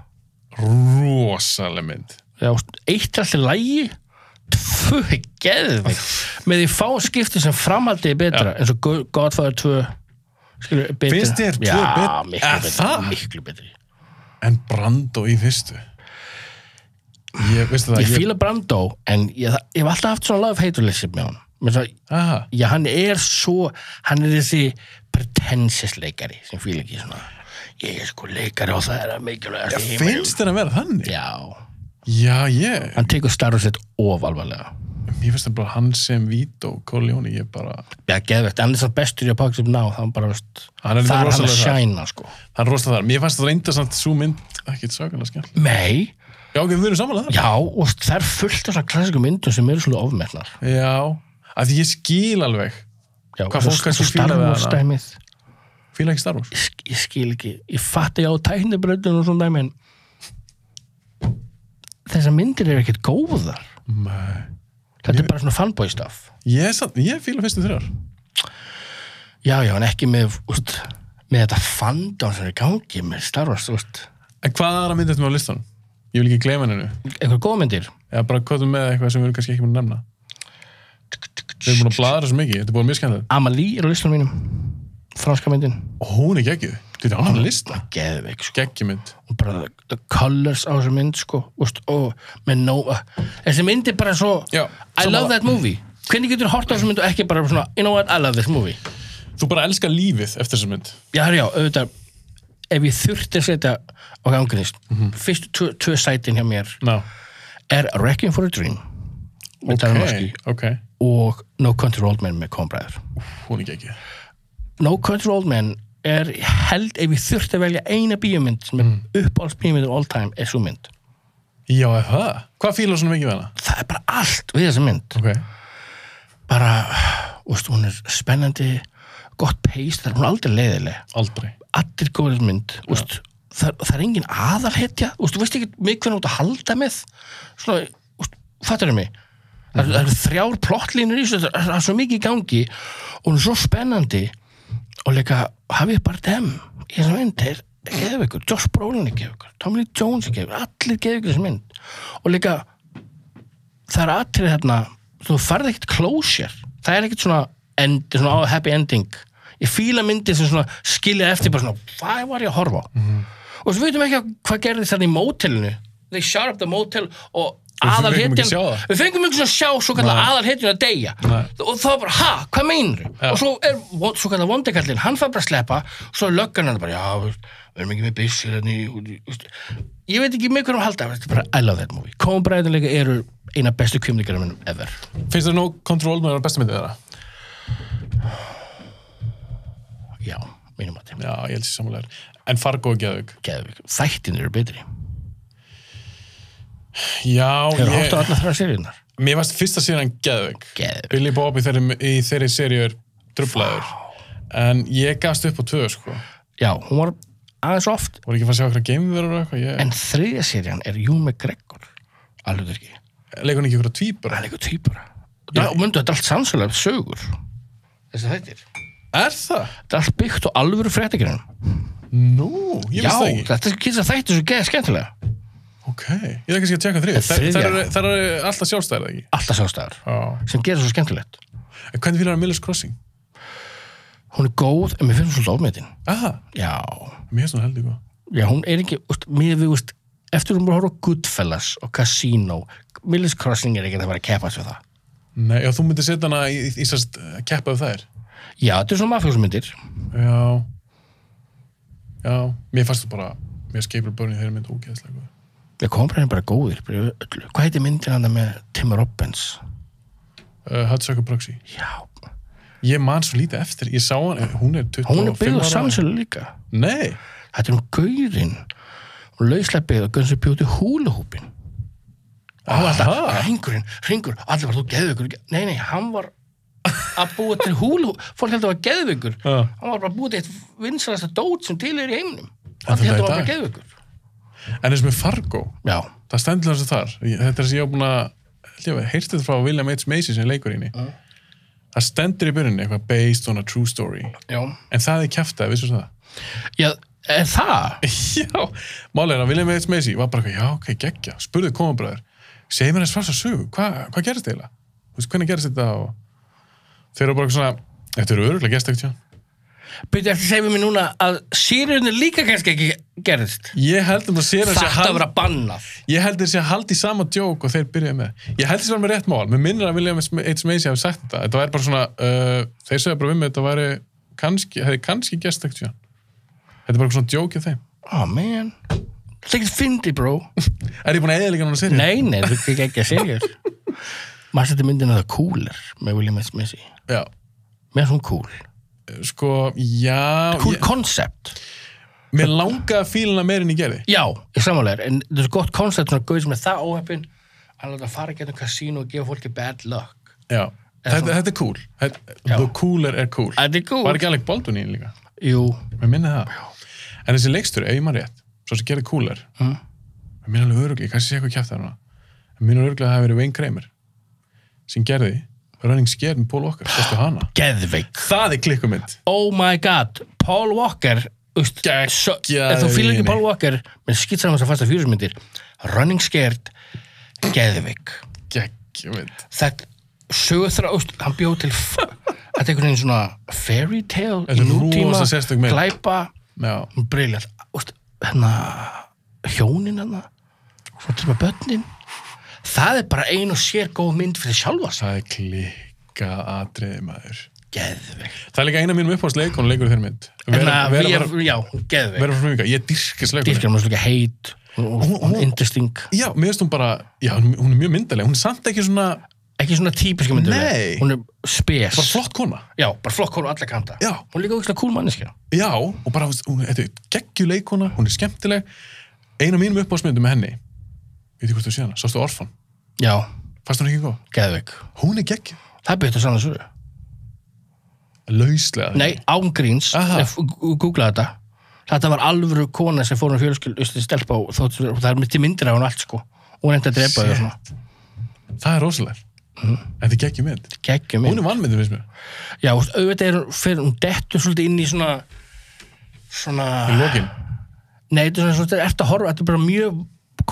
Rosaleg mynd. Já, eitt er alltaf lægi Tvö er geðvig Með því fá skipti sem framhaldi er betra eins og Go- Godfather 2 skilur, er betra. Finnst þér tvö Já, bet- miklu Er betri, það? miklu betri En Brando í fyrstu. Ég, veistu það, Ég fíla Brando en ég, ég hef alltaf haft svona love heiturleysið með honum Mér svo, Aha. já, hann er svo hann er þessi pretentious leikari sem fíla ekki svona ég er sko leikari og það er að mikilvægast í heiminum. Finnst þér að vera þannig? Já, Já, ég, hann tekur starf sitt of alvarlega mér finnst það bara hann sem Vító Corleone, ég bara, Já, geðvegt, hann er svo bestur í að pakka sem ná það er bara, veist, Hann er þar hann að rosalega þar. shæna sko. hann rosta þar. Mér fannst það reynda samt svo mynd, ekkert svakalega skemmt. Nei, Já, ok, við erum samanlega þar. já, og það er fullt af svona klassikum myndum sem eru svona ofmetnar Já, að því ég skil alveg, já, Hvað fólk kannski fílar við hana? starfórstæmið fíla ekki Star Wars. ég, sk- ég skil ekki, ég fatti á tæknibröndun og svona dæmi en þessar myndir eru ekkert góðar Nei. þetta er bara svona fanboy stuff Ég, er samt- ég fíla fyrstu þrjár. já, já, en ekki með, úst, með þetta fandom sem er í gangi með Star Wars, úst En hvað aðra myndið þetta með á listanum? Ég vil ekki gleyma hennu. eitthvað góðmyndir Eða bara kvotum með eitthvað sem við erum kannski ekki búin að nefna. Við erum búin að bladra svo mikið, þetta er búin mjög skemmtilegt. Amelie er á listanum mínum franska myndin Og hún er geggjuð. Þetta er annan lista. geðveik sko Geggjumynd. og bara the- the colors á þessu mynd sko úst, og með nóa þessi mynd er bara svo Já, I sammála. love that movie hvernig getur hort á þessu mynd og ekki bara svona you know what I love this movie Þú bara elskar lífið eftir þessu mynd. já herri, já auðvitað ef ég þurfti að setja á gangunist Mhm. fyrstu tvö- tvö sætin hjá mér Ná, er Wrecking for a Dream með okay. Darren ok. og No Country for Old Men með Combræður Hún er geggjuð. No Country for Old Men er held ef ég þurfti að velja eina bíómynd sem er Mhm. mm. uppáhalds bíómynd all time er svo mynd Já, er það? Hvað fílar svona mikið við hana? það er bara allt við þessa mynd Ok. bara, úst, hún er spennandi gott pace, það er hún er aldrei leiðileg Aldrei. allir góður mynd úst, það, það er engin aðalhetja úst, þú veist ekki mig hvernig út að halda með svona, úst, fattarðu mig það, það eru þrjár plottlínur í þessu, það, er- það er svo mikið í gangi og hún er svo spennandi og líka hafið bara dem í þessu mynd er geðveikur, Josh Brolin er geðveikur Tommy Lee Jones er geðveikur, allir geðveikur í þessu mynd og líka það er atrið þarna þú farði ekkert closure það er ekkert svona, end, svona á- happy ending ég fíla myndi sem svona skilja eftir bara svona, hvað var ég að horfa á Mhm. og svo veitum ekki hvað gerðist þarna í mótelinu they shut up the motel og fengum aðal ekki að sjá það. við fengum ekki svona sjá svo kallar aðal að deyja Nei. og þá bara, ha, hvað meinur og svo er vo- svo kallar vondekallin, hann fær bara að sleppa svo er löggan hann bara, já, veist, við erum ekki með byssur hérna í- út í- veist. ég veit ekki með hverjum halda veist, bara, I love that movie, Coen bræðinleika eru eina bestu kjumningar minnum ever Finnst þér No Control með hana bestu myndið þeirra? já, mínum að þeim Já, ég held sér samanlegar. En Fargo er geðug. Geðvik. þættin eru betri Já, þeir eru hótt á ég... allar þrjá seriðunar Mér varst fyrsta síðan geðug. Geðveik. Billy Bob í þeirri, í þeirri seríu er drublaður. En ég gafst upp á tvö, sko. já, hún var aðeins oft Voru ekki að fara að sjá okkur að geimverur og eitthvað? Ég... en þriðja seriðan er Hugh McGregor alveg ekki, Leikur hann ekki okkur að tvíbura? hann er eitthvað týpura og mundu þetta er allt sannsölega sögur þessi þættir Er það? Þetta er allt byggt á alvöru fréttagreinum. Nú, ég Já, veist það ekki. þetta er þess að þætti svo geða skemmtilega. Ok, ég er kannski að tjekka þrið. Þar, Þriðja. þar, eru, þar eru alltaf sjálfstæðar, eða ekki? Alltaf sjálfstæður, Já. sem gera svo skemmtilegt. En hvernig fílar hann Miller's Crossing? Hún er góð, en mér finnst hún svolítið ofmetin. Aha, Já, mér finnst hún sko. heldur góð. já, hún er ekki, úst, mér við, úst, eftir hún bara horfa á Goodfellas og Casino, Millis Crossing er ekki að vera að kepa svo það. Nei, já, þú myndir setja hana í, í, í sérst að keppa af þær. Já, þetta er svona mafjósmyndir. Já. Já, mér fannst þú bara, mér skeipur börn í þeirri mynd ógeðslega góð. Við komum bara bara góðir, bara í öllu. Hvað heitir myndin hann með Tim Robbins? Uh, Hudsucker Proxy. Já, Ég man svo lítið eftir, ég sá hann, hún er 25 hún er byggð á ára. sannsölu líka. Nei, Þetta er um gaurinn, hún lauslega byggð og gönn sem bjóti húluhúpin. og hann var alltaf, Aha. hringurinn, hringur allir bara, þú geðveikur, nei, nei, hann var að búa til húlu fólk heldur að hann var geðveikur Já. hann var bara að búa til eitt vinsalasta dót sem til er í heiminum Þetta er allir heldur að í hann var dag. bara geðveikur en eins með Fargo, já, það stendur þessu þar. Ég- Þetta er þessi ég á búin að, heyrst þetta frá William H. Macy sem leikur inni. Það stendur í byrjunni eitthvað based on a true story. já, En það er kæftið, vissu það? já, er það já, málega er að William H. Macy var bara eitthvað, já, ok, geggja, spurðu komabræður, segir mér þess fyrst að sögu, hva, hvað gerist eiginlega? Þú veist, hvernig gerist þetta? Og... Þeir eru bara eitthvað svona, þetta eru öruglega gerst ekkert, já. byrja eftir að segja mér núna að sírjunni líka kannski ekki gerðist Ég held um að sér að sé þetta að hald, vera bannað ég held þeir sé að haldi sama djók og þeir byrjaði með. Ég held þess að vera með rétt mál, mér minnir að William H. Macy hafi sagt þetta, þetta væri bara svona, uh, þeir segja bara við mig, þetta væri kannski, hefði kannski gerst ekkert, já. Þetta er bara eitthvað svona djók hjá þeim. oh man, þetta er ekki fyndi bro Er ég búin að eða líka núna sér? nei, nei, þú ekki ekki að sírjur maður setti myndin að það kúler með William S. Messi, Já, með hún kúl sko, já, kúl ég, koncept mér langaði að fíla hana meir en ég gerði. Já, ég samanlegar, en þetta er svo gott koncept svona gauð sem er það óheppin að láta fara getum kasínu og gefa fólki bad luck Já, þetta, svona- þetta er cool þetta, The cooler er cool Þetta er cool. Var ekki Alec Baldwin í henni líka? Jú, Mér minni það En þessi leikstur, ef ég maður rétt Svo sem gerði cooler Mm. Mér minni alveg öruglega, ég kannski sé eitthvað kjæft þar hana Mér minni öruglega að það hafi verið Wayne Kramer sem gerði Running Scared með Paul Walker Sérstu hana geðveik Það er klikkumind Oh my god, Paul Walker úst, so, Geggjaður Ef þú fýlar í henni. ekki Paul Walker menn skýt saman þess að fasta fjúrismyndir þá Running Scared Geðvik Gekkjumind. þetta sögurþra óst, hann bjóð til f- þetta er einhvern veginn svona fairy tale Þetta í er nútíma, rosa sérstök mynd. glæpa Já. briljant, óst, hérna hjónin hérna svona til með börnin það er bara ein og sér góð mynd fyrir sjálfa sig. Það er klikka atriði maður. geðvik Það er líka eina af mínum uppáhaldsleik, hún leikur í þeirri mynd. Vera, hérna, vera, við vera, erum, já, geðvik vera frá mjög, ég dyrkis leikur. dýrkjum hans líka heit og, og, hún- og indisting Já, mér finnst hún bara, já, hún hún er mjög myndaleg, hún er samt ekki svona, ekki svona típiska myndir Nei. hún er spes bara flott kona. já, bara flokk hún á alla kanta Já. hún er líka ógislega cool manneskja Já, og bara, þú veist, hún er geggjuleikona, hún er skemmtileg. Einu af mínum uppáhaldsmyndum með henni, veit ég hvort þú sé hana, sástu Orfan, já, fannst hún ekki góð? geðvik Hún er geggju, það byrja þetta sann að sögur lauslega. Nei, ángríns, Aha. googla þetta Þetta var alvöru kona sem fór um fjölskyld Ústu stelpa og þótt og það er mitt í myndir af hún allt sko og hún reyndi að drepa þau og svona Það er rosalega. Mm. Þetta er geggjum mynd. geggjum Hún inn er vannmyndið, finnst mér. Já, þú veist, auðvitað er hún, fer, hún dettur svolítið inn í svona svona Í lokin. Nei, þetta er svona svolítið eftir að horfa þetta er bara mjög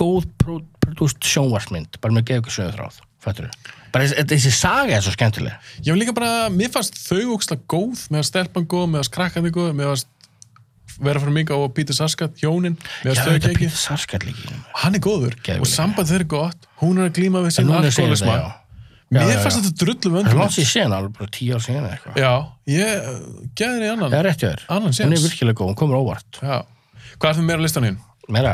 góð pro- produced sjónvarsmynd bara með geðvika sögurþráð fættur bara þessi, þessi saga er svo skemmtileg Ég var líka bara, mér fannst þau ógslag góð, mér fannst stelpan góð, mér fannst krakkandi góð, mér fannst vera fyrir minga og Pítur Sarskat, hjónin, mér Já, fannst þau þetta ekki ekki. Peter Sarsgaard líka í honum. Hann er góður Geðveikur og líka. samband þeirra er gott, hún er að glíma við sín Núna segir þetta, alkoholisma. já. Já, Mér já, fannst já. þetta drullu Það er vöndum. langt sér sen, alveg bara tíu ár sen eða eitthvað Já, ég uh, geði henni annan. Það er rétt hjá þér. Annars, Hún er yes. virkilega góð, hún komur óvart. Já. Hvað er það meira á listan hinn? Meira,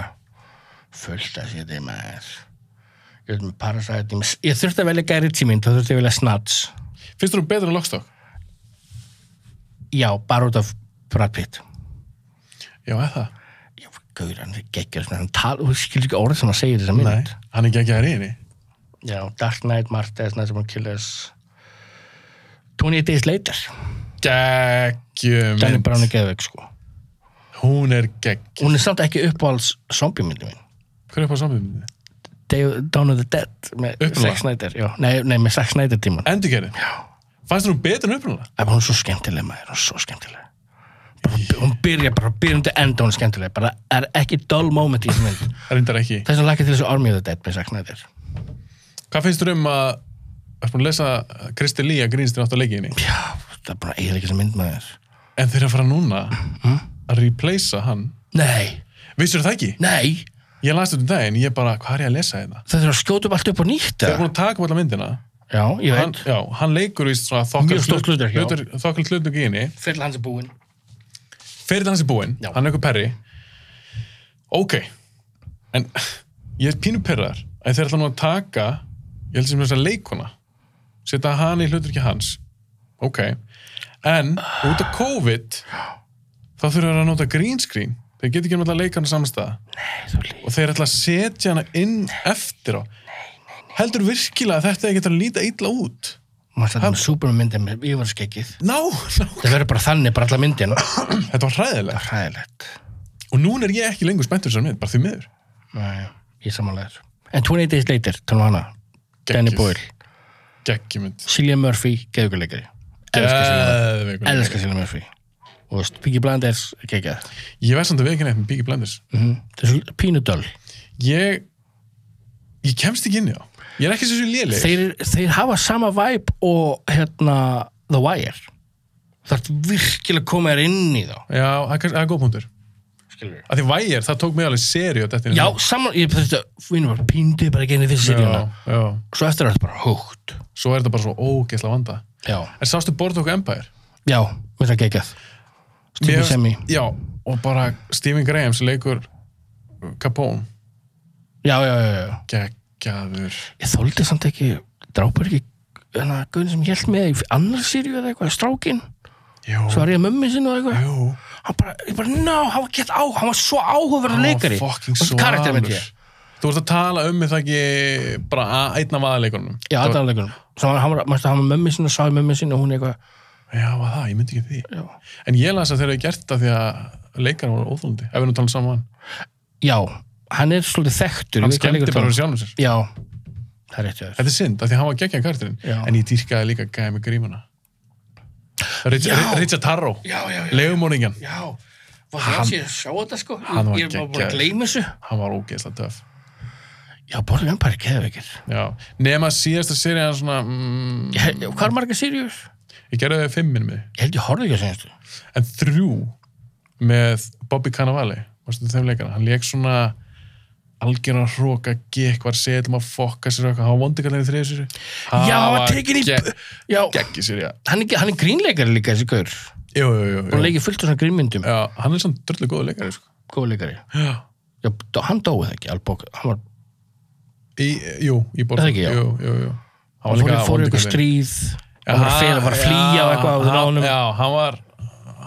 fullt að sér þeim maður. Ég veit með Parasite, ég- ég þurfti að velja Gary Tíminn, þá þurfti ég að velja Snats. Finnst þú hún betur en Lockstock? Já, bara út af Brad Pitt. Já, eða það. Já, gauður, hann er geggjur, svona, hann tala, hún skilur ekki orðið sem hann segir í þessa mynd. Hann er geggjaður í henni. Já, Dark Knight, Martes, Næstumar Killers, 28 Days Later. Geggjum. Danny Brown er geðveik, sko. Hún er gegg. Hún er samt ekki uppáhalds zombie myndi mín. Hver er upp á samfélaginu? Day, Dawn of the Dead með Upprunalega? Zack Snyder, já, nei, nei með Zack Snyder tíman. Endurgerðin. Já. Fannst þú hún betur en upprunalega? Það er hún er svo skemmtileg maður, hún er svo skemmtileg. Bara, hún byrja bara, byrjum til enda hún er skemmtileg, bara er ekki dull moment í þessu mynd. Reyndar ekki. Þess að lakið til þessu Army of the Dead með Zack Snyder. Hvað finnst þú um að Það er búin að lesa að Kristi Lía grínst í nátt að leiki henni Já, það er bara eiginlega ekki þessu mynd maður. En þeir eru að fara núna að replacea hann Nei, Vissur það ekki? nei, Ég las þetta um daginn, ég bara, hvað er ég að lesa hérna? það þurfa að skjóta upp allt upp og nýtt. Þeir eru eða? búin að taka upp alla myndina Já, ég hann, veit. já, hann leikur í svona þokkalt Mjög stórt hlutverk, já. hlut- þokkalt hlutverk í henni Fyrir hans er búinn. Fyrir hans er búinn, Já. hann er eitthvað perri Ok En ég er pínu perrar að þeir ætla nú að taka ég held sem þess að leikuna setja hann í hlutverki hans Ok En út af COVID þá þurfa þeir að nota green screen þeir geta ekki um alltaf leikana samstæða Nei, þú líf. og þeir ætla að setja hana inn eftir á heldur virkilega að þetta getur að líta illa út Maður stætti með Superman myndið með yfarskeggið. Ná, ná, Það verður bara þannig, bara alla myndina. þetta var hræðilega Hræðilegt. og núna er ég ekki lengur spenntur sem mynd, bara því miður Nei, ég samanlegaður. En 28 Days Later, tónum hana. Danny Geggjuð. Boyle, geggjumynd Cillian Murphy, geðugurleikari. elska Geðveikur. Cillian Murphy og þú veist, Piggy Blinders geggjað ég verð samt að veginn eitt með Biggie Blenders mm -hmm. það er svolítið pínudöl ég ég kemst ekki inn í þá ég er ekki svo svo léleg þeir, þeir hafa sama vibe og hérna The Wire það er virkilega að koma þér inn í þá já, það er kannski- það er góð punktur skilur að því vægir, það tók mig alveg seri á þetta já, saman, ég þurfti að vinna bara pínudu bara genið fyrst sér já, hérna já. svo eftir er þetta bara hókt svo er þetta bara svo ógeðsla vanda já, en sástu Boardwalk Empire já, mér það geggjað Mér Stephen fannst- Semi Já, og bara Stephen Graham sem leikur Capone já, já, já, já geggjaður ég þóldi samt ekki drápar ekki hérna, gauðin sem ég held með í annars sirju eða eitthvað, strákin Jú, svo var ég mömmi sinni og eitthvað jú hann bara, ég bara, ná, hann var gett á hann var svo áhugaverður leikari Ó, fucking Og karakter myndi ég svalur Þú ert að tala um með það ekki bara að- einn af aðleikunum já, aðdala leikunum svo hann, hann var, mæstu, hann var mömmu sinni og sá í mömmu sinni og hún eitthvað, Já, var það, ég myndi ekki því já, En ég las að þeir eru gert það því að leikar voru óþólandi ef við nú talum saman já, hann er svolítið þekktur ég Hann veit hvað skemmti leikur bara það fyrir sjálfum sér er. já, það er rétt hjá þér. Þetta er synd, af því að hann var geggjað karakterinn Já. En ég dýrkaði líka gæði með grímana Já. Richard Richard Tarro já, já, já, Leigumorðingjan, já var það sé að sjá þetta sko hann var ég var bara geggjaður. að gleyma þessu hann var ógeðslega töf já, Borg Empire er geðveikir Já, nema síðasta séri hann svona, mm, Ég held- Hvað er marga seriur? ég gerði þau fimm minni mig, Ég held ég horfði ekki að segja þetta en þrjú með Bobby Cannavale, varstu þeim leikana, hann leik svona algjörna hróka, gekk var setlum að fokka sér og eitthvað, hann var vondikallir í þriðu séri. Já, hann var tekin í- Já, Gekki sér, já. hann er, hann er grínleikari líka þessi gaur Jú, jú, jú. Hún jú. leikir fullt af svona grínmyndum Já, hann er svona dröldu góðu leikari, sko. Góð leikari Já. Já, dó- hann dóið ekki, Albok Hann var, Í, jú, í borðum. Er það ekki, já? Jú, jú, jú. hann fór, fór í ykkur vondikallinn. stríð Hann var að fela, var að flýja og eitthvað áður á hann- honum Já, hann var,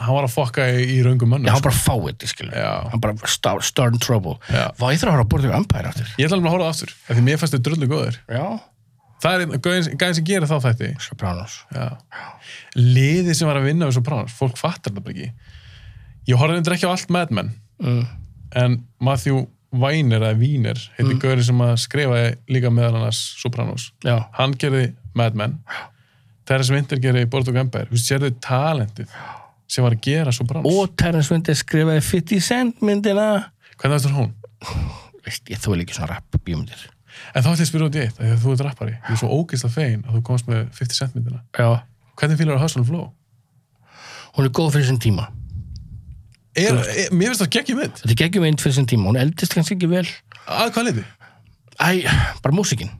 hann var að fokka í, í raungum mönnum. Já, hann sko. bara fáið þetta, skilur Já. Hann bara start, start in trouble Já. Vá, ég þarf að horfa að borða um Empire aftur Ég ætla alveg að horfa á það aftur, af því mér fannst þau dröldu góður. Já, Það er einn- gauðin gæðin sem gerir þá þætti. Sopranos Já. Liðið sem var að vinna við Sopranos, fólk fattar þetta bara ekki. Ég horfði hendur ekki á allt Mad Men, mm. en Matthew Weiner, eða Wiener, heitir mm. gauðin sem að skrifaði líka meðal annars Sopranos. Já, Hann gerði Mad Men. Terrence Winter gerði Bordeaux Empire. Þú sérðu talentið sem var að gera Sopranos. og Terrence Winter skrifaði 50 Cent myndina Hvernig veist hún? Veist, ég þói ekki svona rap bíómyndir En þá ætlum ég að spyrja út í eitt, af því að þú ert rappari. Ég er svo ógeðslega fegin að þú komst með 50 Cent myndina. Já Hvernig fýlar það Hustle and Flow? Hún er góð fyrir sinn tíma Er, er, mér finnst það geggjum mynd. Þetta er geggjum mynd fyrir sinn tíma, hún eldist kannski ekki vel Að hvað liði? Æ, bara músikinn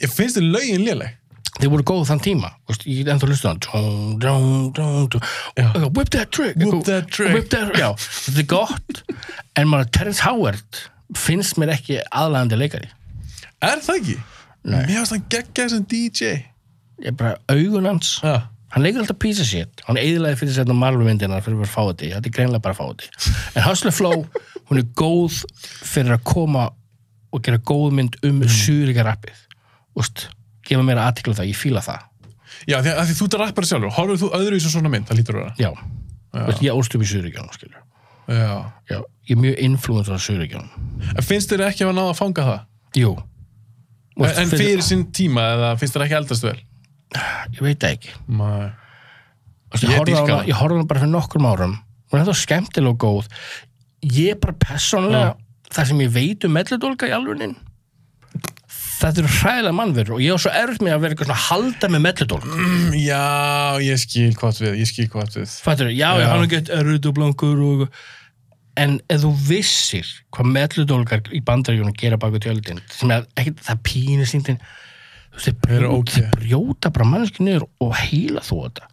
Ég finnst þið lögin léleg. Þeir voru góð þann tíma, veist, ég get ennþá hlusta á hann Tjón, tjón, tjón, tjón Whip that trick Whip that trick. Whip that, Já, þetta er gott En maður Terrence Howard finnst mér ekki aðlæðandi leikari Er það ekki? Nei. Mér finnst það geggjað sem DJ. Ég bara augun hans Já. Hann leikur alltaf písa shit Hann eðilaði fyrir setna marlumyndina fyrir að fá þetta Þetta er greinlega bara að fá þetta En Hustle Flow, hún er góð fyrir að koma og gera góð mynd um mm. súrika rappið Úst, gefa mér aðtikla það, ég fíla það Já, því, að því þú ert rappari sjálfur. Horfur þú öðruvísi á svona mynd? Það lítur að vera. Já, já. Veist, ég ólst upp í Suðuríkjónum skilur Já. Já, ég er mjög influencer á Suðuríkjónum En finnst þér ekki að náða að fanga það? Jú En, en fyrir sinn tíma, eða finnst þér ekki eldast vel? Ah, Ég veit það ekki Nei. Veist, Ég Ég horfði á dýrka hana, það. ég horfði á hana bara fyrir nokkrum árum Hún er það skemmtilega og góð Ég bara persónlega Það sem ég veit um melludólka í alvunin Þetta eru hræðilega mannverur og ég á svo erfitt með að vera eitthvað svona að halda með melludólk Mm, Já, ég skil hvað átt við, ég skil hvað átt við. Fattur, já, já, Já. hann er gett erut og blankur og en ef þú vissir hvað melludólkar í bandaríunum gera baka tjöldin sem er ekki það pínu síndin þeir eru brjóta, ógeð. brjóta bara mannski niður og heila þú þetta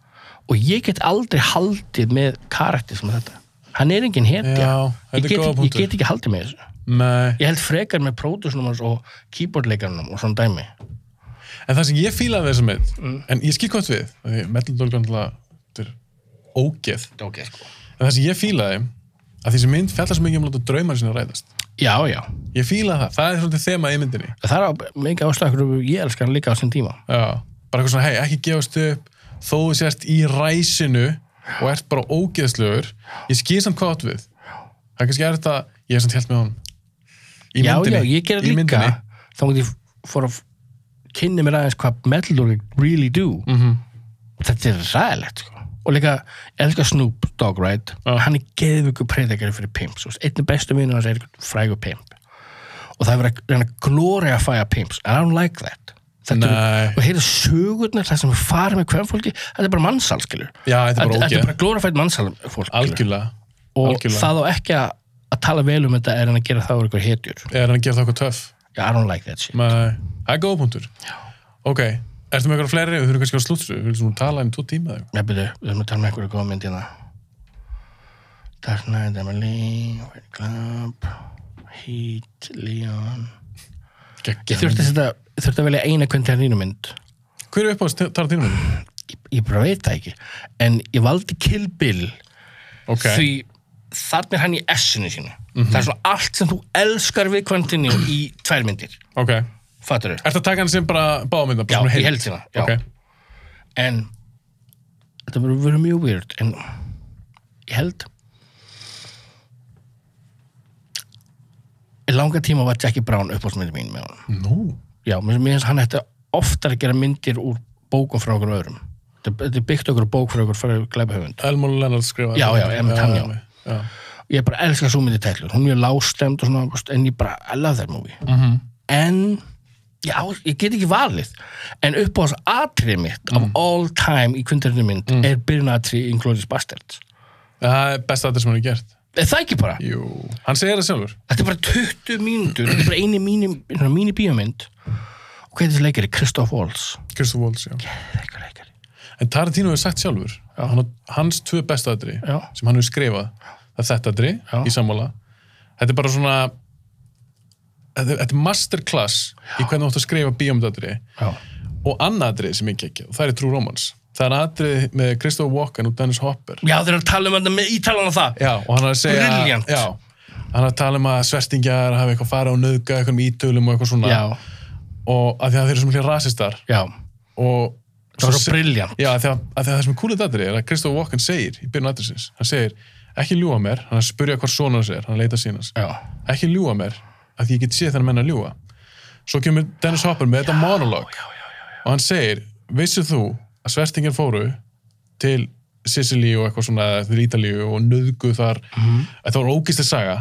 og ég get aldrei haldið með karakter sem þetta hann er engin hetja Já, þetta ég, er get, góða ég punktur. get ekki haldið með þessu Nei. ég held frekar með pródusnum hans og keyboardleikarnum og svona dæmi En það sem ég fílaði þessum mynd, en ég skil hvað átt við, af því meðlindólk er náttúrulega, þetta er ógeð. okay, sko. En það sem ég fílaði, að þessi mynd fjallar svo mikið um að láta draumar sinna ræðast. já, já, Ég fílaði það, það er svolítið þema í myndinni. það er á, mikið ástæður ég elskar hann líka á sinn tíma Já. Bara eitthvað svona, hei, ekki gefast upp, þó þú sérst í ræsinu og ert bara ógeðslegur. Ég skil samt hvað átt við. Það er kannski er þetta, ég er samt helt með honum. Í já, myndinni. já, ég gerði Í líka myndinni. þá mútti ég fór að kynni mér aðeins hvað metal really do Mhm. -hmm. þetta er ræðilegt sko. og líka, ég elskar Snoop Dogg right? Já. hann er geðvöku preðakari fyrir pimps þú veist, einn bestu vinur hans er frægur pimp og það er verið að reyna að glóri að fæja pimps and I don't like that Þetta Nei. eru, og heyrðu sögurnar það sem við farum með hvernfólki, þetta er bara mannsal skilur Já, þetta er bara þetta ógeð. er bara glórafætt mannsal fólk skilur. Algjörlega. og algjörlega. það á ekki að, að tala vel um þetta er en að gera það úr ykkur hetjur Er hann að gera það okkur töff? Yeah, I don't like that shit. Nei, það er góða punktur. Já. Ok, ertu með eitthvað fleiri? Við þurfum kannski að slútsu. Við viljum svona tala um tvo tíma eða eitthvað. Nei, byrju, við erum að tala um einhverju góða mynd hérna. Dark Knight, Emily, Fight Club, Heat, Leon. Gekk. Ég þurfti að, setja, ég þurfti að velja eina kvönd til hérna mynd. Hver er upp á Tarantino? Ég, ég bara veit það ekki. En ég valdi Kill Bill Ok, því þarna er hann í essinu sínu. Það er svona allt sem þú elskar við kvöndinni í tvær myndir. ok. Fattur þau? Ertu að taka hann sem bara bámynda? Já, í heildina, já. Ok, En þetta verður verið mjög weird. En ég held í langa tíma var Jackie Brown uppáhaldsmyndi mín með honum. nú. Já, mér mér finnst hann eftir oftar að gera myndir úr bókum frá okkur öðrum. Þetta þetta er byggt okkur bók frá okkur fyrir glæbahöfund. Elmur Lennart skrifaði. Já, já, einmitt hann, já. já. Ég bara elska svo myndi tætlur. Hún er mjög lástemmd og svona, veist, en ég bara I love that movie. Mm -hmm. en já, ég get ekki valið en upp á þessu atrið mitt of all time í kundarinu mynd er byrjunatri Inglourious Bastards Það er best að þetta sem hann er gert. er það ekki bara? Jú. Hann segir það sjálfur. Þetta er bara 20 mínútur þetta er bara eini mínu, mínu bíómynd og hvað er þessi leikari? Christoph Waltz Christoph Waltz, já. Geðveikur leikari En Tarantino hefur sagt sjálfur, hann, á- hans tvö besta aðri Já. sem hann hefur skrifað, það er þetta aðri Já. í sammála. Þetta er bara svona, þetta þetta er masterclass í hvernig þú átt að skrifa bíómyndaðri. Já. Og annað aðri sem ég gekk, og það er True Romance. Það er aðrið með Christopher Walken og Dennis Hopper. Já, þeir eru að tala um þetta með ítalan á það Já, og hann er að segja... Brilliant. Já, hann er að tala um að svertingjar hafi eitthvað farið og nöðga eitthvað um ítölum og eitthvað svona. Já, Og að því að þeir eru svo miklu rasistar. já, og það var svo brilljant Já, af því að, að því að það sem er kúlið aðrið er að Kristof Walken segir í byrjun aðriðsins, hann segir ekki ljúa mér, hann er að spurja hvað sonars er hann leita sínans, Já, ekki ljúa mér af því ég get séð þannig menn að ljúa svo kemur Dennis Hopper með þetta monolog og hann segir, veistu þú að svertingin fóru til Sicily og eitthvað svona til Ítalíu og nöðgu þar Mhm. að það var ógistir saga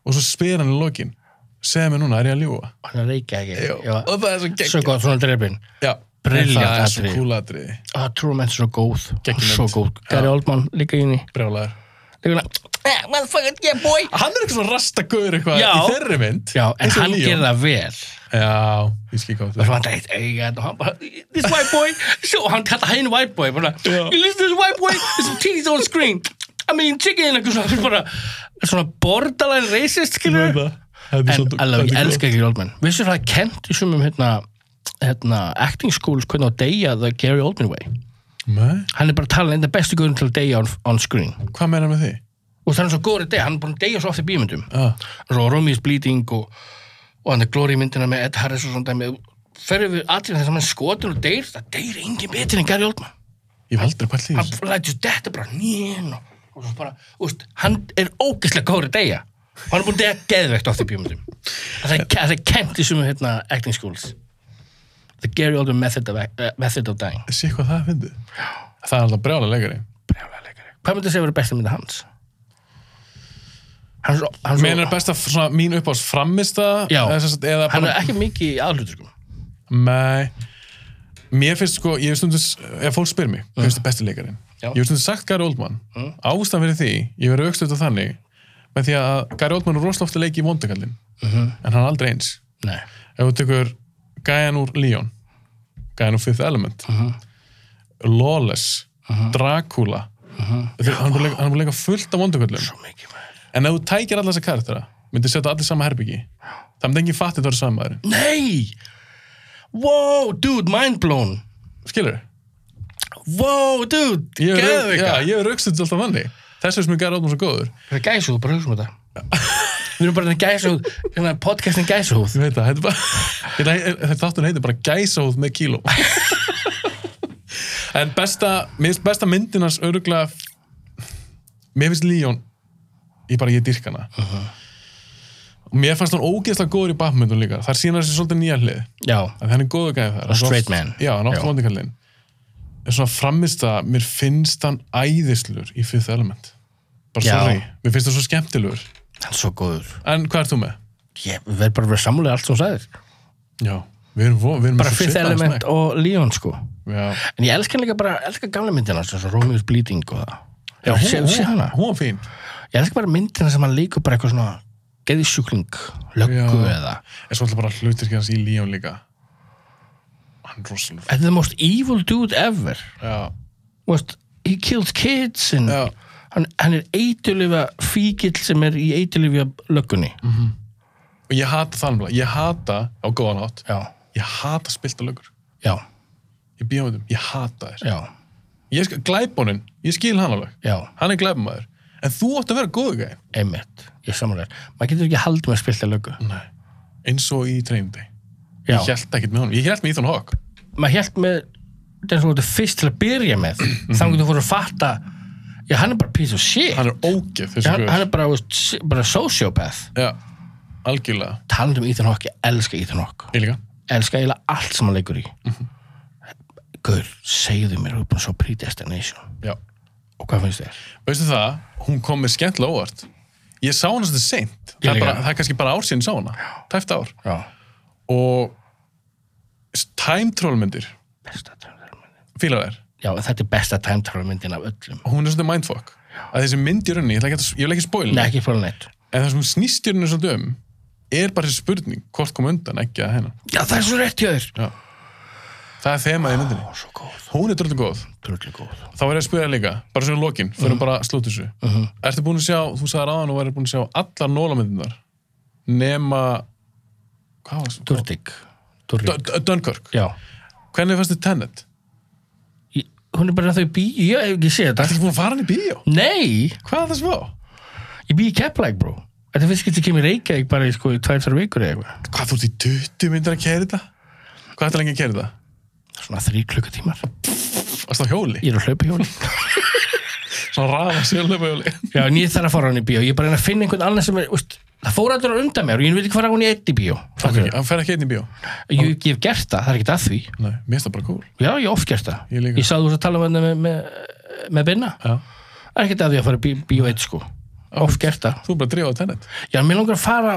og svo spyr hann í lokin, segð mér núna, er ég að ljúa? hann er reykja ekki og það er svo Svo geggjum góð, svona drefin Brilliant það er svo atriði. kúl atriði ah, True Man er svo góð Ah, Geggjum Svo mynd. góð, Gary Oldman líka í henni brjálæður Líka hann Eh, Motherfucker, yeah boy hann er eitthvað svona rastagöður eitthvað Já. í þeirri mynd Já, en Eins og hann Leon. gerir það vel já, ég skil gátt og svo hann dætt eigat og hann bara this white boy, so hann kallar hægin white boy bara, Já. you listen to this white boy it's a teenage on screen, I mean chicken eitthvað svona, bara, svona borderline racist um skilur en alveg, ég elska ekki Oldman vissur það er kent í sumum hérna, hérna, acting schools hvernig á deyja the Gary Oldman way hvað hann er bara talað einn af bestu guðum til að deyja on, on screen meina með því? og það er svo góður að deyja, hann er búin að deyja svo oft í bímyndum Ah, svo Romeo is Bleeding og, og hann er Glory myndina með Ed Harris og svona dæmi ferðu við atrið þess að hann skotur og deyr það deyr engin betur en Gary Oldman ég hef aldrei pælt í hann þessu lætur þetta bara nýinn og, og svo bara, úst, hann er ógeðslega góður að deyja og hann er búin að deyja geðveikt oft í bíómyndum það er, það er kent í sumu hérna acting schools the Gary Oldman method of, uh, method of dying sé hvað það fyndið það er alltaf brjálega leikari brjálega leikari hvað myndi að segja verið besta mynda hans? hann er svo, hann meina er er svo, best að svona, mín uppáðs framista Já. eða, sem sagt- eða hann bara er ekki mikið í aðhlutur Nei, mér finnst sko, ég hef stundis, ef fólk spyr mig, hvað finnst þið besti leikarinn? Já. Ég hef stundis sagt Gary Oldman, mm. ástæðan fyrir því, ég verið aukstuð á þannig, með því að Gary Oldman er rosalega ofta leiki í vondakallin, en hann er aldrei eins. nei, Ef þú tekur Gæjan úr Leon, Gæjan úr Fifth Element, Lawless, Dracula, Þeir, hann er búinn að leika- hann er búin að leika fullt af vondakallum. svo mikið maður En ef þú tækir alla þessa karaktera, myndir setja alla í sama herbyggi, það myndi engin fattið það eru sama maðurinn. Nei! Wow, dude, mind blown Skilur þau? Wow, dude, Ég hef rauk- geðvika já, ég hef raukstuðt alltaf manni Þess vegna sem ég gæði áttum svo góður Það er gæsahúð, bara hugsa um þetta Við erum bara gæsahúð, hérna podcastin gæsahúð Ég veit það, þetta er bara Ég ætla- Þetta þáttun heitir bara gæsóð með kíló En besta Mér finnst besta myndin hans öruglega Mér finnst Líón Ég bara, ég dyrk hana Og mér fannst hann ógeðslega góður í Batmyndun líka Það er síðan þessi svolítið nýja hlið Já, að hann er góðu gæði þar Hann er svo straight oft- man. já, hann Já. átti vondikallin en svona framist að mér finnst hann æðislur í Fifth Element bara Já. sorry, mér finnst það svo skemmtilegur hann er svo góður en hvað ert þú með? Ég verð bara að vera samlega allt sem þú sagðir já, við erum, vo- við erum Bara svo fyrst svipaðan element smekk. og Leon, sko já, En ég elska hann líka bara, elska gamla myndina Svo Romeo's Bleeding og það já hún, sé, hún, sé hún, hana hún var fín Ég elska bara myndina sem hann leikur bara eitthvað svona Geði sjúkling, löggu Já. eða en svo alltaf bara hlutir hans í Líón líka hann er rosalega Þetta er the most evil dude ever fín. já, veist, he killed kids and Já. hann, hann er eitulifja fíkil sem er í eitulifja löggunni Mm. og ég hata það alveg ég hata, á góðan átt já, ég hata spilta lögur já, ég býða með ég hata þér já, ég skal, glæbónin, ég skil hann alveg já hann er glæbamaður en þú átt að vera góðu gæði einmitt, ég samanlega maður getur ekki haldið með að spilta löggu Nei. eins og í treyndi já, Mm. ég held ekkert með honum, ég held með Ethan Hawke maður held með það sem þú ert fyrst til að byrja með Mm, þannig að þú fór að fatta já, hann er bara piece of shit hann, hann er ógeð þessu hann, guður er bara, veist, s- bara sociopath já, algjörlega, talandi um Ethan Hawke, ég elska Ethan Hawke ég líka elska eiginlega allt sem hann leikur í Mhm. Gaur, segðu mér þú er búin að svo predestination já. og hvað finnst þér? veistu það, hún kom mér skemmtilega óvart ég sá hana svolítið seint Ég það er, líka. bara, það er kannski bara ár síðan ég sá hana tæft ár Já. og s- time troll myndir, Besta time travel myndin. fíla þær Já, þetta er besta time travel myndin af öllum. og hún er svolítið mindfuck að þessi mynd í rauninni, ég, ætla ekki að- ég vil ekki spoil Nei, ekki fór neitt. en það sem snýst í rauninni svolítið um er bara þessi spurning, hvort kom undan ekki að hennar Já, það er svo rétt hjá þér. það er Ah. þemað í myndinni, Ó, svo góð. hún er dröldin góð Trullu góð. þá er ég að spyrja þig líka, bara svo í lokin Uh-huh. fyrir bara að slúta þessu ertu búin að sjá, þú sagði ráðan og væri búin að sjá allar nólamyndunar nema hvað var það? Durdig. Durdig. D- D- Dunkirk, Já. hvernig fannst þið Tenet? Ég, hún er bara þau bí... Ég hef ekki Það er séð þetta. ekki búin að fara hann í bíó Nei, Hvað er það smá? ég bý í Keflæk, brú. Þetta finnst ekki að kemur reykja ekki bara í sko í tvær, þar vikur eða eitthvað. Hvað þú ert í 20 myndir að kæra þetta? Hvað ætti lengi að kæra þetta? Svona þrý klukkutímar. Varst það á hjóli? Ég er að hlaupa hjóli. Svona rafa sjálfum hjóli Já, en ég þarf að fara á hann í bíó. Ég er bara að reyna að finna einhvern annan sem er... Úst, það fór allir á undan mér og ég veit ekki hvað hann í eitt í bíó. okay, Hann fer ekki einn í bíó Ég, ég hef gert það, það er ekkert að því. Nei, mér finnst það bara cool Já, ég hef oft gert það. Ég líka. sá þú svo að tala um þetta með, með, með Binna. Já. Það er ekkert að því að fara í bí, bíó eitt, sko. Oft gert það. Þú er bara að drífa á Tenet Já, mér langar að fara,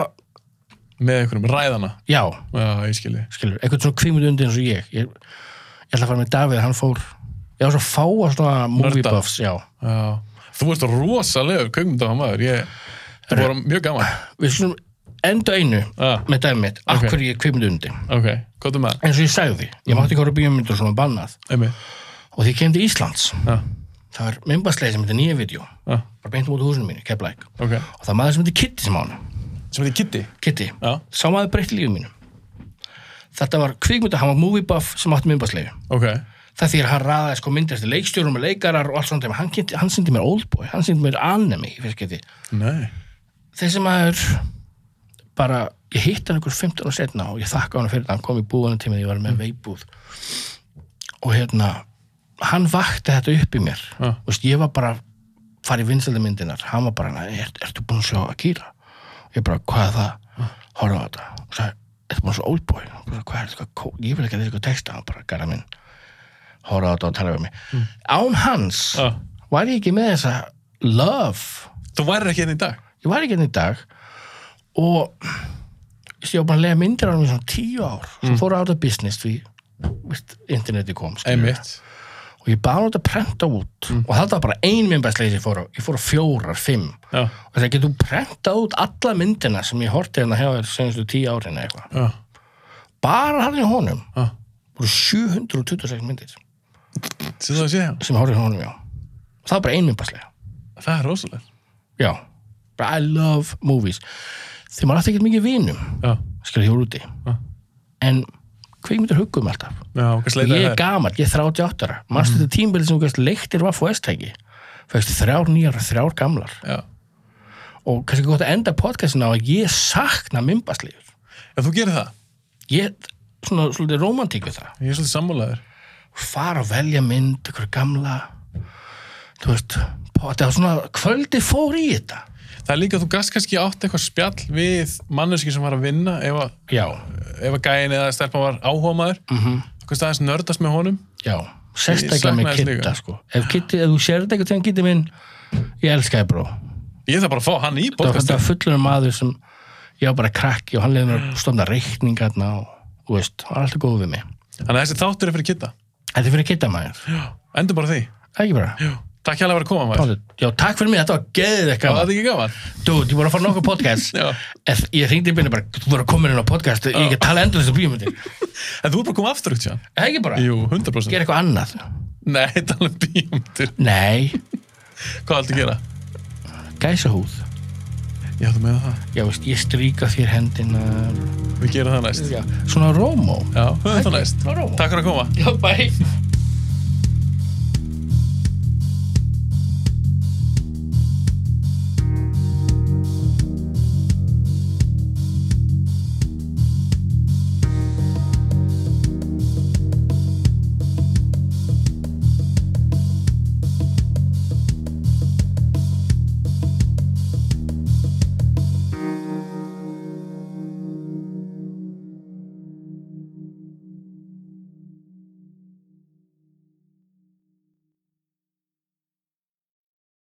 Með einhverjum ræðana já, Já, ég skilji skilur, eitthvað svona kvímut undir eins og ég. ég. Ég ætla að fara með Davíð, hann fór, ég á svo fáa svona movie Nörda. buffs, já. Já. Þú ert rosalegur kveikmyndahamaður Ég, það voru mjög gaman Við slum enda einu Já. með dæmið mitt, af Ok. Mm. hverju ég er kvímut undir. Ok, hvað er maður? Eins og ég sagði, ég mátti ekki horfa á bíómyndur svona bannað. Emi Og því ég kem til Íslands, Já, það var mymbasleið sem heitir nýja vídeo, já, bara beint á móti húsinu mínu, Keflæk. ok Og það er maður sem heitir Kitty sem á hana. Sem þetta Kitty Kitty, Já, sá maður breytti lífið mínu þetta var kvikmynda, hann var movie buff sem átti myndbasleifu ok það því að hann raðaði sko myndast í leikstjórum og leikarar og allt svona dæmi. hann, kynnti- hann syndi mér Oldboy, hann syndi mér Anemi í fyrst geti. Nei þessi maður bara, ég hitt hann ykkur 15 og setna og ég þakka hann fyrir það, hann kom í búðanum tíma því ég var Mm. með veipúð og hérna, hann vakti þetta upp í mér, Já. þú veist, ég var bara farið vinsaldamindinar, hann var bara "Nei, er, ertu búin að sjá að kýra ég bara, hvað er það, horfa á þetta og sagði, ertu búin að sjá oldboy Hann bara, hvað er þetta, kó- ég vil ekki að þetta eitthvað texta hann bara, gara minn, horfa á þetta og tala við mig, án hans Mm. Já. var ég ekki með þessa love Þú værir ekki einn í dag ég var ekki hérna í dag og veist, ég var bara að lega myndir á hann í svona tíu ár svo mm. fór að áta business því veist, interneti kom skilurðu. Einmitt Mm. og ég bara áta að prenta út og þetta var bara ein myndbæsleið sem ég fór á ég fór á fjórar, fimm Já, og það getur prentað út alla myndina sem ég horti hérna hefur senstu tíu árin eða eitthvað já, bara hann í honum já voru 726 myndir Sem það sé já sem ég horfði honum já það var bara ein myndbæsleið Það er rosaleg já, bara I love movies því maður átti ekkert mikið vinum Já, skil ég úr úti en kveikmyndir hugum um alltaf já, ok, sleita ég er gamall, ég er 38 ára Mhm. mannstu þetta tímbilið sem þú gæst leiktir vaff og estæki fækst þrjár nýjar og þrjár gamlar Já og kannski gott að enda podcastin á að ég sakna mymbaslífur Já, þú gerir það ég er svona svolítið romantík við það Ég er svolítið sammálaður fara að velja mynd, ykkur gamla þú veist pot- það var svona, kvöldi fór í þetta Það er líka að þú gast kannski átt eitthvað spjall við manneski sem var að vinna ef að, já, ef að gæin eða stelpa var áhómaður mm -hmm. kannski aðeins nördast með honum já Ég sérstaklega sakna með þess kitta líka. sko ef, kitti, ef þú sér þetta eitthvað til hann kitti minn ég elska þið bró Ég þarf bara að fá hann í það var podcastin þetta fullur maður sem ég var bara krakki og hann leiði mér að stofna reikningarna og þú veist, hann er alltaf góð við mig Þannig að þessi þáttur er fyrir kitta Þetta er fyrir kitta maður, Endur bara því ekki bara Já. Takk hérlega fyrir að koma maður Pálið, Já, takk fyrir mig, þetta var geðið Það eitthvað er ekki gaman Dude, ég voru að fara nokkuð podcast Já. En Ég hringdi í byrni bara, þú voru að koma inn á podcast Ég ekki að tala endur þessu bíómyndi En þú er bara að koma aftur út sér um Ekki bara, Jú, 100% gera eitthvað annað Nei, tala um bíómyndir Nei, Hvað ætti að gera? gæsa húð Já, þú meina það Já, veist, ég stríka þér hendina Við gerum það næst Já, Svona rómó Já, höfum það næst Rómó Takk fyrir að koma Já, bæ